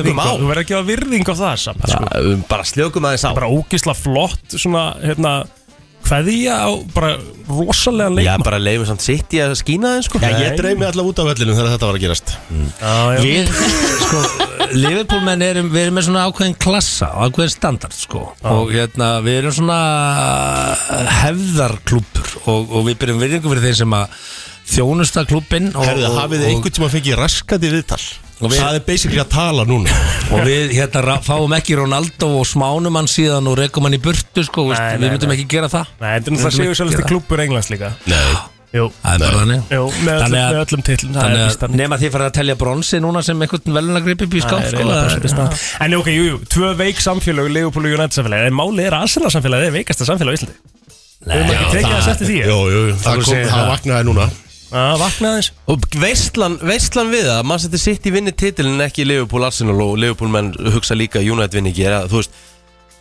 S11: Við erum í spektum.
S3: að gefa
S2: Á.
S3: virðingu- Þú verður að gefa virðing á það samt sko.
S2: Já, um, bara sljókum aðeins á
S3: Bara ógisla flott Svona, hérna Kveðja á bara rosalega
S2: Já,
S3: leikmann
S2: bara leifum samt City að skína þeim sko
S10: Já, ég dreif mig alltaf út af vellinu þegar þetta var að gerast
S3: Já, já.
S11: Mm. Við, sko, Liverpool menn erum, við erum með svona ákveðin klassa og ákveðin standard, sko og hérna, við erum svona hefðarklúpur og, og við byrjum virðingu fyrir þeim sem að þjónusta klúbin og,
S10: Herðu,
S11: og,
S10: hafið þið
S11: og,
S10: einhvern tíma fengið raskandi viðtal
S11: Og við-
S10: Það er basically að tala núna
S11: og við hérna ra- fáum ekki Ronaldo og smánum hann síðan og rekum hann í burtu, sko, veist,
S3: Nei, nei,
S11: við myndum
S3: nei.
S11: ekki gera það
S3: Nei, þetta er náttúrulega
S11: Við myndum
S3: séu
S11: ekki
S3: sjálfstu
S11: gera
S3: klúpur Englands líka
S10: Nei
S3: Jú,
S11: Það er bara þannig
S3: jú, með öllum,
S11: Þannig að-
S3: með öllum tillum Það er
S11: Þannig
S3: víst
S11: að nema því að fara að telja bronsi núna sem einhvern velunagripp upp í skáp
S3: er
S11: sko,
S3: eiginlega bara
S11: það-
S3: svolítið staðan. En ok, jú, jú, tvö veik samfélög Leopold og United samfélagi, en máli er að Arsenal samfélagi er veikasta samfélagi á Íslandi Við höfum ekki tekið þess eftir því
S10: Jú, jú,
S3: Akkur
S10: það, kom,
S3: segir
S10: það
S3: það.
S10: vaknaði núna
S3: að vakna aðeins
S2: Og veistlan, veistlan við að Manchester City vinni titilin ekki Liverpool Arsenal og Liverpool menn hugsa líka að United vinni ekki er að þú veist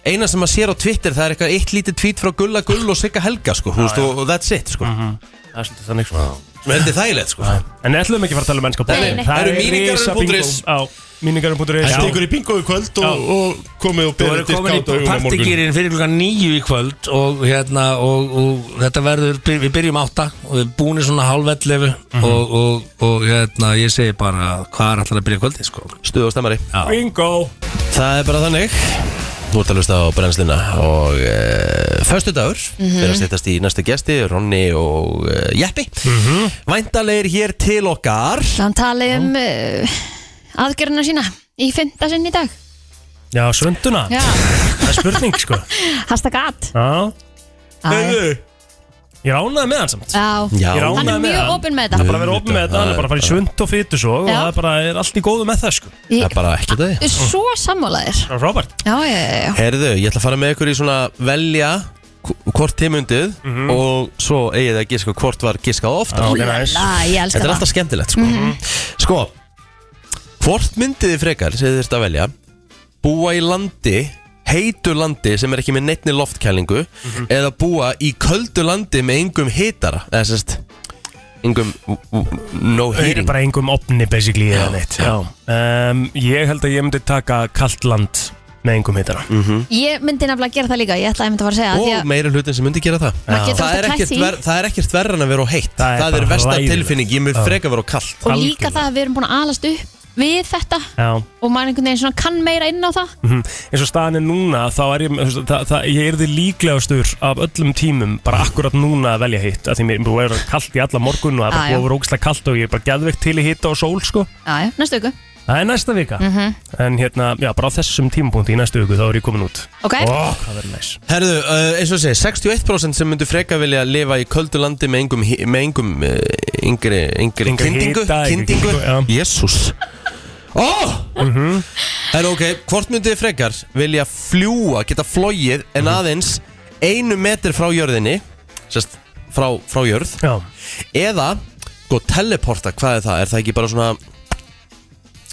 S2: eina sem maður sér á Twitter það er eitthvað eitt lítið tweet frá Gulla Gull og Sigga Helga sko, þú veist, og, og that's it sko mm
S3: Mhm. Það er svolítið þannig sko
S2: sem heldur þægilegt sko
S3: En ætlum ekki að fara að tala um mennska
S2: Nei, nei.
S3: Það
S2: Eru míningarinn
S3: risa
S2: punktur
S3: bingo.
S2: is?
S3: Á, míningarinn.is
S10: Þetta ykkur í bingo í kvöld og, og komið og
S11: Þú verður
S10: berið diskátt á
S11: komin í
S10: augun á morgun
S11: partigýrin fyrir klukkan nýju í kvöld og hérna og, og þetta verður, við byrjum átta og við búinir svona hálfvellefu
S2: Mhm.
S11: og, og, og hérna ég segi bara hvað er alltaf að byrja kvöldi sko
S2: stuð og stemmari
S11: Já.
S3: Bingo
S2: það er bara þannig þú ert að lusta á brennsluna og uh, föstu dagur mm -hmm. að setjast í næstu gesti Ronni og uh, Jeppi mm -hmm.
S3: Mhm.
S2: væntalegir hér til okkar
S4: hann tali um uh, aðgerðina sína í fynda sinn í dag
S3: Já, svönduna
S4: Já,
S3: Það er spurning sko
S4: hasta gatt
S3: Já
S4: Já,
S3: Ég ránaði með hann samt
S2: Já.
S3: Ég er
S4: hann
S3: ánægður
S4: er
S3: með
S4: mjög
S3: hann.
S4: opinn með
S3: Það er
S4: þetta
S3: bara að vera opið með þetta, hann er bara að fara í svönd og fytu svo og
S4: Já.
S3: það er bara er allt í góðu með það sko
S2: það er
S4: Ég
S2: bara ekki það
S4: er svo sammálaðir
S3: Það er Robert
S4: Já, já, já, já
S2: Herðu, ég ætla að fara með ykkur í svona velja hv- hvort tímundið
S3: Mhm.
S2: og svo eigið þið að gíska hvort var gískað ofta
S3: ok, næs.
S4: Úlala, ég elska Mhm.
S2: Þetta er alltaf skemmtilegt sko Sko, hvort myndið þið frekar sem þið þurft að velja búa í landi, heitu landi sem er ekki með neittni loftkælingu
S3: Mhm.
S2: eða búa í köldu landi með engum hitara eða sérst engum no
S3: Það er
S2: heating
S3: bara engum opni basically eða neitt Já. Um, Ég held að ég myndi taka kalt land með engum hitara
S4: Ég myndi nefnilega að gera það líka, ég ætla að ég myndi að fara að segja það, því
S2: Mhm. og
S4: að
S2: meira hlutin sem myndi gera það
S4: Maður getur
S2: það
S4: alltaf
S2: er,
S4: klætt
S2: ekkert
S4: sig í.
S2: ver, það er ekkert verra en að vera á heitt
S3: Það er
S2: það er
S3: bara
S2: versta
S3: hræðilegt.
S2: tilfinning, ég mun
S3: Já.
S2: freka að vera á kallt
S4: Og líka
S3: Algjörlega.
S4: það að við erum búin að alast upp við þetta
S3: Já.
S4: og maður einhvern veginn svona kann meira inn á það
S3: Mhm. eins og staðan er núna þá er ég, þú veist, það, það, ég er því líklegastur af öllum tímum bara akkurat núna að velja hitt að því mér búið að vera kallt í alla morgun og það er
S4: Ah, Já, já.
S3: bara búið að vera ógislega kallt og ég er bara geðveikt til í hitta og sól sko
S4: Já, já, næstu Mhm. ykkur
S3: það er næsta vika
S4: Mm.
S3: en hérna, já, bara á þessum tímapunkti í næstu viku þá er ég komin út
S4: Ok,
S3: Ó, hvað verður næs
S2: Herðu, uh, eins og ég segi, 61% sem myndu freka vilja lifa í köldu landi með engum, hi- með engum uh, yngri, yngri,
S3: Yngri
S2: kyndingu,
S3: hita, Mhm. yngri
S2: kyndingu.
S3: kyndingu, já.
S2: Jésús Ó! Herðu, ok, hvort myndu þið frekar vilja fljúa, geta flogið en
S3: Mhm.
S2: aðeins einu metr frá jörðinni sérst, frá, frá jörð
S3: já.
S2: eða, sko, teleporta, hvað er það? Er það ekki bara svona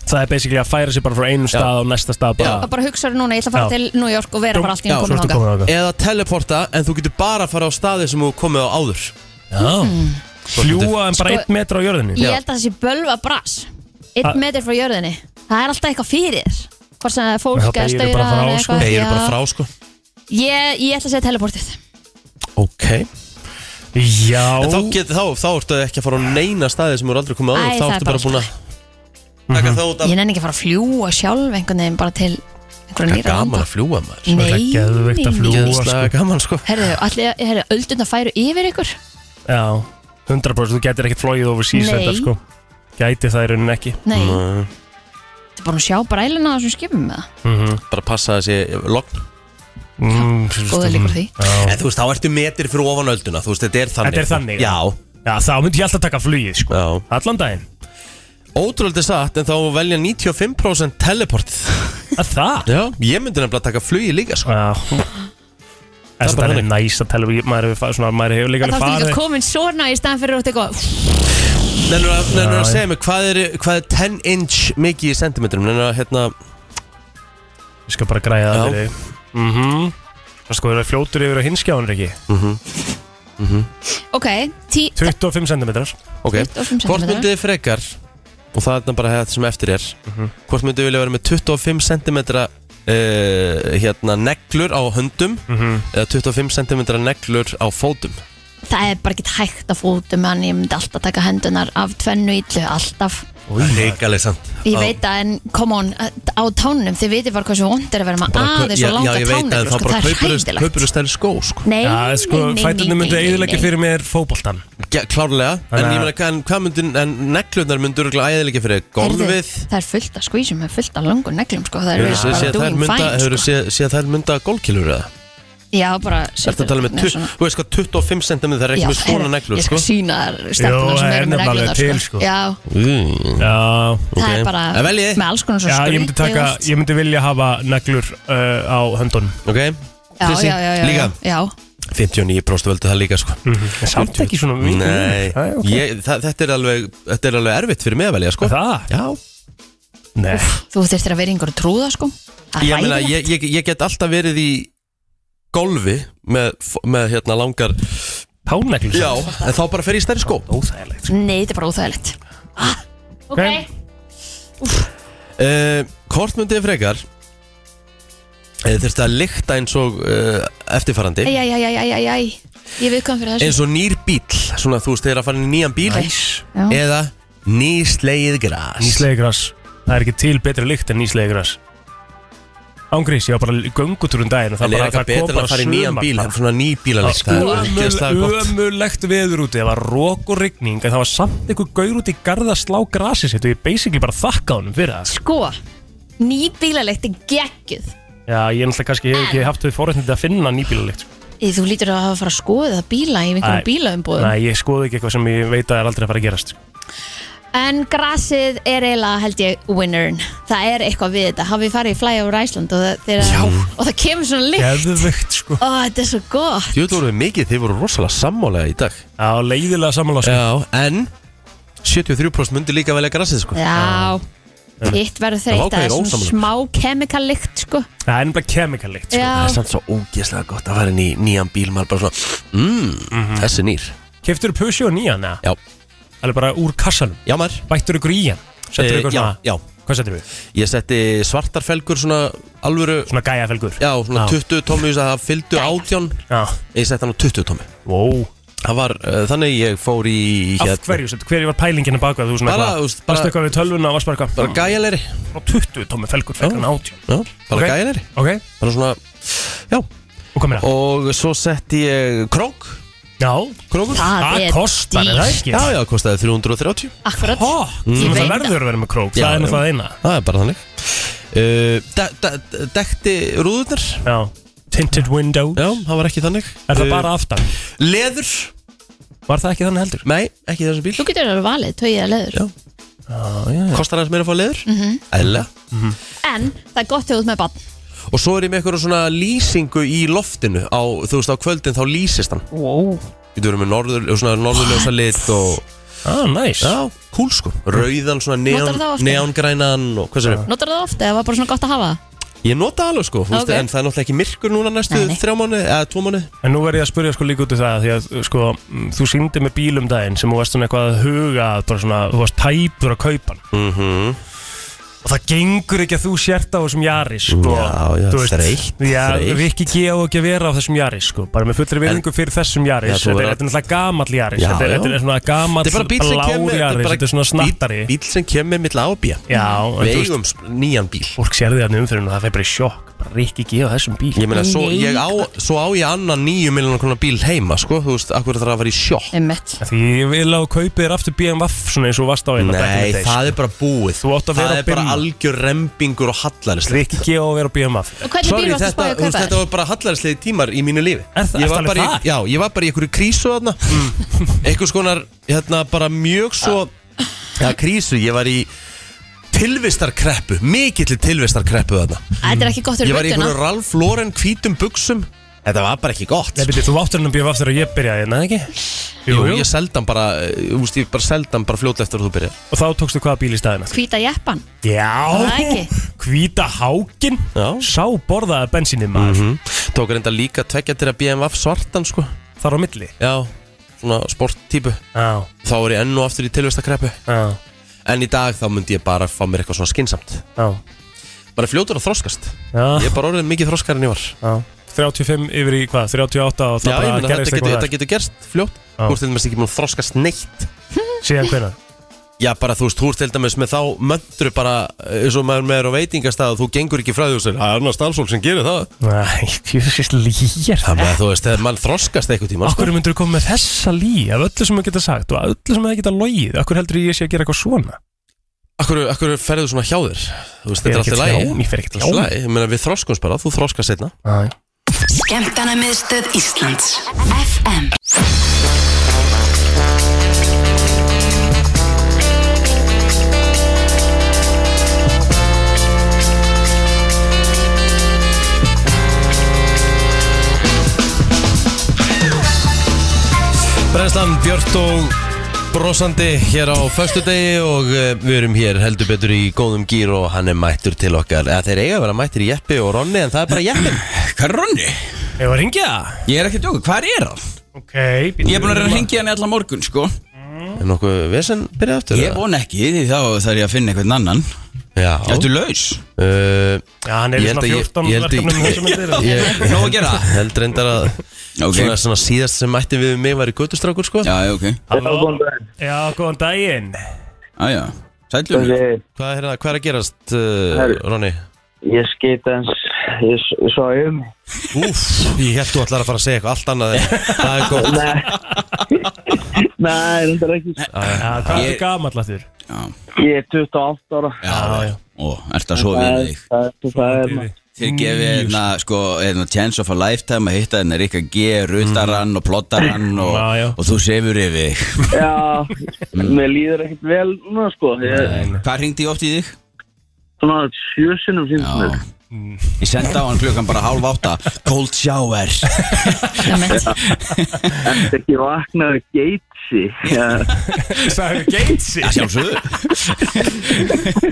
S3: það er basically að færa sig bara frá einum stað á næsta stað
S4: og
S3: bara
S4: bara hugsaður núna, ég ætla að fara
S3: Já.
S4: til New York og vera bara allt í
S2: Já,
S4: enn
S3: svo
S4: komin
S3: ertu
S4: þangað
S3: komin á það
S2: eða teleporta en þú getur bara að fara á staði sem þú komið á áður
S4: Hmm.
S3: fljúa en bara
S4: Sko-
S3: einn metra á jörðinni
S4: Ég held að þessi bölva bras
S3: A-
S4: Einn metri frá jörðinni Það er alltaf eitthvað fyrir þér. Hvort sem það er fólk
S3: Það
S4: eða
S3: beygir
S4: staurar
S3: bara frá,
S4: eða
S3: sko.
S4: eitthvað,
S2: Þeir eru
S4: já.
S2: bara frá, sko
S4: Ég, ég ætla að segja teleportið
S2: Ok
S3: já,
S2: En þá, get, þá, þá ertu ekki að fara á neina staði sem þú eru aldrei
S4: Æ,
S2: komið áður Þá
S4: það er
S2: ertu
S4: bara
S2: bara búin að
S3: Mhm.
S2: taka það út af
S4: Ég nenni ekki að fara að fljúa sjálf einhvern veginn bara til einhverja
S2: Það er
S4: nýra
S2: gaman að fljúa maður
S3: Það er
S4: Nei,
S3: geðveikt að
S4: nei,
S3: fljúga.
S4: nei.
S2: Gjöðslega gaman sko
S4: Herðu, allir, herðu, öldund færu yfir ykkur
S3: já 100% þú getur ekkert flogið over seas
S4: Nei.
S3: þetta sko gæti það í rauninni ekki
S4: Nei. Nei. Þetta er bara að sjá bræluna á þessum skipum með það
S2: Bara passa að sé logn
S3: Mhm. mm,
S4: Góða líkur því
S2: En þú veist, þá ertu metir fyrir ofan ölduna Þú veist, þetta er þannig
S3: Þetta er þannig
S2: Já
S3: Já, þá myndi ég alltaf taka flugið sko. Allan daginn
S2: Ótrúlega satt, en þá velja 95% teleport
S3: Að það?
S2: Já, ég myndi nefnilega taka flugi líka sko.
S3: Já Það er bara þannig næst að tala við Maður hefur farið svona Maður hefur
S4: Það
S3: líka
S4: er
S3: alveg
S4: það líka
S3: farið
S4: komin svona í staðan fyrir út eitthvað
S2: Nennur að, nennir að
S3: Já,
S2: segja mig, hvað er, hvað er 10 inch mikið í sentimetrum? Nennur að, hérna
S3: Ég skal bara græja
S2: Já.
S3: það fyrir þig. Mhm Það sko eru fljótur yfir á hinskjáðanir ekki
S2: Mhm Mhm
S4: Ok, tí,
S3: 25 cm
S2: Ok,
S4: 25
S2: hvort
S4: centimetrar.
S2: myndið þið frekar og það er þetta bara þetta sem eftir er
S3: Mhm.
S2: hvort myndið þið vilja vera með 25 cm uh, hérna neglur á höndum
S3: Mhm.
S2: eða 25 cm neglur á fótum
S4: það er bara ekki hægt að fótum hann Ég myndi alltaf taka hendunar af tvennu illu Alltaf
S2: Ríkaleg samt
S4: Ég veit að, en come on, á tánum Þið veitir bara hversu vond er að vera með aðeins og langa tánum sko, Það er hægilegt
S2: kaupur þú stærri skó sko.
S4: Nei,
S3: Já, sko,
S4: nei, nei,
S3: fæturnir
S4: nei,
S3: myndu
S4: nei,
S3: eiginlega
S4: nei.
S3: fyrir mér fótboltan
S2: ja, klárlega en, ég
S3: Þannig að-
S2: meina, en, hvað myndi, en neglunar myndur æðilega fyrir
S4: Heyrðu,
S2: golfið
S4: Það er fullt af skvísum, það er fullt af langur neglum sko, Það
S2: Hefurðu
S4: er
S2: séð-
S4: bara
S2: séð þær
S4: doing
S2: mynda-
S4: fine
S2: hefurðu
S4: sko.
S2: séð- séð þær mynda golfkilur eða?
S4: Já, bara
S2: Ertu að tala með, tu- þú veist hvað, 25 cm það er ekki
S4: Já,
S2: með svona
S4: heyrðu,
S2: neglur
S4: Ég skal
S2: sko.
S4: sína þær stelpuna sem eru með neglum
S3: sko.
S4: Já,
S2: Mm.
S3: Já
S4: það er bara með alls konar svo
S3: Já, ég myndi, taka,
S4: skrýt
S3: ég myndi vilja hafa neglur uh, á höndunum
S2: Ok,
S4: Já, já, já, já,
S2: líka?
S4: já, já.
S2: 59% völdu það líka sko.
S3: Mhm. Samt ekki svona mikið.
S2: Nei,
S3: Æ, ok.
S2: ég, það, þetta, er alveg, þetta er alveg erfitt fyrir mig að velja sko.
S3: Það?
S2: Já
S3: Nei
S4: Þú þurftir að vera yngur trúða sko Það
S2: Ég,
S4: er
S2: meina,
S4: hræðilegt.
S2: ég, ég, ég get alltaf verið í golfi með, með hérna langar
S3: Páneglu
S2: Já, en þá bara fer ég í stærri skó
S3: Óþægilegt
S4: Nei, þetta er bara óþægilegt ah, Ok
S2: uh, Hvort myndið þið frekar eða þurfti að lykta eins og uh, eftirfarandi
S4: Æj, æj, æj, æj, æj, æj Ég viðkvæm fyrir
S2: eins
S4: þessu
S2: og nýr bíl svona þú veist þegar að fara í nýjan bíl
S4: Nice. Já.
S2: eða nýslegið gras
S3: Nýslegigras Það er ekki til betri lykt en nýslegigras Ángrís, ég var bara göngutúr um daginn og
S2: En
S3: Það,
S2: er
S3: bara,
S2: eitthvað
S3: það kom
S2: betra
S3: bara
S2: að fara í nýjan
S3: sumar
S2: bíl
S3: bara.
S2: en svona ný bílalikt
S3: Sko, ömul- ömulegt veður úti, það var rók og rigning en það var samt einhver gaur úti í garða að slá grasi sitt og ég basically bara þakkaði honum fyrir það
S4: Sko, nýbílalegt er geggjuð
S3: Já, ég er náttúrulega kannski, ég hef ekki haft þau fórhættandi að finna sko. nýbílalikt
S4: Í, Þú lítur að hafa að fara að skoða það bíla í einhverjum bílaumbúðum
S3: Nei, ég skoði ekki eitthvað sem ég veit að er aldrei að fara að gerast sko.
S4: En grasið er eiginlega held ég winnerin Það er eitthvað við þetta Hafið farið í flæja úr Æsland og það, þeirra, og það kemur svona lykt
S3: Geðvögt sko
S4: Ó, þetta er svo gott
S2: Þú voru mikið, þið voru rosalega sammálega í dag
S3: Já, leiðilega sammálega
S2: sko. Já, en 73% myndi líka velja grassið sko
S4: Já, hitt verður
S2: Það
S4: þreytt
S2: vákvæði
S4: að
S2: er
S4: svona
S2: ósammála.
S4: smá kemikallykt sko
S3: Það er nefnilega sko. kemikalikt
S4: Já.
S2: Það er samt svo ógeðslega gott að fara inn í nýjan bíl maður bara svona, mmm, þessi er nýr
S3: Keftur þú pushu og Mhm. nýjan eða?
S2: Já
S3: Það er bara úr kassanum
S2: Já maður
S3: Bættur ykkur í hann Settur
S2: Eh,
S3: ykkur
S2: já,
S3: svona
S2: já.
S3: Hvað settur við?
S2: Ég setti svartar felgur svona alvöru
S3: Svona gæja felgur
S2: Já, svona
S3: Já.
S2: 20 tommi þess að það fylgdu átján
S3: Já
S2: Ég setti hann á 20 tommi
S3: Wow
S2: Það var, uh, þannig ég fór í hérna,
S3: Af hverju? Sett, hverju var pælinginu baka þú svona
S2: Bara, þú
S3: eitthvað
S2: veist, bara-
S3: Varstu eitthvað við tölvuna og varst bara eitthvað
S2: Bara gæjalegri
S3: Og 20 tómi felgur fekkur hann átjón
S2: Já, bara
S3: Ok.
S2: okay. gæjalegri
S3: Ok
S2: Bara svona, já
S3: Og hvað meira?
S2: Og svo setti ég krók
S3: Já
S2: Krókur
S4: Það er
S3: kostar, er það ekki?
S2: Já, já, kostaði 330
S4: Akkurat
S2: Ég
S3: Þú
S2: veit
S3: það verður að vera með krók Það er náttúrulega eina
S2: Það er bara þannig uh, de de de Dekti rúðunar
S3: Já Tinted windows
S2: Já, það var ekki þannig
S3: Er það
S2: Eh,
S3: bara aftan?
S2: Leður
S3: Var það ekki þannig heldur?
S2: Nei, ekki í þessum bíl
S4: Þú getur alveg valið, tóið að leður
S2: Kostar aðeins meira að fá leður
S4: Mhm.
S2: Æðilega
S4: En það er gott þegar þú ert með bann
S2: Og svo er ég með eitthvað svona lýsingu í loftinu á, Þú veist, á kvöldin þá lýsist hann
S4: wow.
S2: Við verðum með norður, svona norðurljósa lit og
S3: Ah, nice
S2: Já, cool sko Rauðan, svona
S4: Notar það
S2: neon,
S4: ofta?
S2: neongrænan og hvað sér ég?
S4: Notar það ofta, það var bara svona gott að hafa
S13: Mm.
S4: það
S2: Ég nota það alveg sko, þú veist,
S4: Ok.
S2: en það er náttúrulega ekki myrkur núna næstu þrjá mánu, eða tvo mánu
S3: En nú verð ég að spyrja sko líka út í það því að sko, mm, þú síndi með bílum um daginn sem þú varst svona eitthvað að huga að bara svona, þú varst tæpur að kaupa hann
S2: mm -hmm.
S3: og það gengur ekki að þú sért á þessum jaris sko,
S2: Já, já,
S3: þú veist,
S2: þreytt,
S3: Já,
S2: þreytt.
S3: Rikki G á ekki að vera á þessum jaris sko, bara með fullri virðingu fyrir þessum jaris
S2: Já, þú
S3: þetta, er-
S2: verður-
S3: þetta er náttúrulega gamall jaris
S2: Já,
S3: þetta, er-
S2: já.
S3: þetta er svona gamall
S2: Þetta er bara bíl sem kemur-
S3: blár
S2: þetta er
S3: jaris
S2: bara
S3: þetta er svona snattari
S2: Bíl sem kemur mill á og bíja
S3: Já, en
S2: Við
S3: þú veist-
S2: eigum sp- nýjan bíl
S3: hérna. fólk sér því að umfyrir og það fer bara í sjokk
S14: bara Rikki G á þessum bíl
S2: Ég meina, svo, ég á, svo á ég annan 9 miljonar kronar bíl heima, sko Þú veist, akkur þarf að fara í sjokk
S4: Emmett
S3: Því ég vil að kaupa þér aftur BMW Svona eins og vast á hérna back
S2: Nei,
S3: in the days.
S2: það er bara búið
S3: Þú átt að vera
S2: Það
S3: á
S2: er bara
S3: bimma.
S2: algjör rembingur og hallarislega
S3: Rikki G á að vera á BMW
S4: Og hvernig bíl varstu að spá í að kaupa þér?
S2: Þetta var bara hallarislega tímar í mínu lífi
S3: Er
S2: Ég
S3: það- ertu
S2: var
S3: alveg
S2: bara í,
S3: þar? Mm.
S2: Já, ég var bara í einhverju krísu þarna Einhvers konar, hérna, bara mjög svo Það krísu, ég var í tilvistarkreppu, mikill tilvistarkreppu þarna
S4: Þetta er ekki gott
S2: Ég
S4: fyrir
S2: var í einhverju
S4: ruttuna
S2: Ralph Lauren hvítum buksum Þetta var bara ekki gott
S3: Nei, beti, þú áttur hennar BMW þegar ég byrjaði, neða hérna, ekki?
S2: Jú, ég seldan bara, eh, þú veist, ég bara seldan bara fljóta eftir að þú byrjar
S3: Og þá tókstu hvaða bíl í staðina?
S4: Hvíta jeppan
S3: Já,
S4: Það ekki.
S3: hvíta hákin
S2: Já. Mhm.
S3: Sá borðaði bensinni maður
S2: Tók reynda líka tvekja til að BMW svartan, sko
S3: Þar á milli
S2: Já, svona sporttýpu
S3: Já,
S2: Þá er ég enn og aftur í tilvistakreppu
S3: já,
S2: En í dag þá myndi ég bara fá mér eitthvað svona skinsamt
S3: já,
S2: Bara fljótur að þroskast
S3: já,
S2: Ég er bara orðið mikið þroskar en ég var
S3: já. 35 yfir í hvað, 38 og
S2: Já,
S3: það
S2: ég
S3: bara
S2: meina
S3: gerist
S2: þetta getur,
S3: eitthvað
S2: þetta getur gerst fljótt
S3: Já.
S2: Þú ert til dæmis ekki múin að þroskast neitt
S3: þar Síðan hvenær?
S2: Já, bara þú veist, þú ert til dæmis með þá möndru bara eh, eins og maður með er á veitingastað og þú gengur ekki frá því og segir Það er annars Dalsól sem gerir
S3: Eh.
S2: það
S3: Nei, tjóðsist lýjar
S2: Þannig að þú veist, þegar mann þroskast sko. eitthvað tíma
S3: Akkur myndur þú koma með þessa lí af öllu sem þú geta sagt og af öllu sem það geta logið Akkur heldur ég sé að gera eitthvað svona
S2: Akkur, akkur ferðu svona hjá þér? Þú veist,
S3: Ég
S2: þetta er alltaf
S3: fer ekkert
S2: lægi
S3: hjá- ég fer ekkert hjá
S2: Alltaf í lagi. Ég meina, við þroskast bara, þú þroskast setna
S3: Æ.
S9: Skemtana miðstöð Íslands FM
S2: Brennslan Björn og brosandi hér á föstudegi og eh, við erum hér heldur betur í góðum gýr og hann er mættur til okkar eða þeir eiga að vera mættur í Jeppi og Ronni en það er bara Jeppi
S13: Hvað er Ronni?
S3: Ég var að ringja
S13: Ég er ekki að djóka, hvað er hann?
S3: Ok
S13: Ég er búin að reyna að hringja hann allan morgun, sko
S2: Er nokkuð vesen byrjað aftur?
S13: Ég von ekki, því þá þarf ég að finna einhvern annan
S2: Já
S13: Ertu laus?
S2: Uh,
S3: Já, hann er í
S2: Ég held
S3: svona
S2: að ég-
S3: 14
S2: ég held að-
S3: verkefnum þessum myndir
S13: Já. Nóg að gera.
S2: Held reyndar að
S13: Ok.
S2: svona, svona síðast sem mætti við mig var í göttustrákur sko
S13: Já, já, ok
S3: Halló Já, góðan daginn
S13: Já, já, sælum
S2: Hvað er, hvað er að gerast uh, Ronni?
S8: Ég skýt eins, ég s- svo um.
S2: Úf, ég held þú ætlar að fara að segja eitthvað allt annað en það er gott
S8: Nei, nei, þetta er ekki.
S3: Já, hvað er
S13: Ég-
S3: þetta gamall að þér?
S13: Já,
S8: Ég er 28 ára.
S13: já,
S3: já.
S13: Ó, ertu að sofa við þig
S8: Það er, það er, maður.
S13: Þér gefi hérna, sko, hérna chance of a lifetime að hitta hérna Rikka G, ruttarann og plottarann og,
S3: Já, já.
S13: og þú sefur yfir þig
S8: já, mér líður ekkert vel núna, sko. Ég,
S13: Hvað ringdi ég oft í þig?
S8: svona sjö sinnum síndum
S13: Já
S8: mér.
S13: Ég senda á hann klukkan bara hálf átta Cold shower
S8: Þetta ekki vaknaði geitsi. Já,
S3: Sæðu Gatesi
S13: Já, sjálfsögðu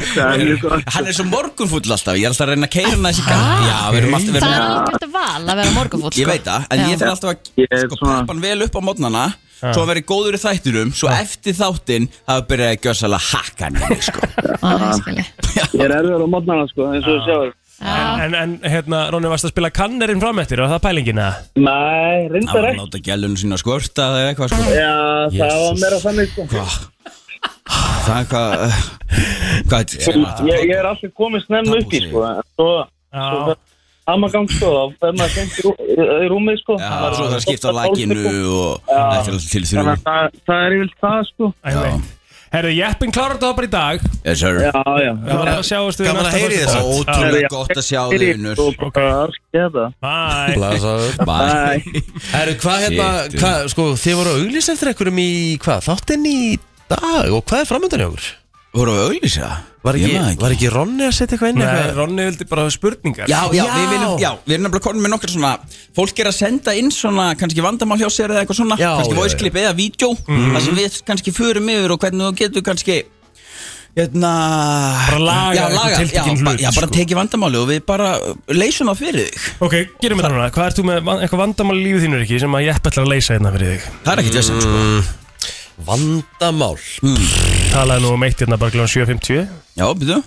S8: það er mjög gott.
S13: Hann er svo morgunfúll alltaf, ég er alltaf að reyna að keira hann þessi gang Já, við erum alltaf
S4: Ah. Það
S13: við
S4: er
S13: erum-
S4: alveg val að vera morgunfót sko.
S13: Ég veit það, en
S4: Já.
S13: ég þarf alltaf að
S8: Ég er
S13: sko,
S8: svona-
S13: peppa hann vel upp á mótnana Svo að vera góður í þættinum Svo eftir þáttinn hafa byrjað að gjösa að hakka hann í mig, sko.
S4: Á, ég skil ég.
S8: Ég er erður á mótnana, sko, eins
S13: Ah.
S8: og þú séur.
S4: Já.
S3: En, en hérna, Rónu, varst að spila kannerinn fram eftir og það pælingin eða?
S8: Nei,
S13: Það var
S8: reyndar
S13: að
S8: ekki.
S13: láta gælunum sína skvörta eða eitthvað sko.
S8: Já, það var meira þannig, sko.
S13: Hva? Það er hvað eh, Hvað
S8: Ég, ég er alltaf komið snemm upp í, sko. en Svo, svo
S3: Já,
S8: fer amagang, sko, þá fer maður seint í rú- í rúmið, sko.
S13: Já,
S8: Maður er
S13: svo það
S8: svona
S13: er skipta á
S8: átta, tólf,
S13: lakinu
S8: sko.
S13: og
S8: Já.
S13: eftir alltaf til þrjú
S8: Þannig að það, það er yfirlt það, sko.
S3: einmitt Herðu, Jeppin klárar þetta bara í dag
S13: Yes sir
S8: Já, já.
S3: Það var að sjáast við
S2: Gaman að heyri þér samt.
S13: Ótrúlega gott að sjá þig vinnur
S8: sko.
S3: Bæ
S2: Blasaður
S13: Bye
S2: Herru, hvað hérna,
S13: Shit,
S2: hvað, sko, þið voru að auglýsa eftir einhverjum í, hvað, þáttinn í dag og hvað er framöndan hjá okkur?
S13: Voru að auðlýsa?
S2: Var ekki, var ekki Ronni að setja eitthvað inn
S3: Nei,
S2: eitthvað?
S3: Ronni vildi bara hafa spurningar
S13: Já, já,
S2: Já.
S13: Við, viljum, já, við erum nefnilega konum með nokkar svona Fólk er að senda inn svona, kannski vandamál hjá sér eða eitthvað svona
S2: Já, já,
S13: Kannski
S2: já.
S13: voice clip eða vídeo Það sem við kannski förum yfir og hvernig þú getur kannski Hérna
S3: Bara laga
S13: já,
S3: einhvern
S13: laga, já,
S3: tiltekinn
S13: ba-
S3: hlut,
S13: já, bara
S3: sko.
S13: tekið vandamáli og við bara leysum það fyrir þig
S3: Ok, gerum þetta núna Hvað ert þú með van- eitthvað vandamál í lífið þínu, Riki, sem að Jepp ætlar að leysa hérna fyrir þig?
S13: Það er ekkert þessum, sko
S2: Mm,
S13: Mm.
S2: Vandamál
S3: Talaði nú um eitt hérna bara kl. 7.50
S13: Já, byrju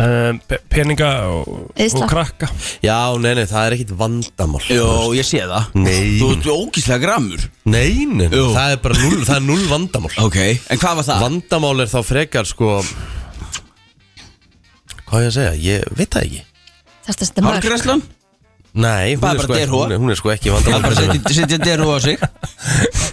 S3: um, pe- Peninga og,
S4: Eyðsla.
S3: og krakka
S2: Já, nei, nei, það er ekkit vandamál
S13: Jó, ég sé það
S2: Nei.
S13: Þú ert ógíslega grammur
S2: Nei, nei, nei,
S13: Jú.
S2: það er bara null, það er null vandamál
S13: Ok, en hvað var það?
S2: Vandamál er þá frekar, sko Hvað á ég að segja? Ég veit það ekki
S4: Þetta er mörg
S13: Hárgræslan?
S2: Nei, hún
S13: Bara
S2: er,
S13: bara
S2: sko ekki,
S13: derhúfa.
S2: hún, er, hún er sko ekki vandamál
S13: Bara setja- setja derhúfa á sig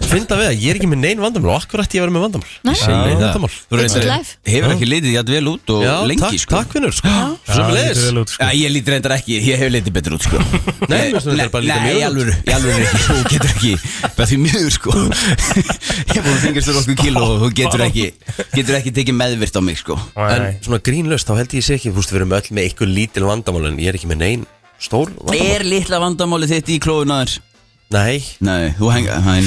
S2: Fynda við það, ég er ekki með nein vandamál og akkur ætti ég að vera með vandamál
S4: Nei.
S2: Ég segi
S13: Já,
S2: nein
S13: það-
S2: vandamál
S13: Þú reyndar- It's life. hefur ekki litið jætt vel út og lengi,
S2: takk,
S13: sko.
S2: Takk vinnur, sko
S13: Já,
S2: Sömuleiðis.
S13: lítur vel út, sko. Já, ég lítur reyndar ekki, ég hef litið betur út sko
S2: Nei, mér finnst þetta bara líta
S13: Nei,
S2: mjög
S13: í
S2: vel
S13: alvöru, í alvöru ekki, þú getur ekki Bara því miður sko Ég er búin að fingast þér okkur kíl og þú getur ekki Getur ekki tekið meðvirt á mig sko
S2: En svona grínlöst, þá held ég sé ekki Þú veist, við erum öll með eitthvað Sko, lítil vandamál En ég er ekki með nein stór vandamál
S13: Er litla vandamáli þitt í klóðunar?
S2: Nei
S13: Nei, þú henga, hæn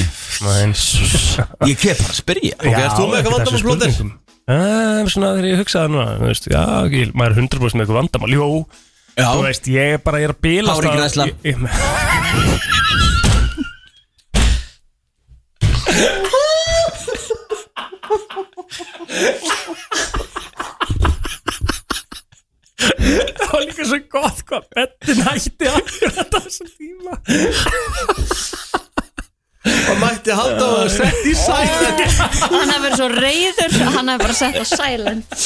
S13: Ég kef bara að spyrja
S12: Já, ekkert þessu spurningum. Eh, Svona þegar ég hugsaði núna þú veist, Já, ég, maður er 100% með eitthvað vandamál Jó,
S13: Já.
S12: þú veist, ég er bara ég er að bila
S13: Hári græsla.
S12: Það var líka svo gott hvað Bettin hætti akkur að þessu tíma
S2: Og mætti halda og sett í sæl
S4: Hann hefur verið svo reyður Hann hefur bara sett á silent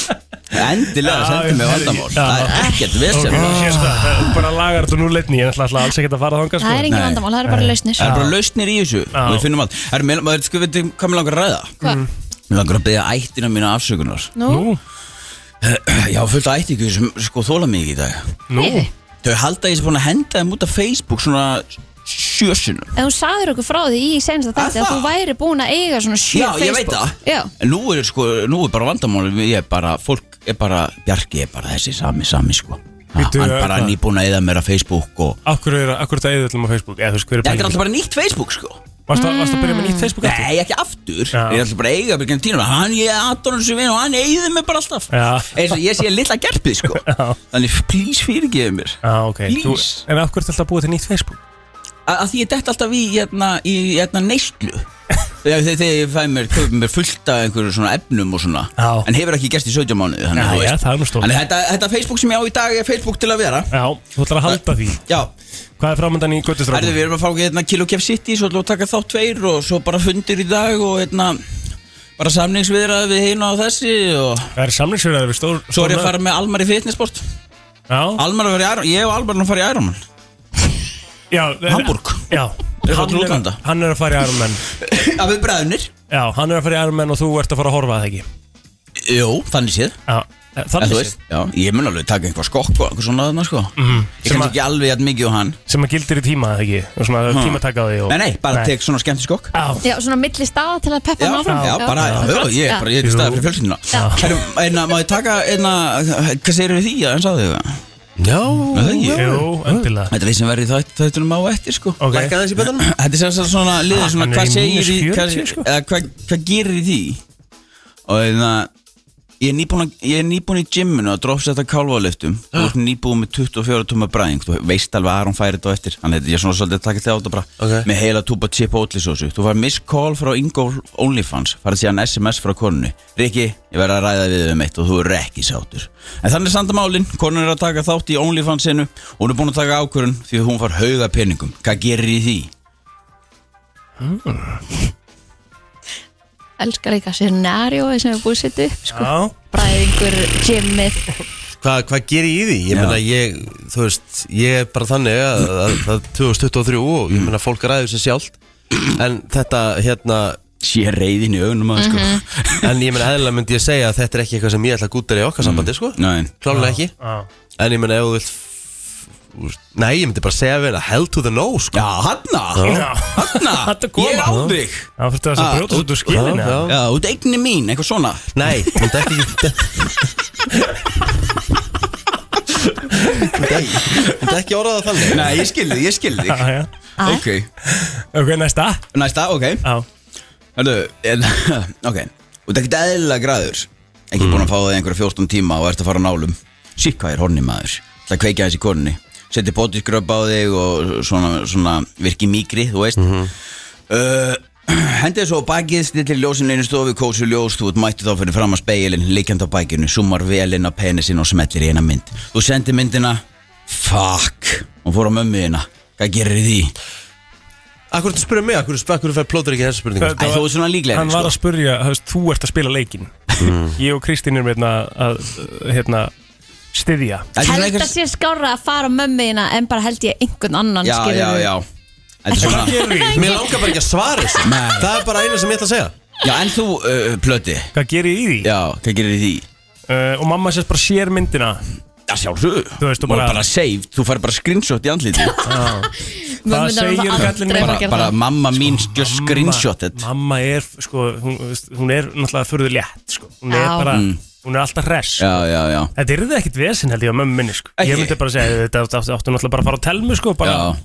S13: Endilega sendi mig vandamál Það er ekkert vesen.
S12: Þú bara lagar þetta nú leitni Ég ætla ætla alls ekkert að fara þangað
S4: Það er engin
S13: Nei.
S4: vandamál, það eru bara lausnir
S13: Það er bara lausnir í þessu Við finnum allt Það er, mér- maður- sko, veitum hvað mér langar að ræða?
S4: Hvað?
S3: Mm.
S13: Mér langar að beða ættina mína afsökunar
S4: Nú? Nú?
S13: Já, fullt af ættingu sem sko þóla mig í dag
S4: Nú? Nei.
S13: Þau halda að ég sem búin að henda þeim út af Facebook svona sjösunum
S4: En þú sagður okkur frá því í sensta þætti að þú væri búin að eiga svona sjö
S13: Já, ég veit
S4: Facebook.
S13: það.
S4: Já,
S13: En nú er sko, nú er bara vandamálum Ég er bara, fólk er bara Bjarki er bara þessi sami, sami sko Ha,
S12: Bíddu,
S13: Hann bara
S12: hvað?
S13: nýbúin að eða mér að Facebook og
S12: Akkur er akkur þetta eða öllum á Facebook Eða þú veist hver er
S13: Þetta er alltaf bara nýtt Facebook sko
S12: Varstu að varstu að
S4: Mm.
S12: byrja með nýtt Facebook aftur?
S13: Mm. Nei, ekki aftur Ég er alltaf bara að eiga byrgjum tíma Hann ég er aðdónum sem vinn og hann eigði mig bara alltaf Eins og ég sé lilla gerpið sko Þannig please fyrirgeðu mér
S12: Já, ok þú,
S13: Please.
S12: En akkur er alltaf að búa til nýtt Facebook
S13: að að því ég dett alltaf í, hérna, í hérna, neyslu þegar, þegar, þegar ég fæ mér, kaupið mér fullt af einhverju svona efnum og svona
S12: Já.
S13: en hefur ekki gerst í 17 mánuði
S12: Já,
S13: þú
S12: já,
S13: veist.
S12: það er nú stórt.
S13: Þannig þetta, þetta Facebook sem ég á í dag er Facebook til að vera
S12: Já, þú ætlar að halda því
S13: Já
S12: Hvað er framöndan í
S13: Erðu,
S12: göttustrákum?
S13: við erum að fá ekki hérna Kilokef City svo ætlum við að taka þá tveir og svo bara fundir í dag og hérna bara samningsviðrað við hinn og þessi og
S12: Það er samlingsfjörðar við stór
S13: svo er ég að fara með Almar í fitnessport
S12: Já
S13: Almar að vera í Iron ég og Almar er að fara í Ironman
S12: Já
S13: Hamburg
S12: Já
S13: Við fórum til útlanda.
S12: Hann er að fara í Iron Man
S13: að við bræðunir
S12: Já, hann er að fara í Iron Man og þú ert að fara að horfa að það ekki
S13: Jú, þannig séð
S12: Já, eh,
S13: En
S12: þannig
S13: þú veist, já, ég mun alveg taka einhvað skokk og eitthvað svona þarna sko
S12: Mhm.
S13: Ég
S12: Sem
S13: kannski
S12: að-
S13: ekki alveg jætt mikið og hann
S12: Sem að gildir í tíma, eða ekki? Og svona
S13: Hmm.
S12: tímataka á því og...
S13: Nei, nei, bara tek svona skemmt skokk
S12: Já,
S4: já svona milli staða til að peppa
S13: Já,
S4: hann áfram
S13: já, bara, já, já, ég er bara, ég er til
S12: Jú.
S13: staðar fyrir fjölskyldina Herru, einna, má ég taka, einna, hvað segir við því að hann sagði það?
S2: Já,
S13: það ekki?
S12: Jú, endilega
S13: Þetta er við sem verður í þætt- þættinum á eftir, sko
S12: Ok. Ah,
S2: Lækka aðeins í betanum
S13: Þetta er sem sagt svona liður, svona,
S12: Hann er
S13: hvað
S12: í
S13: segir í,
S12: mínus
S13: hvað
S12: 40, sko.
S13: eða hvað- hvað gerir í því? Og einna, ég er nýbúin að- ég er nýbúin í gymminu að dropsa þetta kálfalöftum Þú ert nýbúin með 24 tóma bræðing Þú veist alveg að hann færi þetta á eftir Þannig að ég er svona svolítið að taka þetta á þetta bara
S2: Ok.
S13: Með heila túpa chip ótlisósu Þú fær miss call frá Ingo Onlyfans Farið síðan SMS frá konunni Riki, ég verð að ræða við um eitt og þú er ekki sátur En þannig er sandamálin Konun er að taka þátt í Onlyfansinu Og hún er búin að taka ákvörun því að hún far hauga peningum Hvað gerir í því?
S3: Mm.
S4: Elskar líka scenariói sem er búið að setja upp sko.
S12: Já.
S4: Bræðingur, gymmið
S2: Hvað hva gerir ég í því? Ég meina ég, þú veist, ég er bara þannig að að- það er 2023 og ég meina fólk ræður sér sjálft En þetta, hérna
S13: Sér reyðin í augunum að sko
S2: En ég meina eðlilega myndi ég segja að þetta er ekki eitthvað sem ég ætla að gúta í okkar
S13: Mm.
S2: sambandi, sko
S13: Næin
S2: Klálega ekki
S12: já.
S2: En ég meina ef þú vilt f- úst, Nei, ég myndi bara segja við það Hell to the no, sko
S13: Já, hanna
S12: Já,
S13: Hanna
S12: Þetta koma.
S13: Ég er á þig
S12: það fyrir þess að
S13: Ah,
S12: brjóta svo
S13: út-
S12: þú skilin
S2: já, já.
S13: Já, út eigni mín, eitthvað svona
S2: Nei, þú myndi ekki Þú myndi ekki- þú myndi ekki orða það þannig
S13: Nei, ég skil þig, ég skil þig
S12: já
S13: Ok,
S12: Ok, næsta
S13: næsta, ok
S12: Já,
S13: Hörðu, en, ok Út ekkert eðlilega græður Ekki mm. búin að fá þig einhverja 14 tíma og ert að fara á nálum Sýtt hvað er horni maður Það kveikja þessi konunni Setti bótisgröp á þig og svona, svona virki mýkri, þú veist
S12: Mhm.
S13: Uh, Hendið svo á bakið, stillir ljósin einu stofu, kósu ljós, þú ert mættu þá fyrir fram að speilin, likjandi á bakinu, sumar velin á penisin og smellir í eina mynd. Þú sendir myndina, fuck, og fór á mömmu þína, hvað gerir því?
S2: Akkur þú spyrir mig, akkur þú fær plótur ekki þessu spurningu
S12: Þetta
S13: Æ,
S12: var-
S13: þú ert svona sko. líklega,
S12: hann var að
S13: Mm.
S12: spurja, þú veist, þú ert að spila leikin Ég og Kristín erum hérna að, hérna,
S3: styðja
S4: Held að sé skára að fara á mömmuðina en bara held ég einhvern annan
S13: Já,
S4: skilur
S13: já,
S4: við.
S13: já
S4: Hvað gerum við?
S2: Mér langar bara ekki að svara þessu Það er bara eina sem ég ætla að segja
S13: Já, en þú, uh, Plöti
S3: Hvað gerir í því?
S13: Já, hvað gerir í því?
S3: uh, Og mamma sérst bara sér myndina
S13: Já, sjálfsög
S3: Þú veist,
S13: Þú
S3: þú
S13: bara,
S3: bara,
S13: bara saved, þú fær bara screenshot í andliti
S3: Hvað
S4: Mömmurnar hafa
S3: segir
S4: aldrei
S3: kallinn minn?
S4: farið að
S13: bara,
S4: gera
S13: bara
S4: það.
S13: mamma mín just screenshotet
S3: Mamma er, sko, hún, veist, hún er náttúrulega fyrir létt sko. Hún er
S13: Já.
S3: bara,
S13: Mm.
S3: hún er alltaf hress
S13: Já, já, já
S3: Þetta er það ekkit vesen held ég á mömmu minni sko. Ég myndi bara segja, þetta áttu- áttu áttu náttúrulega bara að fara á telmu sko, bara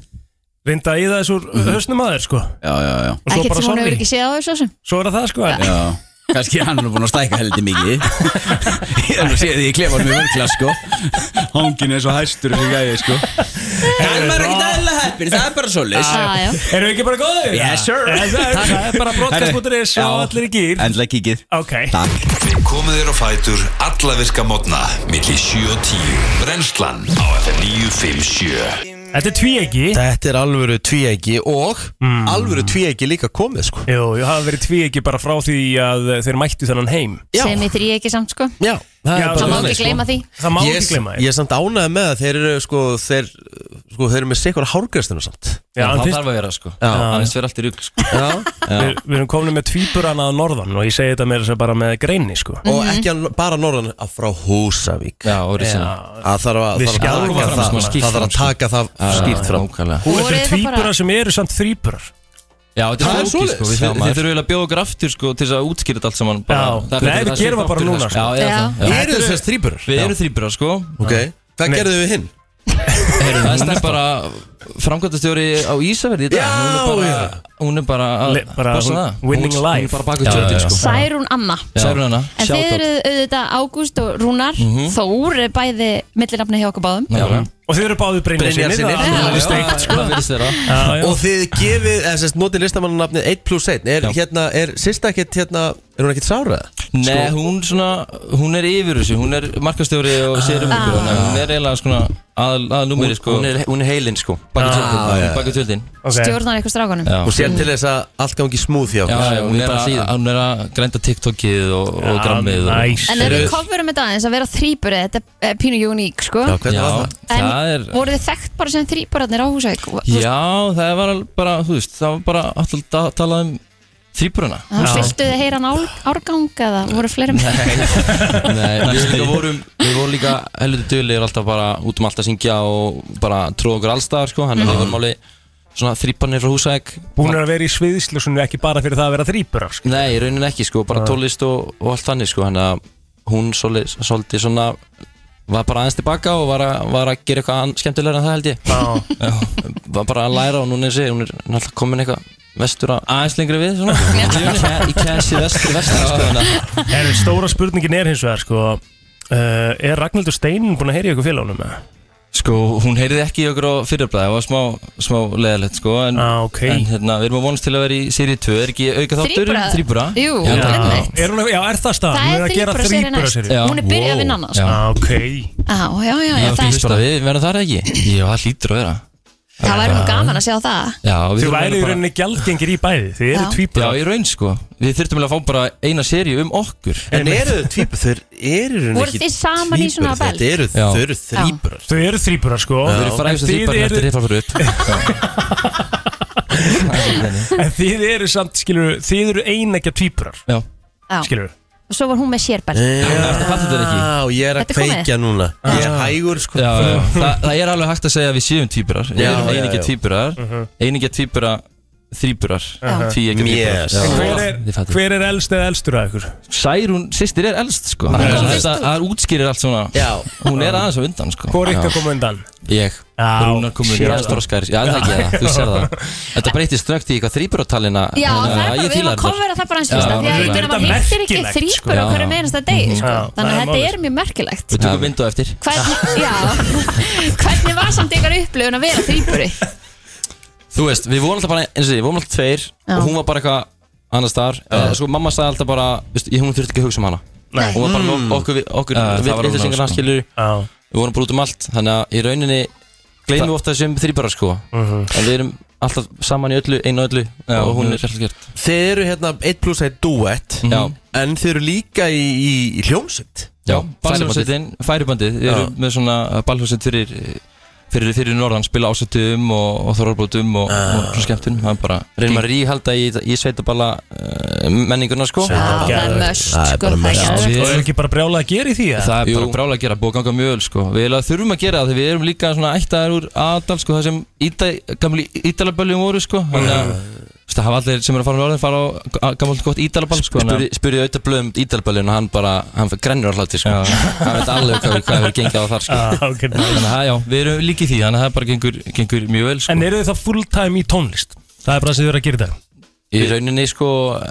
S3: reynda að í þessu úr
S13: Mhm.
S3: höstnum aður sko.
S13: Já, já, já
S3: Og svo
S4: Ekkert
S3: bara
S4: sem hún hefur
S3: sorry
S4: ekki séð á þessu sem
S3: Svo er það sko en-
S13: Já, kannski hann er búin að stækka heldur mikið Ég er nú séð því ég klefa mjög örgla, sko Hangin er svo hæstur sem gæði, sko Það er bara ekki dæla heppin, það er bara svo list
S3: Erum við ekki bara góðir?
S13: Yes, sir.
S3: Takk, Það er bara brotkast.is og
S13: Já.
S3: allir í gýr
S13: Endla kikið
S3: Ok
S13: Takk
S1: Við komum þér á fætur alla virka mótna millir 7 og 10 Brennslan á FM 957
S3: Þetta er tvíeggi
S2: Þetta er alvöru tvíeggi og alvöru tvíeggi líka komið sko
S3: Mm. Jú, ég hafa verið tvíeggi bara frá því að þeir mættu þennan heim
S4: sem ég þrý ekki samt sko
S2: Já,
S3: Já,
S4: það má ekki gleyma því
S3: Það má
S2: Ég-
S3: ekki gleyma því
S2: Ég er samt ánægð með að þeir eru sko þeir, sko, þeir eru með sikur hárgræstinu samt
S3: Já, en
S15: það
S3: fyrst-
S15: þarf að vera sko
S2: Já.
S15: Annars fyrir allt í rugl sko
S2: Já,
S3: Við, við erum komin með tvíburana að norðan og ég segi þetta meira þess að bara með greini sko
S2: Og
S4: Mhm.
S2: ekki að, bara norðan að frá Húsavík
S15: Já, og
S2: Já.
S15: risina.
S2: Að þarf að
S3: Við
S2: þarf að
S3: skjálfum
S2: taka
S3: fram,
S2: það
S3: sko, skýrt
S2: Það þarf að
S3: fram, sko.
S2: taka það
S15: Já,
S2: skýrt fram
S15: nákvæmlega.
S3: Þú
S4: Voruð
S3: ert
S4: þið bara-
S3: tvíburar sem eru samt þrýburar
S15: Já, þetta
S2: Það er
S15: er flókið sko
S2: svoleiðis.
S15: Við- Þið
S2: Já, maður.
S15: þið þurfum eiginlega að bjóða okkur aftur sko til þess að útskýra þetta allt saman
S3: Já.
S15: bara. Það er
S3: Nei,
S15: fyrir
S3: við
S15: það sem
S3: gerum það bara
S15: þátturinn
S3: núna,
S15: er,
S3: sko.
S15: Já, ég er
S4: Já.
S15: það.
S2: Eru
S15: Já.
S2: þið þess þrýburar?
S15: Við erum þrýburar sko
S2: Ok, hvað gerðu við hinn?
S15: Það er stelpa bara framkvæmtastjóri á Ísafjörði í dag
S2: Já,
S15: Hún er bara, hún er bara að
S3: Le- bara
S15: passa
S3: hún-
S15: það.
S3: winning
S15: Hún- Hún
S3: life.
S15: er bara bakið
S3: Já,
S15: tjöldin
S3: já, já.
S15: sko
S4: Særún Anna
S15: Særun hana
S4: En
S15: shout
S4: þeir
S15: out.
S4: eru auðvitað Ágúst og Rúnar Þór er bæði millirnafni hjá okkur báðum
S15: Nákvæmlega.
S3: Og þið eru báðu breinir
S15: Já,
S2: Brynjarsinir.
S15: já,
S3: sinni
S15: já, sko, Það finnst þeirra
S2: Og þið gefið, eða sérst, notið listamannanafnið 1 plus 1 Er hérna, er sista ekkert hérna, er hún ekkert sárað? Sko,
S15: Nei, hún svona, hún er yfir þessu, hún er markastjóri
S2: Ah.
S15: og sér um ykkur, þannig að hún er eiginlega svona aðal, aðal númeri sko
S12: Hún er, hún er heilinn sko
S15: Bakið
S2: Ah, já.
S15: tjöldin, bakið tjöldin
S4: Stjórnar ykkur strákunum
S15: Já.
S2: Hún sér til þess að allt gangi smúð hjá
S15: Já,
S2: okkur.
S15: já, hún er að, hún er að grænda TikTokið og, og grammið og
S3: Næs
S4: En ef við kofurum þetta aðeins að vera þrýburi Þetta er pínu uník sko
S2: Já, hvernig
S15: Já,
S2: var það?
S4: En
S15: það er
S4: voruð þið þekkt bara sem þrýburarnir á Húsavík?
S15: Já, það var al- bara, þú veist, það var bara alltaf að tala um þrýburuna
S4: Ah, Viltu þið heyra hann árgang eða voru fleiri með?
S15: Nei, við líka vorum, við vorum líka helviti dölir alltaf bara út um allt að syngja og bara tróða okkur allstaðar sko, þannig að við vorum alveg svona þrýbarnir frá húsæk
S3: Búin að vera í sviðislusunni ekki bara fyrir það að vera þrýburar sko.
S15: Nei, í rauninni ekki sko, bara tólist og, og allt þannig sko, hann að hún svolítið svolítið svona var bara aðeins tilbaka og var, a, var að gera eitthvað ann- skemmtilegra en það held ég
S3: Já,
S15: Já, var bara að læra og núna er hún er náttúrulega komin eitthvað vestur að aðeins lengri við svona Í- í kæsi vestur vestur sko, þannig að-
S3: en stóra spurningin er hins vegar sko Uh, er Ragnhildur Steinin búin að heyra í okkur félagunum með?
S15: sko, hún heyrði ekki í okkur á fyrirblæði, það var smá, smá leðalegt sko, en,
S3: Ah, ok.
S15: en hérna, við erum að vonast til að vera í séri 2, er ekki auka þáttur
S4: Þríbura?
S15: þrýbura?
S4: Jú,
S15: Já.
S4: einmitt.
S3: er hún, að- já, er það staðan?
S4: Það
S3: Hún
S4: er
S3: að gera
S4: þrýburasería næst
S3: þrýburaseríu?
S15: Já.
S4: Hún er byrjað að vinna hana
S15: Já.
S4: sko.
S3: Ah, ok
S4: Já, já, já, já,
S15: Ég
S4: það er
S15: finnst
S4: sko
S15: bara að við verðum þar eða ekki? Já, það hlýtur að vera
S4: Það væri nú gaman að sjá það
S15: Já, við
S3: Þið
S15: þurfum að
S3: værið í
S15: vera bara-
S3: rauninni gjaldgengir í bæði Þið eru
S4: Já.
S15: Já,
S3: tvíburar
S15: í raun sko Við þurftum alveg að fá bara eina séri um okkur
S2: En eru þau tvíbur? Þeir eru hún
S4: Voruð
S2: ekki
S4: þið saman í
S2: tvíburar,
S4: svona belg?
S2: Þetta eru,
S15: Já.
S2: þau eru þrýburar
S3: Þau eru þrýburar sko
S15: Við erum farið
S3: En
S15: eftir því bara eftir
S3: eru,
S15: því bara upp
S3: en þið eru samt, skilur Þið eru einægja tvíburar,
S15: Já,
S4: Já.
S3: skilur
S4: Og svo var hún með sérbelg
S15: það fattu þetta ekki Ah.
S2: Já, ég er að
S4: Þetta er komið.
S2: kveikja núna Ég er hægur sko
S15: Já, já. Þa, það er alveg hægt að segja að við séum tvíburar Við
S2: Já,
S15: erum
S2: já,
S15: einingja
S2: já. Mhm.
S15: tvíburar Einingja tvíbura þrýburar Tvíegja
S2: Yes.
S3: Hver
S15: tvíburar
S3: er,
S15: Þið fattu.
S3: hver er elst eða elstur að ykkur?
S15: Særún sýstir er elst sko
S2: er
S15: Þannig að
S2: elst.
S15: Þetta það útskýrir allt svona
S2: Já.
S15: Hún er aðeins á undan sko
S3: Hvor
S15: Já.
S3: ykkar kom undan?
S15: Ég
S3: Já,
S15: Rúnar komur
S3: shit.
S15: í aðstóraskæri Já, það ekki það, þú sér það Þetta breytist strökt í eitthvað þrýburatalina
S4: Já, það er bara, við erum að kofvera það bara eins og
S15: Já,
S4: það Því að
S15: þetta
S4: þegar
S3: er
S4: maður hittir ekki
S3: merkilegt, sko.
S4: þrýpur á
S15: Já.
S4: hverju meðan það degi sko.
S3: Já,
S4: Þannig að
S3: það er
S4: þetta
S3: málið. sko.
S4: er mjög merkilegt
S15: Við tökum vindu á eftir
S4: Hvern, já, hvernig var samt ykkar upplöfun að vera þrýpuri?
S15: Þú veist, við vorum alltaf bara eins og því, við vorum alltaf tveir
S4: Já.
S15: og hún var bara eitthvað annars þar uh. Sko mamma sagði alltaf bara, veist, ég, hún þurfti ekki að hugsa um hana
S4: Nei.
S15: Hún var bara mm. okkur, okkur
S12: Já,
S15: uh,
S12: það var
S15: við
S12: hún
S15: einhversingar
S12: sko.
S15: hans skilur
S3: Já,
S15: Við vorum bara út um allt, þannig að í rauninni gleymum við ofta þessum þrýbara sko En við erum alltaf saman í öllu, einu og öllu og hún er alltaf gert
S2: Þið eru hérna 1 plus 1 duett
S15: Já.
S2: En þið eru líka í, í, í hljómsveit
S15: Já,
S11: Færibandið.
S15: Ballhjómsveitin, færibandið Við erum með svona ballhjómsveit fyrir, fyrir, fyrir norðan Spila ásettum og, og þorrarbótum og, og svona skemmtum Það er bara, reynum að ríhalda í, í sveitaballa
S3: eh,
S15: uh, menninguna sko
S4: Já, það er möst,
S15: Það er
S4: sko,
S15: bara
S4: það
S15: must.
S4: er
S15: Já,
S4: geðveikt.
S15: við-
S3: Það er ekki bara brjála að gera í því eða?
S15: Það er
S3: Jú.
S15: bara brála að gera, búið að ganga mjög öll sko Við eiginlega þurfum að gera það, þegar við erum líka svona ættaðar úr aðal sko Það sem íta, gamli ítalaböljum voru sko Þannig að þú veist, það hafa allir sem eru að fara með orðin fara á á gamalt gott ítalaball sko
S11: Spurði-
S15: Spurði auðvitað blöðum ítalaböljun og hann bara, hann grennur alltaf sko Hann veit alveg hvað hvað hefur gengið á þar sko
S3: Ah, ok, nice.
S15: Þannig að það, já, við erum líka í því, þannig að það bara gengur, gengur mjög vel sko
S3: En eru þið það full time í tónlist? Það er bara það sem þið eru að gera í dag
S15: Í rauninni sko,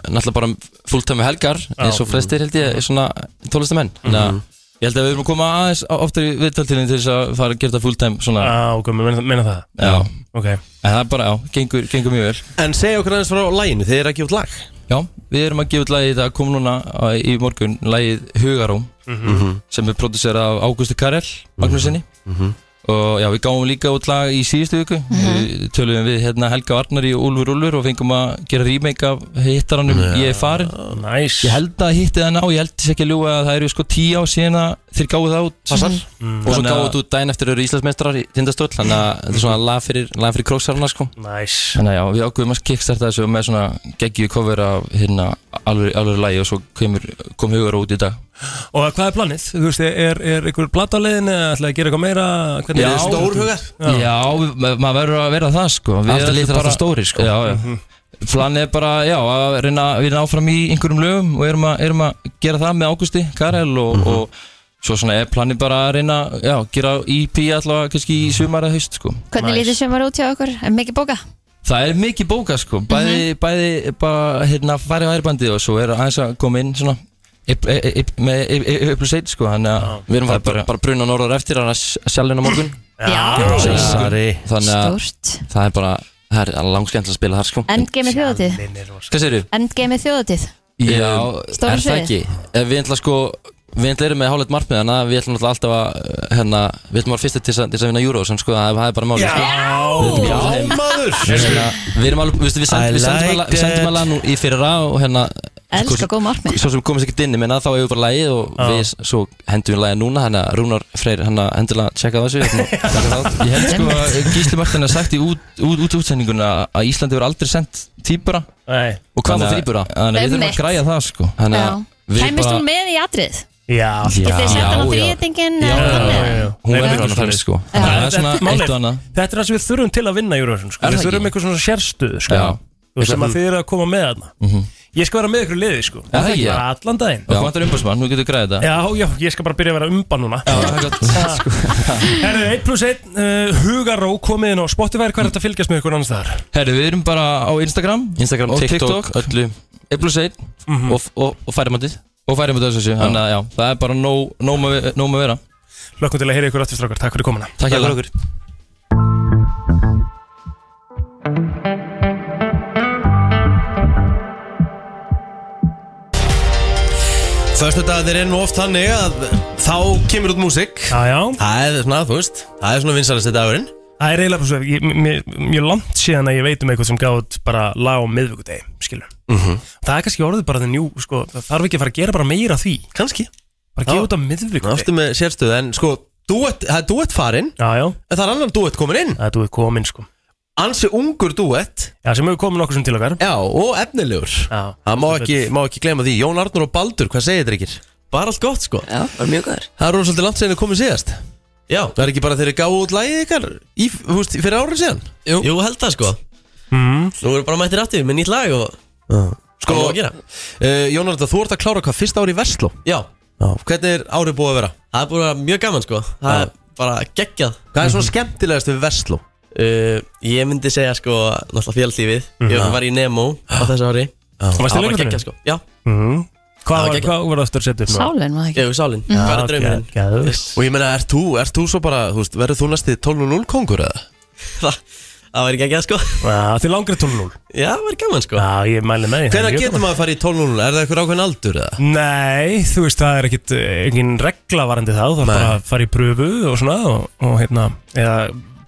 S15: náttúrulega bara fulltime helgar eins og flestir held
S3: Mhm.
S15: ég, er svona tólestamenn Þannig að ég held að við erum að koma aðeins oftar í viðtaltilinn til þess að fara að gera þetta fulltime svona
S3: Já, Ah, ok, menna, menna það
S15: Já,
S3: Ok.
S15: en það er bara, já, gengur, gengur mjög vel
S2: En segja okkur aðeins frá læginu, þið eru að gefa út lag
S15: Já, við erum að gefa út lagið það kom núna á- í morgun, lagið Hugaróm
S2: Mhm.
S15: sem er prodúsera af Águsti Karel Magnúsinni
S2: Mhm.
S15: og já, við gáum líka út lag í síðustu viku við töluðum við hérna Helga Arnar í Úlfur Úlfur og fengum að gera remake af hittaranum
S3: Já,
S15: Ég er farin
S3: nice.
S15: Ég held að hitti það ná, ég held þess ekki að ljúga að það eru sko tíu á síðan að þeir gáðu það út
S2: Passar.
S3: Mhm.
S15: og svo
S3: Þannig að-
S15: gáðu þetta út daginn eftir að eru Íslandsmeistrar í tindastöll þannig að þetta er svona lag fyrir, lag fyrir króksarana sko
S3: Nice.
S15: Þannig að já, við ákveðum að kickstarta þessu með svona geggju cover af hérna alveg, alveg lagi og svo kemur, kom hugur út í dag
S3: Og hvað er planið? Þú veist, er, er ykkur platalegin eða ætlaði að gera eitthvað meira? Hvernig
S15: Já.
S3: er þetta?
S15: Stórhugar? Já, við- ma- maður verður að vera það sko Við
S3: Alltaf
S15: ætlum
S3: litlir,
S15: bara-
S3: alltaf stórir, sko.
S15: Já, já
S3: Mhm.
S15: Planið er bara, já, að reyna að vinna áfram í einhverjum lögum og erum að, erum að gera það með Águsti, Karel og, og svo svona er planið bara að reyna já, gera EP allavega kannski í sumar eða haust sko
S4: Hvernig lítið sem var út hjá okkur? Er mikið bóka?
S15: Það er mikið bóka sko,
S4: Mhm.
S15: bæði, bæði bara hérna færi værbandi og svo er aðeins að koma inn svona upp- upp- upp- með upplýseit sko, þannig að við erum bara, bara brun og norðar eftir þannig að sjálfinn á morgun
S4: Já.
S2: Sari.
S15: Þannig að
S4: Stórt.
S15: það er bara, það er langskemmtilega að spila þar sko
S4: Endgame er þjóðatíð
S15: Hvað segir
S4: Endgame er þjóðatíð
S15: Já,
S4: Stóra
S15: er það
S4: sviði.
S15: ekki? Eh, Við ætlum sko, við ætlum erum með hálfleitt markmið þannig að við ætlum náttúrulega alltaf að, eh, hérna, við ætlum að vera fyrstir til þess að- til þess að vinna Euro sem sko, það það er bara máli Já,
S2: Já, maður.
S15: Við erum alveg, veistu, við
S2: I
S15: sendum, við
S2: like
S15: sendum alveg, við sendum
S2: it.
S15: alveg nú í fyrra og hérna
S4: Elskar
S15: sko,
S4: góð markmið.
S15: Svo sem komist ekkert inn, ég menna þá hefur bara lagið og
S4: Já.
S15: við svo hendum við lagið núna Þannig að Rúnar Freyr, hann að endilega checka þessu hérna, taka þátt. Ég held sko að Gísli Martin að sagt í út, út, út útsendinguna að Íslandi hefur aldrei sendt týpura
S3: Nei.
S15: Og hvað
S3: Þannig
S15: var
S3: að-
S15: þrýpura? Þannig að við þurfum
S4: Einmitt.
S15: að græja það sko Þannig
S4: Já.
S15: að við
S4: Hæmist
S15: bara-
S4: hún með í atrið?
S3: Já,
S4: Getið þið sett hann á
S15: já, já.
S4: þrýðingin?
S15: Já, já, já,
S3: já.
S15: Hún
S3: Nei,
S15: verður hann
S3: þetta
S15: að
S3: svoleiðis.
S15: ferð, sko.
S3: Já.
S15: Það er
S3: Þetta-
S15: svona
S3: málið-
S15: eitt og annað.
S3: Þetta er það sem við þurfum til að vinna í Eurovision sko.
S15: Er
S3: Við
S15: það
S3: þurfum eitthvað svona sérstöðu sko. Þú
S15: Sem
S3: veist sem að
S15: að-
S3: þið eru að koma með þarna Ég skal vera með ykkur í liði sko.
S15: Já, Mhm. það ekki, já.
S3: Bara Allan daginn
S15: Þú vantar um umbúrsmann, nú getur við græðið þetta
S3: Já, já, ég skal bara byrja að vera umba núna Já,
S15: það er gott Sko.
S3: Herru, 1 plus 1, uh, Hugaró komið inn á Spotify, hvað er þetta að fylgjast með ykkur annars þar?
S15: Herri, við erum bara á Instagram
S3: Instagram,
S15: og
S3: TikTok,
S15: TikTok, öllu 1 plus 1
S3: Mhm.
S15: og, og, og færimandið Og færimandið þessu Þannig að já, það er bara nóg nóg með nóg með vera
S3: Lökkum til að heyra ykkur aftur strákar, takk fyrir komuna
S15: Takk hjá okkur
S2: Förstu dagarnir er nú oft þannig að þá kemur út músík
S3: Já, já
S2: Það er svona, þú veist, það er svona vinsalasti dagurinn
S3: Það er eiginlega bara svo, ég- mér- mjög langt síðan að ég veit um eitthvað sem gátt bara lag á miðvíkudegi, skilur
S2: Mhm.
S3: Það er kannski orðið bara þenni, jú, sko, það þarf ekki að fara að gera bara meira af því
S2: Kannski
S3: Bara gefa út á miðvíkudegi
S2: Aftur með sérstöðu, en sko, duett, það er duett farin
S3: Já, já
S2: En það er annan duett komin inn
S3: Það er duett komin, sko
S2: Ansi ungur duett
S3: Já, sem hefur komin okkur sem til okkar
S2: Já, og efnilegur
S3: Já
S2: Það má ekki, má ekki glemma því Jón Arnur og Baldur, hvað segir þetta ekki? Bara allt gott, sko
S16: Já, bara mjög góður
S2: Það er orðið svolítið langt sem þið komið síðast Já Það er ekki bara þeirri gáðu út lagið ykkar í, húst, fyrir árið síðan
S16: Jú, held það sko
S2: Mm.
S16: Nú erum bara mættir aftur með nýtt lag og
S2: Sko, uh, Jón Arnur, þú ert að klára hvað fyrsta árið í Vestló
S16: Já
S2: Hvernig er árið búið að vera?
S16: Það er búin að vera mjög gaman sko Það er bara geggjað
S2: Hvað er svona skemmtilegast við Vestló?
S16: Uh, ég myndi segja sko náttúrulega félagslífið Ég
S3: Mhm.
S16: var í Nemo
S2: Ah.
S16: á þessu ári Það
S3: Varstu í
S16: var
S3: leikritinu?
S16: geggjað sko Já,
S2: Mm.
S3: Mhm. Hvað
S16: Það var
S3: var,
S16: geggjað.
S3: hvað var aftur að setja upp?
S4: Sálin var það ekki
S16: Jú, sálinn,
S4: Mhm.
S16: hvað er draumurinn?
S2: Og ég meina, ert þú, ert þú svo bara, þú veist, verður þú næsti 12-0 kongur eða?
S16: Það það væri geggjað sko
S3: Já, þið langrið 12-0
S16: Já, það væri gaman sko
S3: Já, ég mæli með því
S2: Hvenær getur maður að fara í 12-0? Er það eitthvað ákveðin aldur eða?
S3: Nei, þú veist, það er ekkit eh, engin regla varandi það, það er bara að fara í pröfu og svona og, og hérna, eða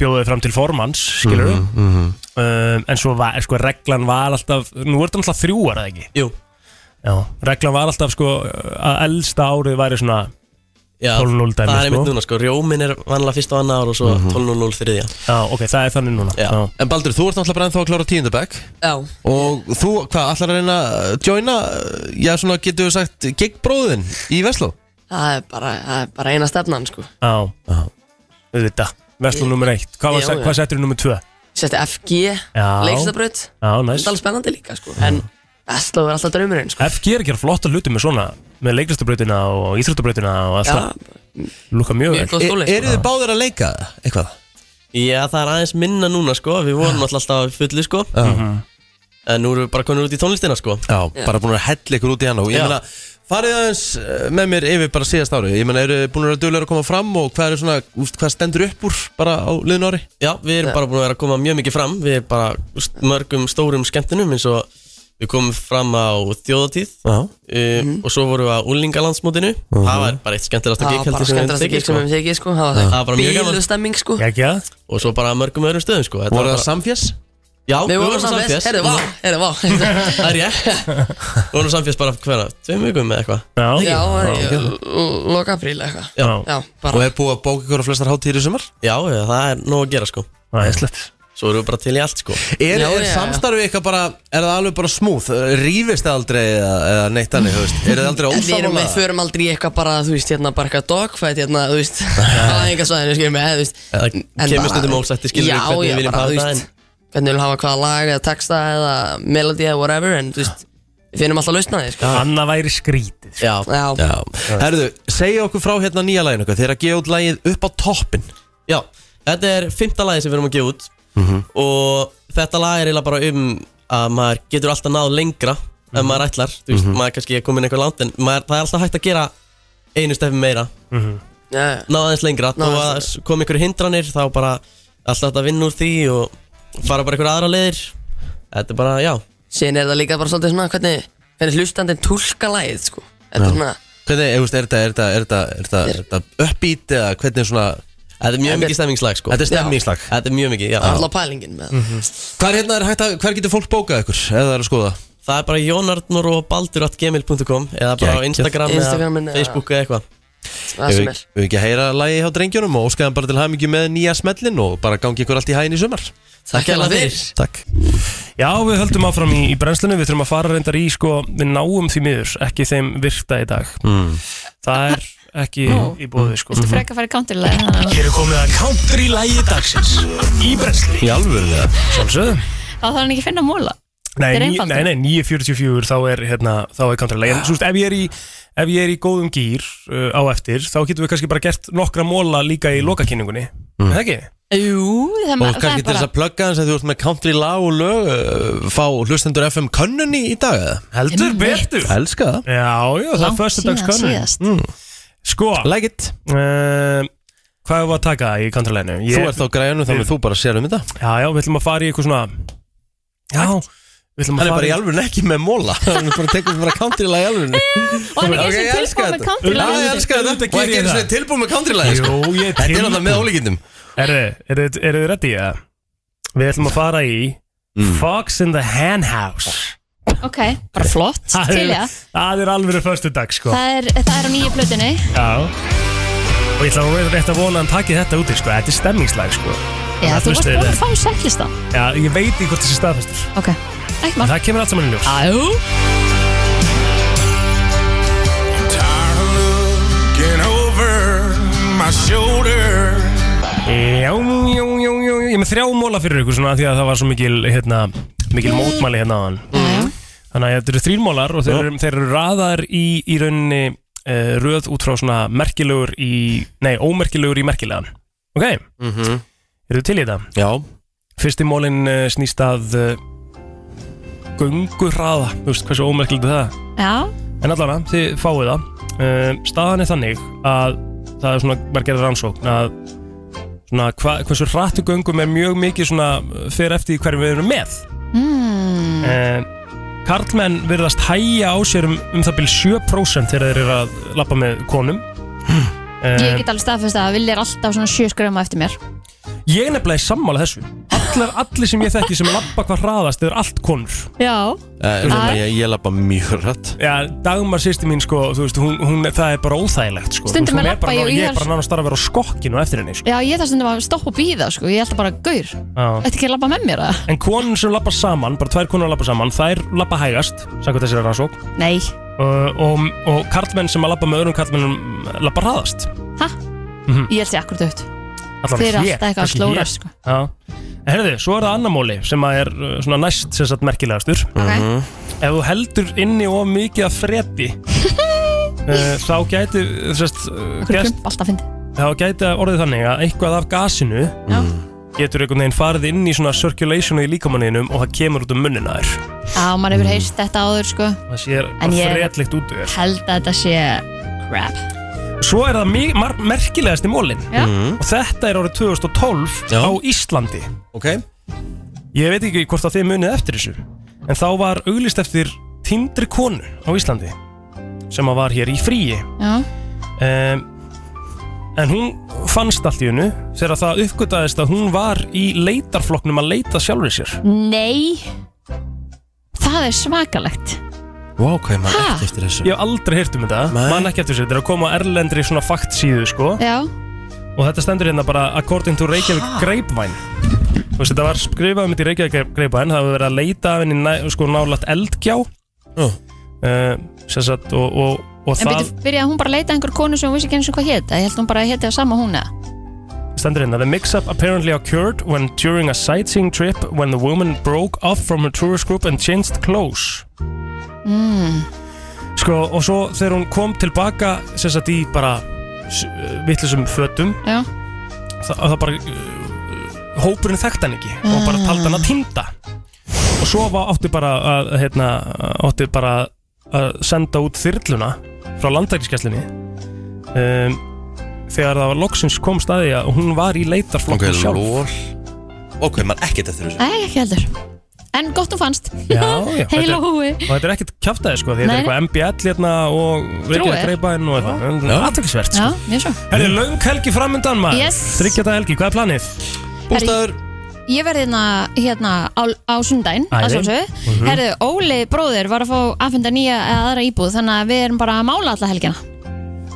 S3: bjóðu þið fram til formans, skilur við
S2: Mhm.
S3: um, en svo var, sko, reglan var alltaf nú er þetta alltaf þrjúar, eða ekki?
S16: Jú
S3: Já, reglan var alltaf, sko, að elsta árið væri svona
S16: Já,
S3: 12-0 dæmi,
S16: Það er einmitt
S3: sko.
S16: núna sko, rjómin er vanlega fyrst á annar og svo
S2: Mhm.
S16: 12-0 þriðja
S3: Já, ok, það er þannig núna
S16: Já,
S2: En Baldur, þú ert náttúrulega bara ennþá að klára tíundabæk
S17: Já
S2: Og þú, hvað, ætlar að reyna að joina, eh, já svona getur við sagt, geggbróðin í Vestló?
S17: Það er bara, það er bara eina stefnan sko
S3: Já, auðvitað Vestlum
S2: Eh,
S3: nummer eitt Hvað,
S17: Já,
S3: var,
S17: já.
S3: hvað settur þú nummer tvö?
S17: Sett FG,
S3: Já.
S17: leikstabraut
S3: Já,
S17: Það
S3: næs.
S17: er alveg spennandi líka sko En Vestló er alltaf draumurinn sko
S3: FG er að gera flotta hluti með svona Með leiklistabrautina og íþróttabrautina og allt
S17: Já.
S3: það Lúka mjög
S16: Mjög góð skóli, sko.
S2: Eru þið báðir að leika eitthvað?
S16: Já, það er aðeins minna núna sko, við vorum náttúrulega alltaf fullu sko
S2: Mhm.
S16: En nú erum við bara komin út í tónlistina sko
S2: Já, bara búin að hella ykkur út í hann og ég
S16: Já.
S2: meina, farið aðeins eh, með mér yfir bara síðast ári Ég meina, eru þið búin að vera duglegar að koma fram og hvað er svona, úst, hvað stendur upp úr bara á liðin ári?
S16: Já, við erum bara búin að vera að koma mjög mikið fram Við erum bara st- mörgum stórum skemmtunum eins og við komum fram á þjóðatíð
S2: Já. Mhm.
S16: uh, og svo vorum við á úlingalandsmótinu Það var bara eitt skemmtilegasta
S17: Mhm. Það var
S16: gig
S17: bara
S16: held ég, sem við höfum
S17: skemmtilegasta
S16: tekið,
S17: gig sem
S16: sko.
S17: við höfum tekið, sko. Það var
S16: Það var bara mjög gaman
S17: bíluð stemming, sko.
S3: Gekja
S16: Og svo bara á mörgum öðrum stöðum sko Þetta
S2: Voruð
S16: var
S2: það samfjess?
S16: Já,
S17: Við vorum saman fyrst Herru, vá, herru, vá Það
S16: er ég Við vorum samfjess bara hverja, tveim vikum eða eitthvað
S17: Já, loka apríl eitthvað
S16: Já.
S17: bara
S2: Og er búið að bóka ykkur á flestar hátíðir í sumar?
S16: Já, já, það er nóg að gera sko
S3: Æslegt
S16: Svo erum við bara til í allt sko
S2: Er, er samstarfið eitthvað bara, er það alveg bara smúð? Rífist þið aldrei eða, eða neitt annir, þú veist? Er þið aldrei
S17: Við erum við
S2: ósámála?
S17: förum aldrei í eitthvað bara, þú veist, hérna bara eitthvað dogfight, hérna, þú veist Það er enga svæðinu, skilur mig, eða, þú veist
S16: Það
S17: En
S16: kemur
S17: bara-
S16: stundum ósætti, skilur við,
S17: Já,
S16: hvernig við
S17: já,
S16: viljum
S17: bara,
S16: hafa
S17: þú
S16: þetta,
S17: veist, Hvernig við viljum hafa hvaða lag eða texta eða melody eða whatever En, þú veist, við finnum alltaf lausna því, sko
S3: Anna væri skrítið
S16: Já,
S17: já.
S2: já. Herðu, segja okkur frá hérna nýja læginu ykkur Þeir að gefa út lægið upp á toppin
S16: Já, þetta er fymta lagi sem við erum að gefa út Mhm. Og þetta lag er eiginlega bara um að maður getur alltaf náð lengra Ef maður ætlar, þú veist,
S2: Mhm.
S16: maður er kannski er komin eitthvað langt En maður, það er alltaf hægt að gera einu stefi meira
S2: Mhm.
S17: Já,
S16: Ná aðeins lengra,
S17: Ná
S16: þó
S17: aðeins
S16: að kom einhverju hindranir Þá bara alltaf hægt að vinna úr því og fara bara einhverja aðra leiðir Þetta er bara, já
S17: Síðan er það líka bara svolítið svona, hvernig, hvernig hlustandinn túlka lagið, sko Þetta er
S2: Já.
S17: svona
S2: Hvernig, er, er, er, þetta- er, þetta- er, þetta- er þetta uppbít eða hvernig svona
S16: Þetta er mjög mikið stemmingslag sko
S2: Þetta er stemmingslag
S16: Þetta er mjög mikið, já
S17: alltaf pælingin með það.
S2: Hvar, hérna er hægt að, hver getur fólk bókað ykkur ef það er að skoða?
S16: Það er bara jónarnur og baldur.gmail.com Eða bara á
S2: Geggjað.
S16: Instagram,
S17: Instagramin
S16: eða
S17: eða-
S16: Facebook eða eitthvað
S17: Það sem er
S2: Ef við- Við ekki að heyra lagi hjá drengjunum og óskaðum bara til hamingi með nýja smellin og bara gangi ykkur allt í hægin í sumar
S17: Takk hérlega fyrir.
S2: Takk
S3: Já, við höldum áfram í, í brennslunni Við þurfum að fara reyndar í, sko Við náum því miður, ekki þeim virta í dag
S2: mm.
S3: Það er ekki í bóði, sko
S4: Þú frekar að fara í counterlega
S3: Hér er komið að country lægi dagsins Í brennslunni
S2: Í alvöru það
S3: Sjálfsögðu
S4: Þá þarf hann ekki að finna móla
S3: Nei,
S4: Þetta er
S3: ní-
S4: einfalt.
S3: nei, nei, 9.44 þá er hérna, þá er counterlega, en svo veist, ef ég er í ef ég er í góðum gýr uh, á eftir þá getum við kannski bara gert nokkra móla líka í lokakynningunni, mm. ekki?
S4: Jú, það,
S2: Og
S4: það
S2: kannski
S4: er
S2: til þess
S4: bara
S2: að plugga hans að þú ert með country lag og lög uh, Fá hlustendur FM könnunni í dag eða?
S3: Heldur betur
S2: Elska það
S3: Já, já,
S2: Langt
S3: það er
S2: síðan
S3: föstudagskönnun
S2: síðast.
S3: mm. Sko
S2: Like it
S3: uh, Hvað er að taka í counterleginu?
S2: Þú ert þá græjanum þannig að þú bara sér um þetta
S3: Já, já, við ætlum að fara í eitthvað svona Já, við ætlum
S2: Hann
S3: að
S2: er
S3: fara
S2: bara í alvöru ekki með móla Hann er bara að tekja bara country lag í alvöru
S4: Og hann er ekki eins og tilbúið með country lag.
S2: Já, ég elska þetta Og
S3: Auðvitað geri
S2: ekki
S3: ég
S2: eins og
S3: það.
S2: tilbúið með country lag
S3: Jú, ég er
S2: Þetta er
S3: tilbúinn.
S2: alltaf með ólíkindum
S3: Eru eru- eru þið ready? eða? Við ætlum að fara í
S2: Mm.
S3: Fox in the Hen House
S4: Ok, bara flott
S3: Það
S4: Til
S3: er-
S4: ég
S3: Það er alveg förstu dag sko
S4: Það er, það er á nýju plötunni
S3: Já Og ég ætla að vera rétt að vona að hann taki þetta úti sko Þetta er stemningslag sko
S4: Já,
S3: Það
S4: þú varst
S3: hlustið
S4: búin að
S3: þið.
S4: fá setlistan
S3: Já, ég veit í hvort þessi staðfestur
S4: Ok, ekki
S3: En
S4: mál
S3: það kemur allt saman í ljós
S4: Ajú
S9: Looking over my shoulder
S3: Já, já, já, já, já, ég er með þrjá móla fyrir ykkur svona af Því að það var svo mikil, hérna, mikil mótmæli hérna á hann Þannig að þetta eru þrír mólar og þeir, eru- þeir eru raðar í, í rauninni uh, Röð út frá svona merkilegur í, nei, ómerkilegur í merkilegan Ok, mm -hmm. eru til í þetta?
S2: Já
S3: Fyrsti mólin uh, snýst að uh, Göngu raða, þú veist hversu ómerkilegt er það
S4: Já,
S3: En allavega, þið fáið það uh, Staðan er þannig að það er svona verið gerð rannsókn að svona hva, hversu hrattu göngum er mjög mikið svona uh, fer eftir því hverjum við erum með
S4: mm.
S3: uh, Karlmenn virðast hæja á sér um, um það byrja 7% þegar þeir eru að lappa með konum
S4: Ég
S3: Eh,
S4: get alveg staðfest að Villi er alltaf svona sjö skröma eftir mér
S3: Ég er nefnilega í sammála þessu allar, allir sem ég þekki sem lappa hvað hraðast, þeir eru allt konur
S4: Já
S2: Eh, nema Ég, ég lappa mjög rætt
S3: Já, Dagmar sýsti mín sko, þú veist, hún, hún, það er bara óþægilegt sko.
S4: Stundum
S3: Þú veist, hún
S4: er
S3: er bara
S4: labba ég
S3: ná-
S4: og ég
S3: Ég er
S4: þarf-
S3: bara nánast að vera á skokkinu á eftir henni sko.
S4: Já, ég þarf stundum að stoppa og býða sko. Ég held að bara, gaur,
S3: Já.
S4: ætti ekki að labba með mér það?
S3: En konur sem lappa saman, bara tvær konur að lappa saman Þær lappa hægast, sagði þessir rannsók
S4: Nei
S3: uh, Og, og karlmenn sem að lappa með öðrum karlmennum eh, lappa hraðast
S4: Hæ?
S3: Mhm.
S4: Ég held sér akkur dött Þeir
S3: Allavega
S4: eru
S3: hér,
S4: alltaf eitthvað að
S3: kannski
S4: slóra
S3: hér.
S4: sko.
S3: Já. En herðu, svo er það annar móli sem að er uh, svona næst sem sagt merkilegastur
S4: Ok.
S3: Ef þú heldur inni of mikið af fredi uh, þá gæti uh, sest, uh,
S4: Akkur
S3: gerst,
S4: klump alltaf fyndi
S3: þá gæti það orðið þannig að eitthvað af gasinu getur einhvern veginn farið inn í svona circulationu í líkamanninum og það kemur út um munnina þér
S4: Já, mann
S3: Mhm.
S4: hefur heyrst þetta áður sko.
S3: það sér
S4: En
S3: bara
S4: ég-
S3: fredlegt út úr þér
S4: Held að þetta sé crap
S3: Svo er það mi- mar- merkilegasti mólin
S4: Já.
S3: og þetta er árið 2012 á Íslandi
S2: okay.
S3: Ég veit ekki hvort að þið munið eftir þessu en þá var auglist eftir tindri konu á Íslandi sem að var hér í fríi
S4: Já,
S3: um, en hún fannst allt í hennu þegar það uppgötaðist að hún var í leitarflokknum að leita sjálfri sér
S4: nei Það er svakalegt
S2: Vá, hvað er
S4: Ha?
S2: eftir þessu
S3: Ég hef aldrei heyrt um þetta, mann ekki eftir þessu Þetta er að koma á erlendri svona faktsíðu sko
S4: Já,
S3: Og þetta stendur hérna bara according to Reykjavík Grapevine Þú veist þetta var skrifað um þetta í Reykjavík Grapevine Það hefur verið að leita af henni næ- sko nálægt eldgjá uh, Sem sagt og, og, og
S4: en
S3: það
S4: byrju, byrjaði hún bara að leita að einhver konu sem hún vissi ekki eins og hvað hétt Ég held hún bara að hétti það sama hún eða
S3: stendur hérna The mix-up apparently occurred when during a sightseeing trip When the woman broke off from her tourist group and changed clothes
S9: Hmm.
S4: mm.
S3: Sko og svo þegar hún kom tilbaka Sem sagt í bara vittlisum fötum
S4: Já
S3: það, það bara uh, hópurinn þekkt hann ekki og bara taldi hann að týnda og svo var, átti bara að hérna, átti bara að senda út þyrluna frá landtækiskeslinni um, þegar það var loksins kom staði að hún var í
S2: Ok,
S3: leitarflokku sjálf
S2: lól Ok, maður ekkert eftir þessu
S4: Nei, ekki heldur En gott hún fannst
S3: Já, já,
S4: Heil og
S3: þetta
S4: húi
S3: er- og þetta er ekkert kjaftaði sko, því þetta
S4: Nei.
S3: er eitthvað MBL hérna og Reykjavík
S4: Trúir.
S3: Greipæn og eitthvað, aðtökisvert
S4: Já,
S3: sko.
S4: mjög svo
S3: Herri, löng helgi framundan maður,
S4: Yes.
S3: þryggjata helgi, hvað er planið?
S4: Bústaður Ég verði hérna, hérna á, á sundaginn
S3: Æði.
S4: að sjálfsögðu.
S3: Mhm.
S4: Herðu, Óli bróðir var að fá aðfenda nýja eða aðra íbúð þannig að við erum bara að mála alla helgina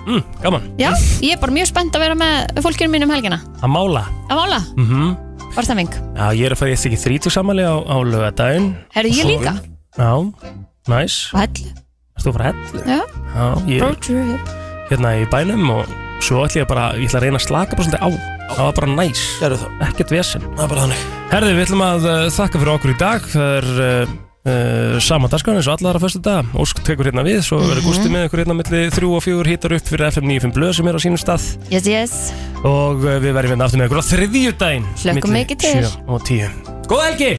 S3: Mm, gaman,
S4: Já, ég er bara mjög spennt að vera með fólkinu mín um helgina
S3: að mála
S4: Að mála,
S3: mm
S4: var stemming
S3: Já, ég er að fara í þykki 30 samali á, á lögadaginn
S4: Herðu, ég líka.
S3: Já, næs
S4: Og hellu
S3: Erst þú frá hellu?
S4: Já,
S3: Já, ég
S4: road
S3: er
S4: trip
S3: hérna í bænum og svo ætla ég bara, ég ætla að reyna að slaka bara svolítið á Það var bara næs Gerðu það Ekkert vesen Það var bara þannig Herðu, við ætlum að uh, þakka fyrir okkur í dag Það er uh, uh, sama dagskráin eins og allar að föstu dag Ósk tekur hérna við, svo verður Gústi með ykkur hérna milli 3 og 4 hittar upp fyrir FM 95 blöð sem er á sínum stað eh,
S4: Yes, yes
S3: Og uh, við verðum hérna aftur með ykkur á þriðjudaginn
S4: Hlökkum
S3: milli
S4: mikið til.
S3: sjö og 10 Góð helgi!